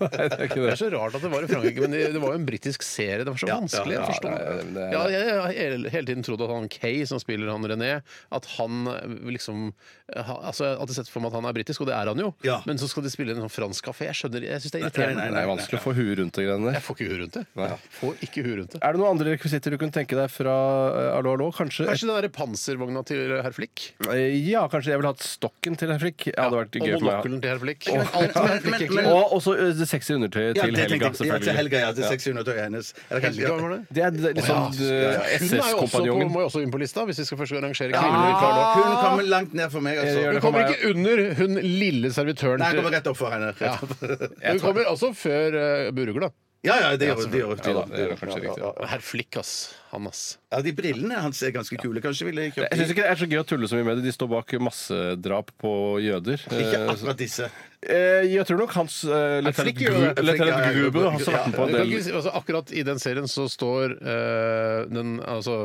Speaker 12: Nei, det er ikke
Speaker 5: det er
Speaker 12: det.
Speaker 5: så rart at det var i Frankrike, men det det var jo en britisk serie. Det var så vanskelig
Speaker 12: ja,
Speaker 5: å forstå.
Speaker 12: det er- det er-
Speaker 5: Ja, jeg har hele- hele tiden trodd at han Kay, som spiller han René, at han eh, liksom eh, ha- altså, Jeg har alltid sett for meg at han er britisk, og det er han jo,
Speaker 7: Ja.
Speaker 5: men så skal de spille i en sånn fransk kafé. Jeg skjønner, jeg syns det er
Speaker 7: Nei, nei,
Speaker 5: irriterende.
Speaker 7: nei.
Speaker 12: Det er vanskelig å få huet rundt de greiene der.
Speaker 5: Jeg får ikke huet rundt det. Jeg Får ikke huet rundt det.
Speaker 12: Er det noen andre rekvisitter du kunne tenke deg fra eh, Allo Allo? Kanskje?
Speaker 5: Kanskje den der panservogna til herr Flick?
Speaker 12: Eh, Ja, kanskje jeg ville hatt stokken til herr Frikk. Ja, det hadde vært
Speaker 5: Og
Speaker 12: gøy for meg.
Speaker 5: monokkelen til herr Flick?
Speaker 12: Og-
Speaker 5: Alt med herr Flick, egentlig.
Speaker 7: Men- men-
Speaker 12: Og også eh, det sexy undertøyet
Speaker 7: Ja,
Speaker 12: til
Speaker 7: det
Speaker 12: Helga,
Speaker 7: tenkte jeg. Ja, til
Speaker 12: selvfølgelig.
Speaker 7: Helga, ja. Til 600 tøyet hennes. Eller kanskje-
Speaker 5: Helga, var det?
Speaker 12: Det er litt sånn
Speaker 5: Hun er jo også på,
Speaker 12: SS-kompanjongen.
Speaker 5: må jo også inn på lista, hvis vi skal først arrangere
Speaker 12: Ja,
Speaker 5: kvinnelige
Speaker 12: klar
Speaker 7: Hun kommer langt ned for meg,
Speaker 12: Ah! Jeg gjør
Speaker 7: altså.
Speaker 5: Hun
Speaker 12: det.
Speaker 5: kommer ikke under hun lille servitøren.
Speaker 7: Nei, jeg kommer
Speaker 5: til-
Speaker 7: rett opp for henne. Rett opp.
Speaker 5: Hun kommer også før uh, Burugla.
Speaker 7: Ja, ja, det gjør det gjør- det
Speaker 5: Ja,
Speaker 7: gjør-
Speaker 5: da, det
Speaker 7: det
Speaker 5: er kanskje
Speaker 7: gjør-
Speaker 5: riktig. Herr Flick, ass. Han, ass.
Speaker 7: Ja, de brillene hans er ganske kule. Kanskje ville jeg
Speaker 12: Jeg
Speaker 7: kjøpt
Speaker 12: syns
Speaker 7: de.
Speaker 12: ikke det er så gøy å tulle så mye med det. De står bak massedrap på jøder.
Speaker 7: Ikke
Speaker 12: Eh,
Speaker 7: akkurat disse.
Speaker 12: eh, Jeg tror nok hans eh,
Speaker 7: Flick
Speaker 12: Lieutenant
Speaker 7: gjør det.
Speaker 12: Gru- Lieutenant
Speaker 7: Flick, ja, ja,
Speaker 12: Grube har også vært med på
Speaker 5: Du
Speaker 12: en
Speaker 5: kan
Speaker 12: del
Speaker 5: ikke si, altså, akkurat i den serien så står eh, den, altså,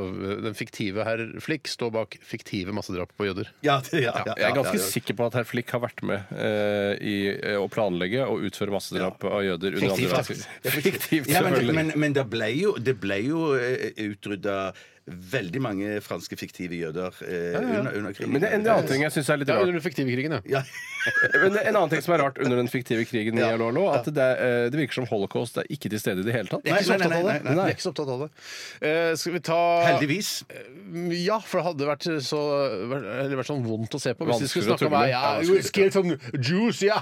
Speaker 5: den fiktive herr Flick står bak fiktive massedrap på jøder.
Speaker 7: Ja, det- ja, ja,
Speaker 12: Jeg er ganske
Speaker 7: ja, ja.
Speaker 12: sikker på at herr Flick har vært med eh, i eh, å planlegge og utføre massedrap av jøder under andre
Speaker 7: Fiktivt,
Speaker 12: verdenskrig.
Speaker 7: Ja,
Speaker 12: Fiktivt,
Speaker 7: ja, men,
Speaker 12: selvfølgelig.
Speaker 7: men, men det ble jo, det ble jo eh, utrydda veldig mange franske fiktive jøder eh, Under, under krigen.
Speaker 12: Men det er en annen ting jeg syns er litt
Speaker 5: Ja,
Speaker 12: rart.
Speaker 5: under den fiktive krigen, ja.
Speaker 7: Ja.
Speaker 12: Eh, Men en annen ting som er rart under den fiktive krigen i Lolo, at det, er, eh, det virker som holocaust er ikke til stede i det hele tatt.
Speaker 5: Jeg er ikke så
Speaker 7: Nei,
Speaker 5: opptatt av
Speaker 7: nei, nei,
Speaker 5: det.
Speaker 7: nei,
Speaker 12: nei.
Speaker 5: Jeg er ikke så opptatt av det. Eh, skal vi ta
Speaker 7: Heldigvis.
Speaker 5: Ja, for det hadde vært så eller vært sånn vondt å se på hvis de skulle snakke om
Speaker 12: Vanskelig å tulle.
Speaker 5: meg. Ja,
Speaker 12: Ja,
Speaker 5: you scared from juice, ja!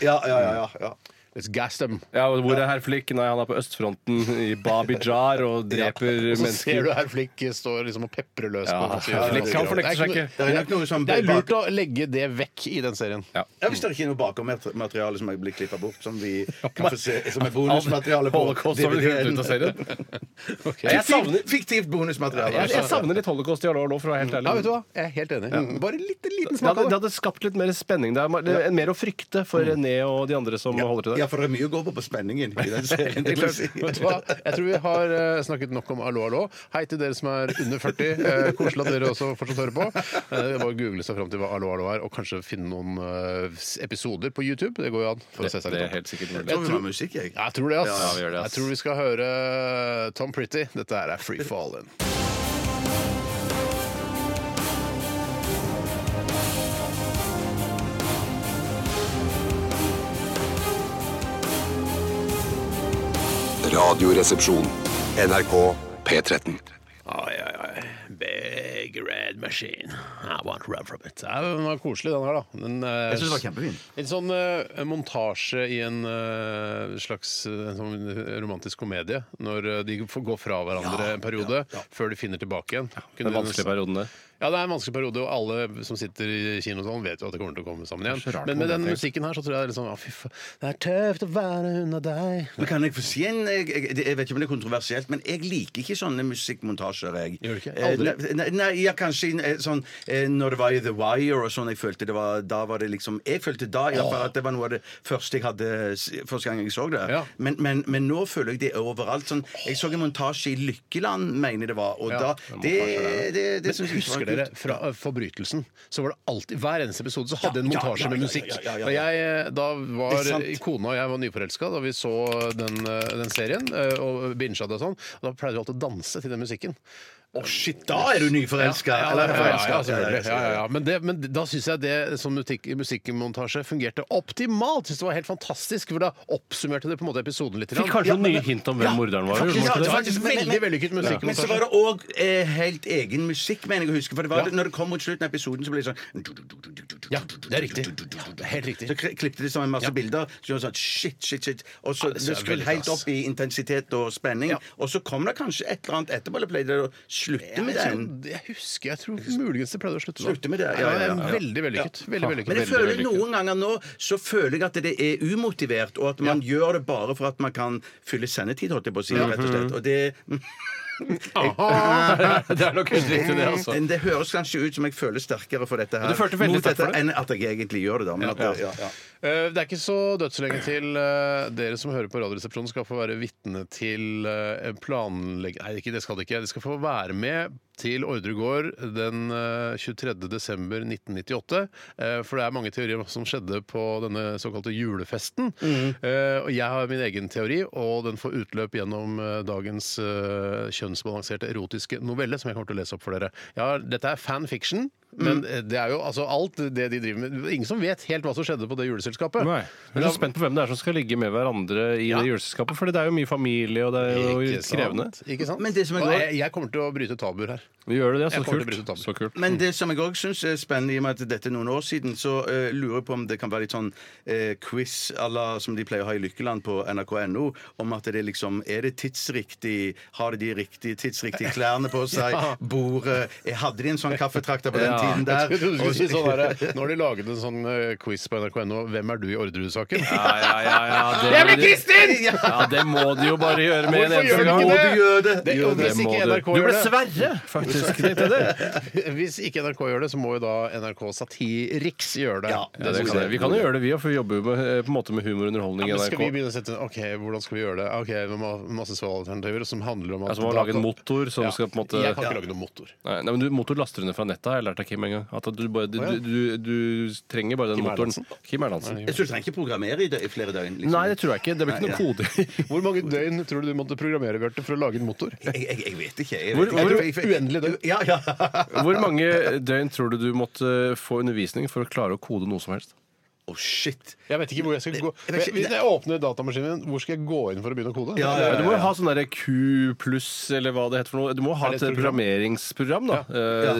Speaker 7: Ja, ja, ja. ja, ja.
Speaker 5: Let's gas them.
Speaker 12: Ja, og Hvor er herr Flick? Nei, han er på østfronten i Babijar og dreper
Speaker 5: Og så ser
Speaker 12: mennesker.
Speaker 5: du her Flick står liksom og peprer løs
Speaker 12: Ja,
Speaker 5: på
Speaker 12: ja, Flick, han fornekter seg
Speaker 5: Det er
Speaker 7: Det er nok noe som
Speaker 5: noe- Det er lurt å legge det vekk i den serien.
Speaker 7: Ja, Hvis det er ikke er noe bakommateriale som er blitt klippa bort, som vi kan få se som er bonusmateriale på
Speaker 12: Holocaust har blitt hentet ut av serien.
Speaker 5: Okay.
Speaker 12: Jeg savner,
Speaker 7: Fiktivt bonusmateriale.
Speaker 12: jeg, jeg savner litt holocaust i Lolo, for å være helt
Speaker 5: Ja, vet du
Speaker 12: ærlig.
Speaker 5: hva? Jeg er helt enig. Mm. Bare litt, en liten
Speaker 12: Det
Speaker 5: smak
Speaker 12: hadde,
Speaker 5: av
Speaker 12: det
Speaker 5: det.
Speaker 12: hadde skapt litt mer spenning. Det er, det er mer å frykte for René og de andre som holder
Speaker 7: Ja,
Speaker 12: til der.
Speaker 7: for det er mye å gå på på spenningen i den serien. det må jeg si.
Speaker 5: Vet du hva? Jeg tror vi har eh, snakket nok om Allo Allo. Hei til dere som er under 40. Eh, koselig at dere også fortsatt hører på. Eh, det er bare å google seg fram til hva Allo Allo er, og kanskje finne noen eh, episoder på YouTube. Det går jo an. for å se seg litt om.
Speaker 12: helt sikkert mulig.
Speaker 7: Jeg tror vi må ha musikk, jeg.
Speaker 5: Ja, Jeg tror det, ass.
Speaker 12: Ja, ja, vi gjør det, ass.
Speaker 5: Jeg tror vi skal høre eh, Tom Pretty. Dette her er Free Fallen.
Speaker 2: Radioresepsjon. NRK P13.
Speaker 5: Ai, ai, ai. Big red machine. I want run from it. Ja, den var koselig, den her, da. Den, eh,
Speaker 7: Jeg syns det var kjempefint.
Speaker 5: En sånn eh, montasje i en eh, slags eh, en sånn romantisk komedie. Når eh, de får gå fra hverandre en periode før de finner tilbake igjen. Kunne
Speaker 12: Den
Speaker 5: du-
Speaker 12: vanskelige perioden der.
Speaker 5: Ja, det er en vanskelig periode, og alle som sitter i kinosalen vet jo at det kommer til å komme sammen igjen.
Speaker 12: Det er så rart
Speaker 5: Men
Speaker 12: man
Speaker 5: med den
Speaker 12: vet
Speaker 5: musikken her så tror jeg det er litt sånn Å, fy faen. Det er tøft å være unna deg.
Speaker 7: Men kan jeg få si en jeg, jeg, det- jeg vet ikke om det er kontroversielt, men jeg liker ikke sånne musikkmontasjer. Jeg.
Speaker 5: Gjør du ikke?
Speaker 7: Eh,
Speaker 5: Aldri?
Speaker 7: Nei, nei, ja, kanskje eh, sånn eh, når det var i The Wire og sånn, jeg følte det var Da var det liksom Jeg følte da i hvert fall at det var noe av det første jeg hadde s- Første gang jeg så det.
Speaker 5: Ja.
Speaker 7: Men, men, men nå føler jeg det er overalt. Sånn, jeg så en montasje i Lykkeland, mener jeg det var, og
Speaker 5: Ja,
Speaker 7: da
Speaker 5: det må
Speaker 7: Det,
Speaker 5: kanskje være
Speaker 7: det, det, det syns
Speaker 5: Men
Speaker 7: jeg ikke var
Speaker 5: husker dere
Speaker 7: kult.
Speaker 5: fra eh, Forbrytelsen? Så var det alltid, Hver eneste episode så hadde
Speaker 7: Ja,
Speaker 5: en
Speaker 7: ja,
Speaker 5: montasje
Speaker 7: ja,
Speaker 5: med
Speaker 7: ja,
Speaker 5: musikk.
Speaker 7: ja, ja, ja, ja.
Speaker 5: Og jeg, eh, Da
Speaker 7: Det
Speaker 5: var
Speaker 7: er sant.
Speaker 5: eh, kona og jeg var nyforelska da vi så den, eh, den serien eh, og binga det og sånn. Og da pleide vi alltid å danse til den musikken.
Speaker 7: Å, shit, da er du nyforelska!
Speaker 5: Ja, ja,
Speaker 7: eller
Speaker 5: ja,
Speaker 7: forelska.
Speaker 5: ja, selvfølgelig. ja, ja, ja. Men, det, men da syns jeg det som musikk- musikkmontasje fungerte optimalt. Synes det var helt fantastisk, for Da oppsummerte det på en måte episoden litt.
Speaker 12: Fikk kanskje noen nye hint om hvem morderen var?
Speaker 5: Faktisk,
Speaker 12: gjorde
Speaker 5: ja,
Speaker 12: man
Speaker 5: det var
Speaker 12: ikke det?
Speaker 5: faktisk
Speaker 7: Men- men-
Speaker 5: veldig vellykket
Speaker 7: Men så var
Speaker 5: musikkmontasje.
Speaker 7: det òg eh, helt egen musikk, mener jeg å huske. For det var
Speaker 5: Ja.
Speaker 7: når det kom mot slutten av episoden, så ble det sånn
Speaker 5: Ja, det er riktig. Ja, det er helt riktig.
Speaker 7: Så kli- klippte de sammen masse
Speaker 5: Ja.
Speaker 7: bilder. Så gjorde de sånn shit, shit, shit Og så
Speaker 5: det
Speaker 7: det,
Speaker 5: ser veldig
Speaker 7: skulle helt
Speaker 5: bra, ass.
Speaker 7: opp i intensitet og spenning.
Speaker 5: Ja.
Speaker 7: Og så kom det kanskje et eller annet etterpå, eller pleide de å slutte
Speaker 5: Jeg,
Speaker 7: med
Speaker 5: tror,
Speaker 7: den?
Speaker 5: jeg husker jeg tror muligens det pleide å slutte
Speaker 7: Slutte med det, ja, ja, ja, ja.
Speaker 5: Veldig vellykket. Veldig vellykket.
Speaker 7: Men jeg
Speaker 5: Veldig
Speaker 7: føler
Speaker 5: vellykket.
Speaker 7: noen ganger nå så føler jeg at det er umotivert, og at man gjør det bare for at man kan fylle sendetid, holdt jeg på å si. rett og slett Og det
Speaker 5: Ah.
Speaker 12: Det er nok helt riktig, det, altså.
Speaker 7: Men Det høres kanskje ut som jeg føler sterkere for dette her.
Speaker 12: Men du følte veldig
Speaker 7: mot
Speaker 12: sterkt for
Speaker 7: dette
Speaker 12: det.
Speaker 7: Enn at jeg egentlig gjør det, da. Men at, ja, ja.
Speaker 5: Eh, Det er ikke så dødslenge til eh, dere som hører på Radioresepsjonen skal få være vitne til eh, en planlegg... Nei, ikke, det skal de ikke. De skal få være med til Ordre gård den eh, 23. desember 1998. eh, For det er mange teorier om hva som skjedde på denne såkalte julefesten.
Speaker 7: Mm.
Speaker 5: Eh, Og jeg har min egen teori, og den får utløp gjennom eh, dagens eh, kjønnsbalanserte erotiske novelle, som jeg kommer til å lese opp for dere. Ja, dette er fan fiction.
Speaker 7: Mm.
Speaker 5: Men eh, det er jo altså alt det de driver med Ingen som vet helt hva som skjedde på det juleselskapet.
Speaker 12: Nei. Jeg er så spent på hvem det er som skal ligge med hverandre i det juleselskapet. For det er jo mye familie, og det er jo
Speaker 5: Ikke sant?
Speaker 12: krevende.
Speaker 5: Ikke sant?
Speaker 7: Men det som er
Speaker 5: Og
Speaker 7: godt-
Speaker 5: jeg, jeg kommer til å bryte tabuer her.
Speaker 12: Gjør det det?
Speaker 5: Jeg
Speaker 12: Så
Speaker 5: kommer til å bryte
Speaker 12: kult.
Speaker 5: tabu.
Speaker 12: Så kult.
Speaker 7: Men det som jeg òg syns er spennende, i og med at dette er noen år siden, så eh, lurer jeg på om det kan være litt sånn eh, quiz à la som de pleier å ha i Lykkeland på nrk.no, om at det liksom Er det tidsriktig? Har de de riktige tidsriktige klærne på seg? Bordet eh, Hadde de en sånn kaffetrakter på den
Speaker 12: Ja.
Speaker 7: tiden der?
Speaker 5: Jeg trodde du skulle si sånn her, Nå har de laget en sånn eh, quiz på nrk.no. Hvem er du i Orderud-saken?
Speaker 12: Ja, ja, ja, ja, det,
Speaker 5: Jeg blir Kristin!
Speaker 12: Ja, det må de jo bare gjøre med en
Speaker 5: Hvorfor gjør
Speaker 12: eneste
Speaker 5: de
Speaker 12: gang.
Speaker 5: ikke
Speaker 7: Må du gjøre det?
Speaker 5: Det-
Speaker 12: Jo,
Speaker 5: og hvis
Speaker 12: det må
Speaker 5: ikke
Speaker 12: du.
Speaker 5: NRK
Speaker 12: Du
Speaker 5: gjør
Speaker 12: ble
Speaker 5: det-
Speaker 12: Sverre, faktisk. knyttet til det.
Speaker 5: Hvis ikke NRK gjør det, så må jo da NRK Satiriks gjøre det.
Speaker 12: Ja, det kan jeg. Vi kan jo gjøre det, vi òg, for vi jobber jo med, eh, på en måte med humor og underholdning i
Speaker 5: Men skal vi
Speaker 12: NRK.
Speaker 5: begynne å sette Ok, hvordan skal vi gjøre det? Ok, Vi må ha masse svaralternativer som handler om at
Speaker 12: Altså, man må lage en motor som
Speaker 5: Ja.
Speaker 12: skal på en måte
Speaker 5: Jeg kan ikke lage noen motor.
Speaker 12: Nei, nei, men du, Motor laster du ned fra nettet, har jeg lært av Kim en gang. At du, bare, du, du, du, du trenger bare den
Speaker 5: Kim
Speaker 12: motoren.
Speaker 5: Erlandsen?
Speaker 12: Kim Erlandsen.
Speaker 7: Jeg tror du trenger ikke programmere i, dø i flere døgn. Liksom.
Speaker 12: Nei, det tror jeg ikke. Det blir ikke noen koder.
Speaker 5: Hvor mange døgn tror du du måtte programmere Bjarte, for å lage en motor?
Speaker 7: jeg, jeg, jeg vet ikke. Jeg
Speaker 12: Hvor-
Speaker 7: vet ikke. Jeg
Speaker 12: hvor-
Speaker 7: tror jeg- jeg-
Speaker 5: uendelig døgn.
Speaker 7: Ja, ja.
Speaker 12: Hvor mange døgn tror du du måtte få undervisning for å klare å kode noe som helst?
Speaker 7: Å, shit.
Speaker 5: Jeg vet ikke hvor jeg skal gå.
Speaker 7: jeg vet ikke-
Speaker 5: Hvis jeg åpner datamaskinen, hvor skal jeg gå inn for å begynne å kode?
Speaker 7: Ja, ja,
Speaker 12: Du må jo ha sånn derre Q pluss, eller hva det heter for noe. Du må ha
Speaker 5: Er
Speaker 12: et
Speaker 5: det et program?
Speaker 12: programmeringsprogram, da. Eh,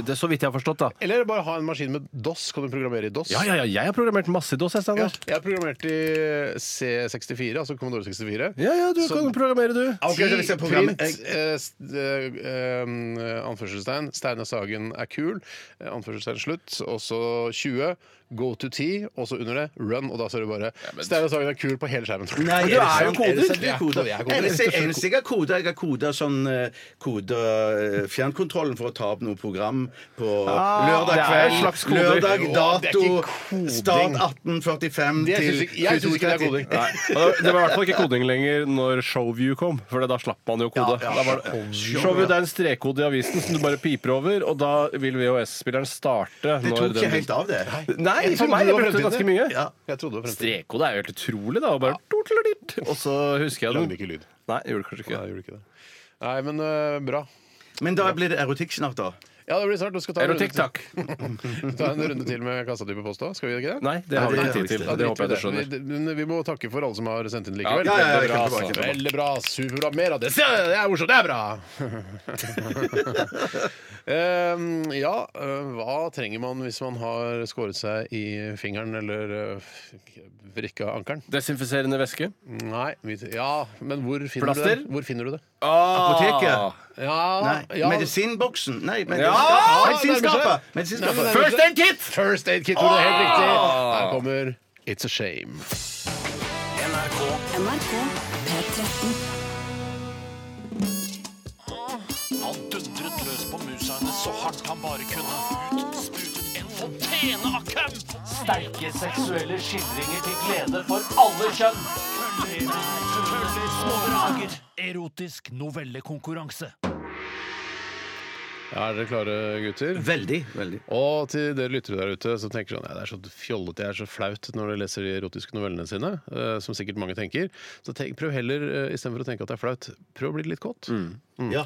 Speaker 12: Det er så vidt jeg har forstått, da.
Speaker 5: Eller bare ha en maskin med DOS. Kan du programmere i DOS?
Speaker 12: Ja, ja, ja, jeg har programmert masse i DOS, jeg,
Speaker 5: Ja,
Speaker 12: Steinar.
Speaker 5: jeg programmerte i C64, altså Commodore 64.
Speaker 12: Ja, ja, du
Speaker 5: Som-
Speaker 12: kan programmere, du.
Speaker 7: Ok, så hvis jeg programmer-
Speaker 5: print, eh, s- eh, em, eh, anførselstegn, Steinar Sagen er kul, eh, anførselstegn slutt, og så 20, go to T, og så under det run, og da ser du bare Steinar Sagen er kul på hele skjermen.
Speaker 7: Nei,
Speaker 12: Men du
Speaker 7: det
Speaker 12: er jo
Speaker 7: sant? det
Speaker 12: koder.
Speaker 7: sant? Du
Speaker 5: Jeg
Speaker 7: er
Speaker 5: er
Speaker 7: koder.
Speaker 5: koder, jeg er koder.
Speaker 7: Eneste eneste jeg har koder, jeg har koder sånn eh, koder eh, fjernkontrollen for å ta opp noe program på
Speaker 5: Ah,
Speaker 7: lørdag
Speaker 12: det er
Speaker 7: kveld.
Speaker 12: en slags koder.
Speaker 7: Lørdag,
Speaker 5: Jo, det er
Speaker 7: dato,
Speaker 5: ikke koding.
Speaker 7: start 1845
Speaker 5: Det
Speaker 7: til
Speaker 5: syns ikke- jeg syns ikke det er
Speaker 7: 22.30.
Speaker 5: koding.
Speaker 12: Nei. Og Det var i hvert fall ikke koding lenger når Showview kom, for da slapp man jo å kode.
Speaker 7: Ja, ja,
Speaker 12: Da var det, Showview det er en strekkode i avisen som du bare piper over, og da vil VHS-spilleren starte.
Speaker 7: Det
Speaker 12: når
Speaker 7: tok
Speaker 12: den-
Speaker 7: ikke helt av, det.
Speaker 12: Nei,
Speaker 5: Jeg
Speaker 12: for
Speaker 5: trodde
Speaker 12: meg.
Speaker 5: det
Speaker 12: Jeg
Speaker 5: var
Speaker 12: brukte det ganske
Speaker 5: fremtiden.
Speaker 12: mye.
Speaker 7: Ja.
Speaker 5: Jeg trodde det var fremtiden.
Speaker 12: Strekkode er jo helt utrolig, da. Og bare torteladitt. Og så husker jeg
Speaker 5: Lagde
Speaker 12: den.
Speaker 5: ikke lyd.
Speaker 12: Nei, jeg gjorde kanskje
Speaker 5: Nei,
Speaker 12: ikke
Speaker 5: jeg gjorde ikke det. Nei, men eh, bra.
Speaker 7: Men da blir det erotikk snart, da.
Speaker 5: Ja, det blir snart. Du skal ta en, runde
Speaker 12: Erotikk,
Speaker 5: til.
Speaker 12: takk.
Speaker 5: ta en runde til med kassatype post da. Skal vi ikke det?
Speaker 12: Nei, det har vi
Speaker 7: det
Speaker 12: ikke tid til.
Speaker 5: Da
Speaker 12: Det
Speaker 5: driter
Speaker 12: håper jeg du
Speaker 5: vi i
Speaker 12: skjønner.
Speaker 5: det. Vi, men vi må takke for alle som har sendt inn likevel.
Speaker 7: Ja, ja, ja,
Speaker 5: veldig, bra,
Speaker 7: jeg kommer
Speaker 5: altså.
Speaker 7: tilbake, jeg kommer
Speaker 5: veldig bra. Superbra. Mer av det. Se, Det er morsomt. Det er bra! Ehm, ja, øh, hva trenger man hvis man har skåret seg i fingeren eller øh, vrikka ankelen?
Speaker 12: Desinfiserende væske.
Speaker 5: Nei, vi, ja, men hvor finner
Speaker 12: Plaster?
Speaker 5: du det? Hvor finner du det?
Speaker 7: Apoteket?
Speaker 5: Ja,
Speaker 7: Nei.
Speaker 5: ja.
Speaker 7: Medisinboksen? Nei, medis-
Speaker 12: Ja,
Speaker 5: nærmer
Speaker 7: medisinskapet!
Speaker 5: seg. Nei,
Speaker 7: Medisinskapet.
Speaker 5: men-
Speaker 12: First aid kit! Ah!
Speaker 5: First aid kit, Tore. Helt riktig. Her kommer It's a Shame.
Speaker 8: NRK P13.
Speaker 11: Han dundret løs på musene så hardt han bare kunne. Ut sprutet en fontene av køm! Sterke seksuelle skildringer til glede for alle kjønn. Køller, små drager. Erotisk novellekonkurranse.
Speaker 5: Ja, Er dere klare, gutter?
Speaker 7: Veldig. veldig
Speaker 5: Og til dere lyttere der ute som tenker sånn, ja, det er så fjollete, det er så flaut når dere leser de erotiske novellene sine, eh, som sikkert mange tenker, så tenk, prøv heller, eh, istedenfor å tenke at det er flaut, prøv å bli litt kåt.
Speaker 12: Mm.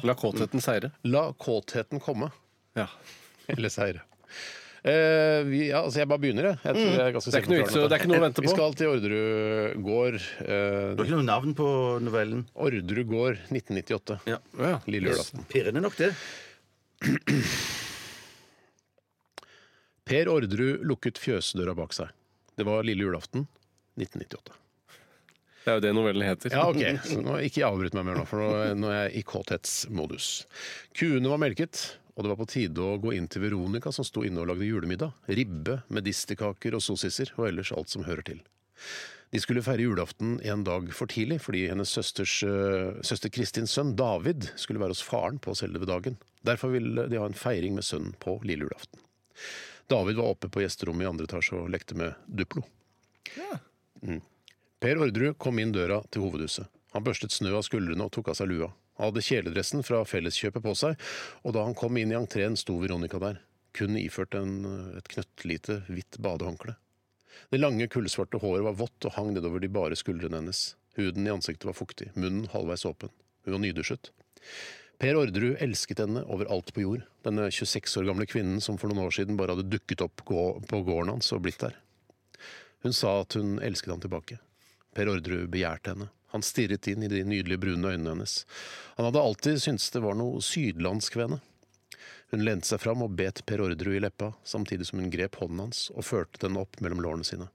Speaker 12: La kåtheten seire.
Speaker 5: La kåtheten komme.
Speaker 12: Ja.
Speaker 5: Eller seire. Eh, vi, ja, altså jeg bare begynner, jeg. jeg, tror jeg er ganske
Speaker 12: Mm. Det
Speaker 5: selvforklarende
Speaker 12: er ikke noe vits, og det er ikke noe å vente
Speaker 5: på. Vi
Speaker 12: på.
Speaker 5: skal til Orderud gård.
Speaker 7: Du har
Speaker 5: Eh,
Speaker 7: ikke noe navn på novellen?
Speaker 5: Orderud gård 1998.
Speaker 7: Ja.
Speaker 5: Lille julaften.
Speaker 7: Pirrende nok, det.
Speaker 5: Per Orderud lukket fjøsdøra bak seg. Det var lille julaften 1998.
Speaker 12: Det er jo det novellen heter.
Speaker 5: Ja, ok. Så nå, ikke avbryt meg mer nå, for nå, nå er jeg i kåthetsmodus. Kuene var melket, og det var på tide å gå inn til Veronica, som sto inne og lagde julemiddag. Ribbe, medisterkaker og sossiser, og ellers alt som hører til. De skulle feire julaften en dag for tidlig, fordi hennes søsters, eh, søster Kristins sønn, David, skulle være hos faren på selve dagen. Derfor ville de ha en feiring med sønnen på lille julaften. David var oppe på gjesterommet i andre etasje og lekte med Duplo. Per Orderud kom inn døra til hovedhuset. Han børstet snø av skuldrene og tok av seg lua. Han hadde kjeledressen fra felleskjøpet på seg, og da han kom inn i entreen, sto Veronica der, kun iført en, et knøttlite, hvitt badehåndkle. Det lange, kullsvarte håret var vått og hang nedover de bare skuldrene hennes. Huden i ansiktet var fuktig, munnen halvveis åpen. Hun var nydusjet. Per Orderud elsket henne overalt på jord. Denne 26 år gamle kvinnen som for noen år siden bare hadde dukket opp gå- på gården hans og blitt der. Hun sa at hun elsket ham tilbake. Per Orderud begjærte henne. Han stirret inn i de nydelige brune øynene hennes. Han hadde alltid syntes det var noe sydlandsk ved henne. Hun lente seg fram og bet Per Orderud i leppa, samtidig som hun grep hånden hans og førte den opp mellom lårene sine.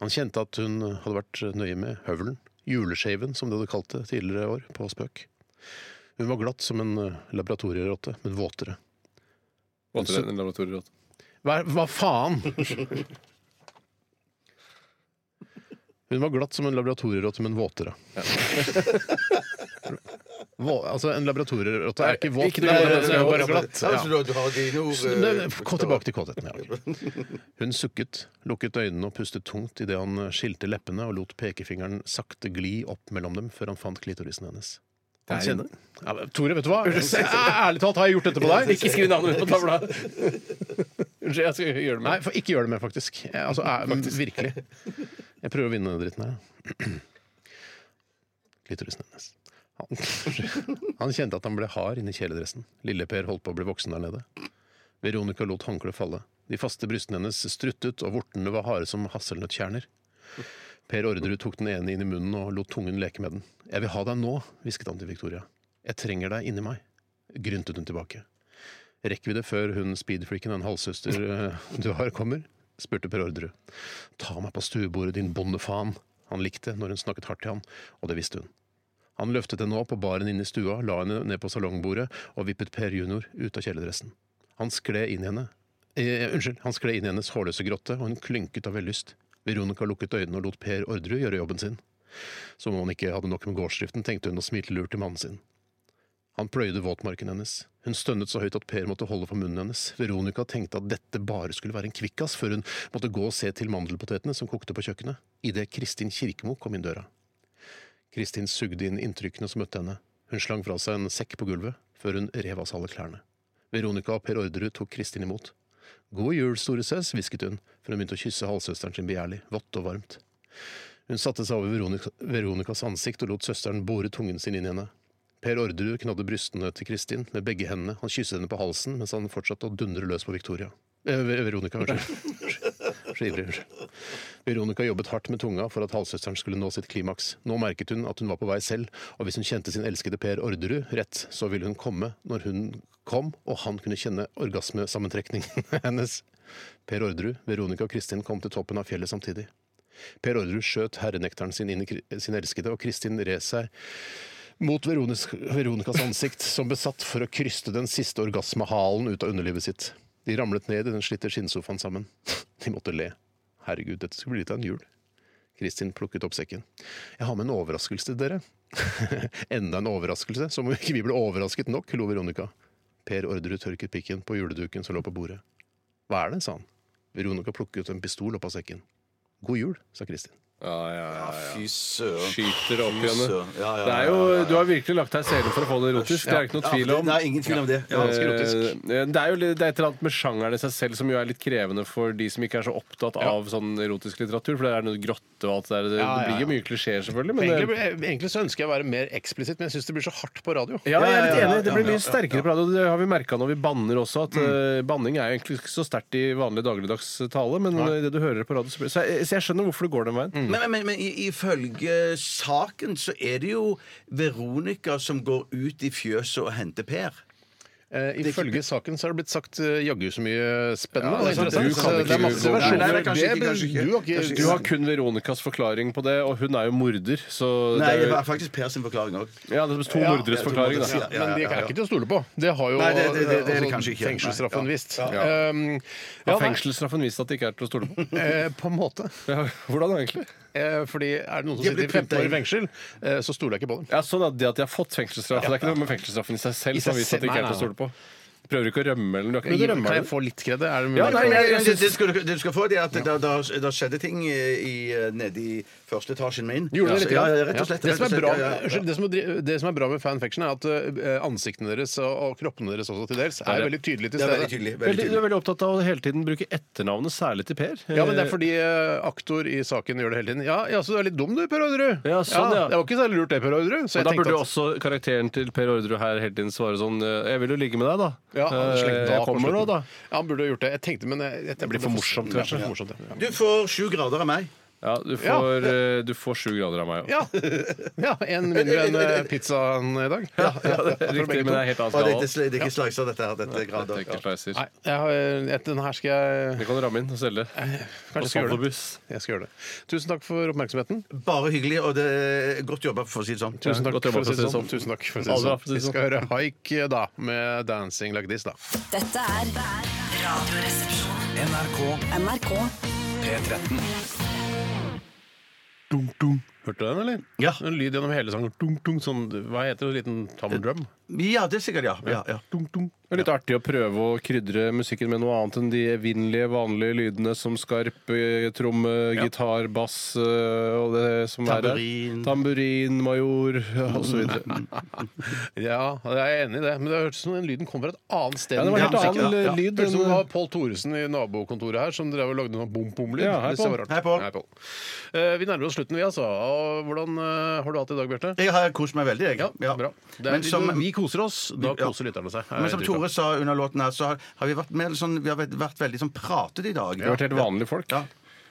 Speaker 5: Han kjente at hun hadde vært nøye med høvelen, juleskjeven som de hadde kalt det tidligere år, på spøk. Hun var glatt som en eh, laboratorierotte, men våtere.
Speaker 12: Vant dere en laboratorieråd?
Speaker 5: Hva, hva faen? Hun var glatt som en laboratorierotte, men våtere. Vå, altså, en laboratorierotte er ikke våt,
Speaker 12: Ikke
Speaker 5: den er bare-
Speaker 12: det,
Speaker 5: den er bare glatt.
Speaker 7: Altså,
Speaker 5: Ja.
Speaker 7: du, du har dine ord
Speaker 5: Så,
Speaker 7: eh,
Speaker 5: men, Gå tilbake til kåtheten. Ja. ok. Hun sukket, lukket øynene og pustet tungt idet han skilte leppene og lot pekefingeren sakte gli opp mellom dem før han fant klitorisen hennes. Han
Speaker 12: Der inne.
Speaker 5: kjenner- Ja, men, Tore, vet du hva? Ærlig talt, har jeg gjort dette på deg?
Speaker 12: Ikke skriv navnet mitt på tavla! Unnskyld, jeg skal gjøre det
Speaker 5: Nei,
Speaker 12: med
Speaker 5: for ikke gjør det mer, faktisk. Jeg, altså, jeg, Virkelig. Jeg prøver å vinne denne dritten her. da. Klitorisen hennes. Han, han kjente at han ble hard inni kjeledressen. Lille-Per holdt på å bli voksen der nede. Veronica lot håndkleet falle. De faste brystene hennes struttet, og vortene var harde som hasselnøttkjerner. Per Orderud tok den ene inn i munnen og lot tungen leke med den. 'Jeg vil ha deg nå', hvisket han til Victoria. 'Jeg trenger deg inni meg', gryntet hun tilbake. Rekker vi det før hun speedfreaken, en halvsøster eh, du har, kommer? spurte Per Orderud. Ta meg på stuebordet, din bondefaen. Han likte når hun snakket hardt til han, og det visste hun. Han løftet henne opp på baren inne i stua, la henne ned på salongbordet og vippet Per Junior ut av kjeledressen. Han skled inn i henne. Eh, unnskyld, han skled inn i hennes hårløse grotte, og hun klynket av vellyst. Veronica lukket øynene og lot Per Orderud gjøre jobben sin. Som om han ikke hadde nok med gårdsdriften, tenkte hun og smilte lurt til mannen sin. Han pløyde våtmarken hennes. Hun stønnet så høyt at Per måtte holde for munnen hennes. Veronica tenkte at dette bare skulle være en kvikkas, før hun måtte gå og se til mandelpotetene som kokte på kjøkkenet, idet Kristin Kirkemo kom inn døra. Kristin sugde inn inntrykkene som møtte henne. Hun slang fra seg en sekk på gulvet, før hun rev av seg alle klærne. Veronica og Per Orderud tok Kristin imot. God jul, store søs, hvisket hun, før hun begynte å kysse halvsøsteren sin begjærlig, vått og varmt. Hun satte seg over Veronica, Veronicas ansikt og lot søsteren bore tungen sin inn i henne. Per Orderud knadde brystene til Kristin med begge hendene. Han kysset henne på halsen mens han fortsatte å dundre løs på Victoria. Eh, Ver- Veronica, unnskyld. Så ivrig, unnskyld. Veronica jobbet hardt med tunga for at halvsøsteren skulle nå sitt klimaks. Nå merket hun at hun var på vei selv, og hvis hun kjente sin elskede Per Orderud rett, så ville hun komme når hun kom, og han kunne kjenne orgasmesammentrekningen hennes. Per Orderud, Veronica og Kristin kom til toppen av fjellet samtidig. Per Orderud skjøt herrenekteren sin inn i kri- sin elskede, og Kristin red seg mot Veronis- Veronicas ansikt, som besatt for å kryste den siste orgasmehalen ut av underlivet sitt. De ramlet ned i den slitte skinnsofaen sammen. De måtte le. Herregud, dette skulle bli litt av en jul. Kristin plukket opp sekken. Jeg har med en overraskelse til dere. Enda en overraskelse, som om ikke vi ble overrasket nok, lo Veronica. Per Orderud tørket pikken på juleduken som lå på bordet. Hva er det, sa han. Veronica plukket en pistol opp av sekken. God jul, sa Kristin.
Speaker 12: Ja, ja, ja,
Speaker 7: Fy
Speaker 12: ja.
Speaker 7: søren.
Speaker 12: Skyter opp
Speaker 7: Fy
Speaker 12: igjen.
Speaker 7: søren. Ja, ja,
Speaker 12: Det er
Speaker 7: ja, ja,
Speaker 12: jo,
Speaker 7: ja.
Speaker 12: du har virkelig lagt deg i selen for å få det erotisk. Det er ikke noe tvil om.
Speaker 7: Nei, ingen tvil om det.
Speaker 5: Ja, ganske erotisk.
Speaker 12: Eh, Det er jo litt- det er et eller annet med sjangeren i seg selv som jo er litt krevende for de som ikke er så opptatt av sånn erotisk litteratur, for det er noe grotte og alt det der.
Speaker 5: Ja,
Speaker 12: Det,
Speaker 5: ja,
Speaker 12: det blir jo
Speaker 5: ja.
Speaker 12: mye klisjeer, selvfølgelig, men eh,
Speaker 5: Egentlig, eh, egentlig så ønsker jeg å være mer eksplisitt, men jeg syns det blir så hardt på radio.
Speaker 12: ja, jeg er
Speaker 7: Ja,
Speaker 12: litt
Speaker 7: ja, ja,
Speaker 12: enig.
Speaker 7: ja,
Speaker 12: Det blir
Speaker 7: ja,
Speaker 12: mye sterkere på radio. Det har vi merka når vi banner også. At eh, banning er jo egentlig ikke så sterkt i vanlig dagligdags tale, men i det du hører på radio Så, blir- så, jeg, så jeg skjønner hvorfor det går den veien.
Speaker 7: Men, men, men, men i- ifølge saken så er det jo Veronica som går ut i fjøset og henter Per.
Speaker 5: Eh, ifølge saken så er det blitt sagt eh, jaggu så mye spennende. og
Speaker 12: det er sant.
Speaker 5: interessant.
Speaker 12: Du kan
Speaker 5: Så det
Speaker 12: ikke-
Speaker 5: er masse
Speaker 12: Nei,
Speaker 5: versjoner.
Speaker 12: nei,
Speaker 7: det er kanskje
Speaker 5: Det-
Speaker 7: ikke- kanskje ikke.
Speaker 5: Du har ikke,
Speaker 12: Du har kun Veronicas forklaring på det, og hun er jo morder, så
Speaker 7: Nei,
Speaker 12: det
Speaker 7: det
Speaker 12: er
Speaker 7: var
Speaker 12: jo,
Speaker 7: faktisk Per sin forklaring òg.
Speaker 12: Ja, det er to morderes
Speaker 7: to
Speaker 12: forklaring,
Speaker 7: morderes,
Speaker 12: da.
Speaker 7: ja.
Speaker 5: Men det er ikke til å stole på. Det har jo
Speaker 7: Nei, det- det- det- det er
Speaker 5: altså,
Speaker 7: det kanskje ikke.
Speaker 5: fengselsstraffen
Speaker 7: Nei.
Speaker 5: visst.
Speaker 7: Ja.
Speaker 5: Um, ja,
Speaker 12: Har
Speaker 5: nei,
Speaker 12: fengselsstraffen vist at det ikke er til å stole på?
Speaker 5: eh, på en måte.
Speaker 12: Ja, Hvordan egentlig?
Speaker 5: Eh, Fordi er det noen som
Speaker 7: Jeg
Speaker 5: sitter i
Speaker 7: blir
Speaker 5: 15 år i
Speaker 7: puttet
Speaker 5: fengsel, eh, så stoler jeg ikke på dem.
Speaker 12: Ja, sånn at Det at de har fått feengselstraff, det er ikke noe med fengselsstraffen i seg selv
Speaker 5: I
Speaker 12: som
Speaker 5: seg
Speaker 12: har vist at det
Speaker 5: selv-
Speaker 12: ikke er
Speaker 5: nei,
Speaker 12: til å
Speaker 5: nei,
Speaker 12: stole på. prøver ikke å rømme eller du har ikke
Speaker 5: Gi-
Speaker 12: noe
Speaker 5: Kan jeg
Speaker 12: rømme.
Speaker 5: få litt kred? Er det
Speaker 12: Ja,
Speaker 5: mulig?
Speaker 12: nei, jeg- jeg
Speaker 7: Det,
Speaker 12: synes-
Speaker 7: det, skal, du- det du skal få, det er at det- da, da, da skjedde ting eh, i, eh, nede i første etasjen min.
Speaker 5: Gjorde det litt?
Speaker 7: ja, ja, rett og slett.
Speaker 5: Det som er
Speaker 7: rett og slett,
Speaker 5: bra,
Speaker 7: ja, ja, ja.
Speaker 5: unnskyld, det som er dri- det som er bra med fanfiction, er at eh, ansiktene deres og, og kroppene deres også til dels er veldig tydelig til
Speaker 7: Det er
Speaker 5: stede.
Speaker 7: veldig tydelig. Veldig
Speaker 12: Veldig, du
Speaker 7: tydelig.
Speaker 12: er veldig opptatt av å hele tiden bruke etternavnet, særlig til Per.
Speaker 5: Ja, men det er fordi eh, aktor i saken gjør det hele tiden. Ja, ja så du er litt dum du, Per Orderud.
Speaker 12: Ja, sånn, ja.
Speaker 5: Det var ikke særlig lurt det, Per Orderud. Så jeg
Speaker 12: Men Eh, da burde
Speaker 5: tenkte
Speaker 12: jo
Speaker 5: at
Speaker 12: også karakteren til Per Orderud her hele tiden svare sånn eh, Jeg vil jo ligge med deg, da.
Speaker 5: ja, han
Speaker 12: Eh,
Speaker 5: slengte da
Speaker 12: jeg
Speaker 5: på
Speaker 12: kommer nå,
Speaker 5: slutten.
Speaker 12: da.
Speaker 5: Ja, han burde jo gjort det. Jeg tenkte, men jeg, jeg, det blir
Speaker 12: for morsomt, kanskje.
Speaker 5: Ja, for morsomt, ja.
Speaker 7: Du får sju grader av meg.
Speaker 12: Ja, du får, eh, du får sju grader av meg òg.
Speaker 5: Ja. ja, en mindre enn eh, pizzaen i dag. Ja,
Speaker 12: Riktig, men det er helt
Speaker 7: Og det, det,
Speaker 12: annen skala.
Speaker 7: det er ikke slicer, dette her. Dette er
Speaker 12: Det
Speaker 7: grader.
Speaker 12: er ikke slicer.
Speaker 5: Nei, jeg har, eh, den her skal jeg
Speaker 12: Det kan du ramme inn og selge.
Speaker 5: Kanskje
Speaker 12: Og
Speaker 5: skal jeg gjøre det.
Speaker 12: Saldobuss.
Speaker 5: Jeg skal gjøre det. Tusen takk for oppmerksomheten.
Speaker 7: Bare hyggelig, og det er godt jobba, for å si det sånn.
Speaker 5: Tusen takk
Speaker 12: godt jobba
Speaker 5: for å si det
Speaker 12: for å
Speaker 5: sånn.
Speaker 12: si det
Speaker 5: Tusen
Speaker 12: sånn.
Speaker 5: takk for å si
Speaker 12: Aldri
Speaker 5: det
Speaker 12: hatt
Speaker 5: sånn.
Speaker 12: det
Speaker 5: Vi skal høre Haik eh, da, med 'Dancing Like This'. da.
Speaker 8: Dette er Radioresepsjonen.
Speaker 4: NRK
Speaker 8: NRK
Speaker 4: P13.
Speaker 5: Hørte du den, eller?
Speaker 7: Ja.
Speaker 5: En lyd gjennom hele sangen. Dunk, dunk, sånn, hva heter det? En liten tam drum?
Speaker 7: Ja, det er sikkert, ja. ja, ja.
Speaker 5: Dunk, dunk.
Speaker 12: Det er litt artig å prøve å krydre musikken med noe annet enn de evinnelige, vanlige lydene som skarp, eh, tromme, gitar, bass eh, og det som
Speaker 7: Tamburin.
Speaker 12: er der. Tamburin, major eh, og så videre.
Speaker 5: Ja, jeg er enig i det, men det hørtes ut som den lyden kom fra et annet sted.
Speaker 12: Ja, det var en helt
Speaker 7: Ja,
Speaker 12: annen
Speaker 7: sikkert, ja.
Speaker 12: eh, lyd.
Speaker 5: Det hørtes ut som det
Speaker 12: enn-
Speaker 5: var Pål Thoresen i nabokontoret her som drev og lagde noe bom-bom-lyd.
Speaker 12: Ja, hei,
Speaker 5: Det synes jeg
Speaker 12: Pål.
Speaker 5: var rart.
Speaker 7: Hei, Pål.
Speaker 5: Eh, vi nærmer oss slutten, vi, altså. Og hvordan eh, har du hatt det i dag, Bjarte?
Speaker 7: Jeg har kost meg veldig, jeg.
Speaker 5: Ja, bra. Det er,
Speaker 7: Men som,
Speaker 5: vi koser oss, da
Speaker 7: Ja.
Speaker 5: koser lytterne seg.
Speaker 7: men som Tore sa under låten her, så har, har vi vært, mer sånn, vi har vært, vært veldig sånn pratete i dag.
Speaker 12: Vi har vært helt vanlige folk.
Speaker 7: Ja.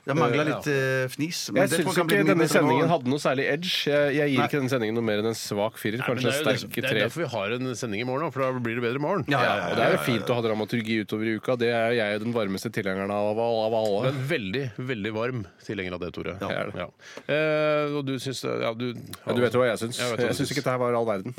Speaker 7: Det mangla litt eh, fnis. men
Speaker 12: Jeg
Speaker 7: det tror
Speaker 12: syns
Speaker 7: kan bli
Speaker 12: ikke
Speaker 7: mye
Speaker 12: denne
Speaker 7: bedre nå.
Speaker 12: sendingen hadde noe særlig edge. Jeg, jeg gir
Speaker 7: Nei.
Speaker 12: ikke denne sendingen noe mer enn en svak firer,
Speaker 5: Nei, men
Speaker 12: kanskje en
Speaker 5: det er jo
Speaker 12: sterk
Speaker 5: det- Det er
Speaker 12: treer.
Speaker 5: derfor vi har en sending i morgen, da, for da blir det bedre i morgen.
Speaker 7: Ja, ja, ja,
Speaker 12: Og
Speaker 7: ja,
Speaker 12: det er
Speaker 7: ja,
Speaker 12: jo fint å ha dramaturgi utover i uka. Det er jeg den varmeste tilhengeren av, av alle.
Speaker 5: Men veldig, veldig varm tilhenger av det, Tore.
Speaker 12: Jeg er det.
Speaker 5: Ja. Eh, og du syns Ja, du,
Speaker 12: Ja, du vet jo hva jeg syns.
Speaker 5: Jeg vet hva
Speaker 12: Jeg
Speaker 5: du syns.
Speaker 12: syns ikke dette her var all verden.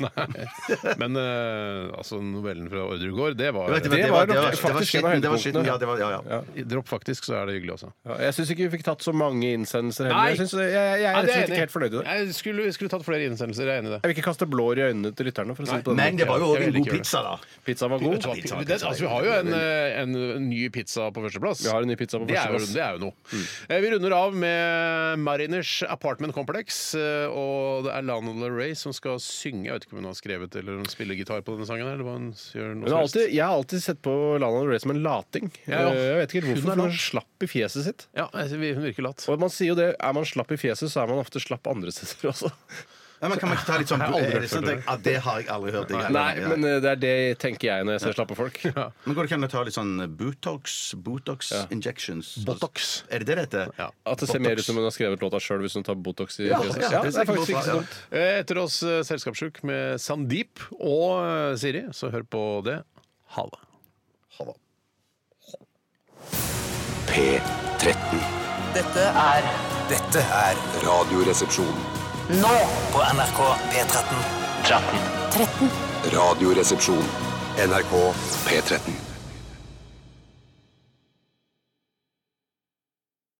Speaker 5: Men eh, altså, novellen fra Ordre gård, det var
Speaker 7: Jeg vet,
Speaker 12: Det
Speaker 7: det
Speaker 12: var
Speaker 7: var- det var-
Speaker 12: nok
Speaker 7: det var
Speaker 12: faktisk en av
Speaker 7: skitten, det var skitten.
Speaker 12: høydepunktene.
Speaker 7: Ja, det var, ja, ja.
Speaker 5: Dropp faktisk, så er det hyggelig også.
Speaker 12: Ja, jeg syns ikke vi fikk tatt så mange innsendelser heller.
Speaker 5: Nei.
Speaker 12: Jeg, synes, jeg, jeg, jeg
Speaker 5: det
Speaker 12: er rett og slett
Speaker 5: enig.
Speaker 12: ikke helt fornøyd i det.
Speaker 5: Jeg skulle, jeg skulle tatt flere innsendelser, jeg er enig i det.
Speaker 12: Jeg vil ikke kaste blår i øynene til lytterne. for å si det på den
Speaker 7: Men det
Speaker 12: måten.
Speaker 7: var jo
Speaker 5: Jeg
Speaker 7: òg
Speaker 5: vil
Speaker 7: en
Speaker 5: ikke
Speaker 7: god
Speaker 5: gjøre
Speaker 7: pizza, da.
Speaker 12: Pizzaen var god.
Speaker 5: Det, altså, vi har jo en, eh, en ny pizza på førsteplass.
Speaker 12: Vi har en ny pizza på Mm.
Speaker 5: Det er jo,
Speaker 12: førsteplass.
Speaker 5: det er jo noe. Eh, Vi runder av med Mariners Apartment Complex. eh, Og det er Lana Del Rey som skal synge. Jeg vet ikke om hun har skrevet eller hun spiller gitar på denne sangen. her, Eller hva hun gjør nå
Speaker 12: Men jeg har alltid, jeg har alltid sett på Lana Del Rey som en lating. Eh,
Speaker 5: Ja, ja.
Speaker 12: Jeg vet ikke helt
Speaker 5: Hun er
Speaker 12: hvorfor for
Speaker 5: lat.
Speaker 12: hun er slapp i fjeset sitt.
Speaker 5: Ja, altså, vi- hun virker latt.
Speaker 12: Og man sier jo det, Er man slapp i fjeset, så er man ofte slapp andre steder også.
Speaker 7: Nei, men kan man ikke ta litt sånn
Speaker 5: aldri
Speaker 7: er
Speaker 5: hørt
Speaker 7: det, sant?
Speaker 5: det.
Speaker 7: Ja, det har jeg aldri hørt. jeg heller.
Speaker 12: Nei, men eh, det er det tenker jeg når jeg ser slappe folk.
Speaker 7: Men går det ikke an å ta litt sånn Botox? Botox injections?
Speaker 5: Botox.
Speaker 7: Er det det det heter?
Speaker 5: Ja.
Speaker 12: At det ser mer ut som hun har skrevet låta sjøl hvis hun tar Botox i fjeset.
Speaker 7: ja,
Speaker 12: Ja,
Speaker 7: det
Speaker 12: det er
Speaker 7: ser
Speaker 12: faktisk
Speaker 7: ikke
Speaker 12: ikke så
Speaker 7: bra,
Speaker 12: dumt.
Speaker 5: Eh, Etter oss eh, Selskapssjuk med Sandeep og eh, Siri, så hør på det. Ha det. Ha det.
Speaker 2: P13.
Speaker 13: Dette er Dette er
Speaker 2: Radioresepsjon.
Speaker 13: Nå på NRK P13. 13.
Speaker 8: 13.
Speaker 2: Radioresepsjon. NRK P13.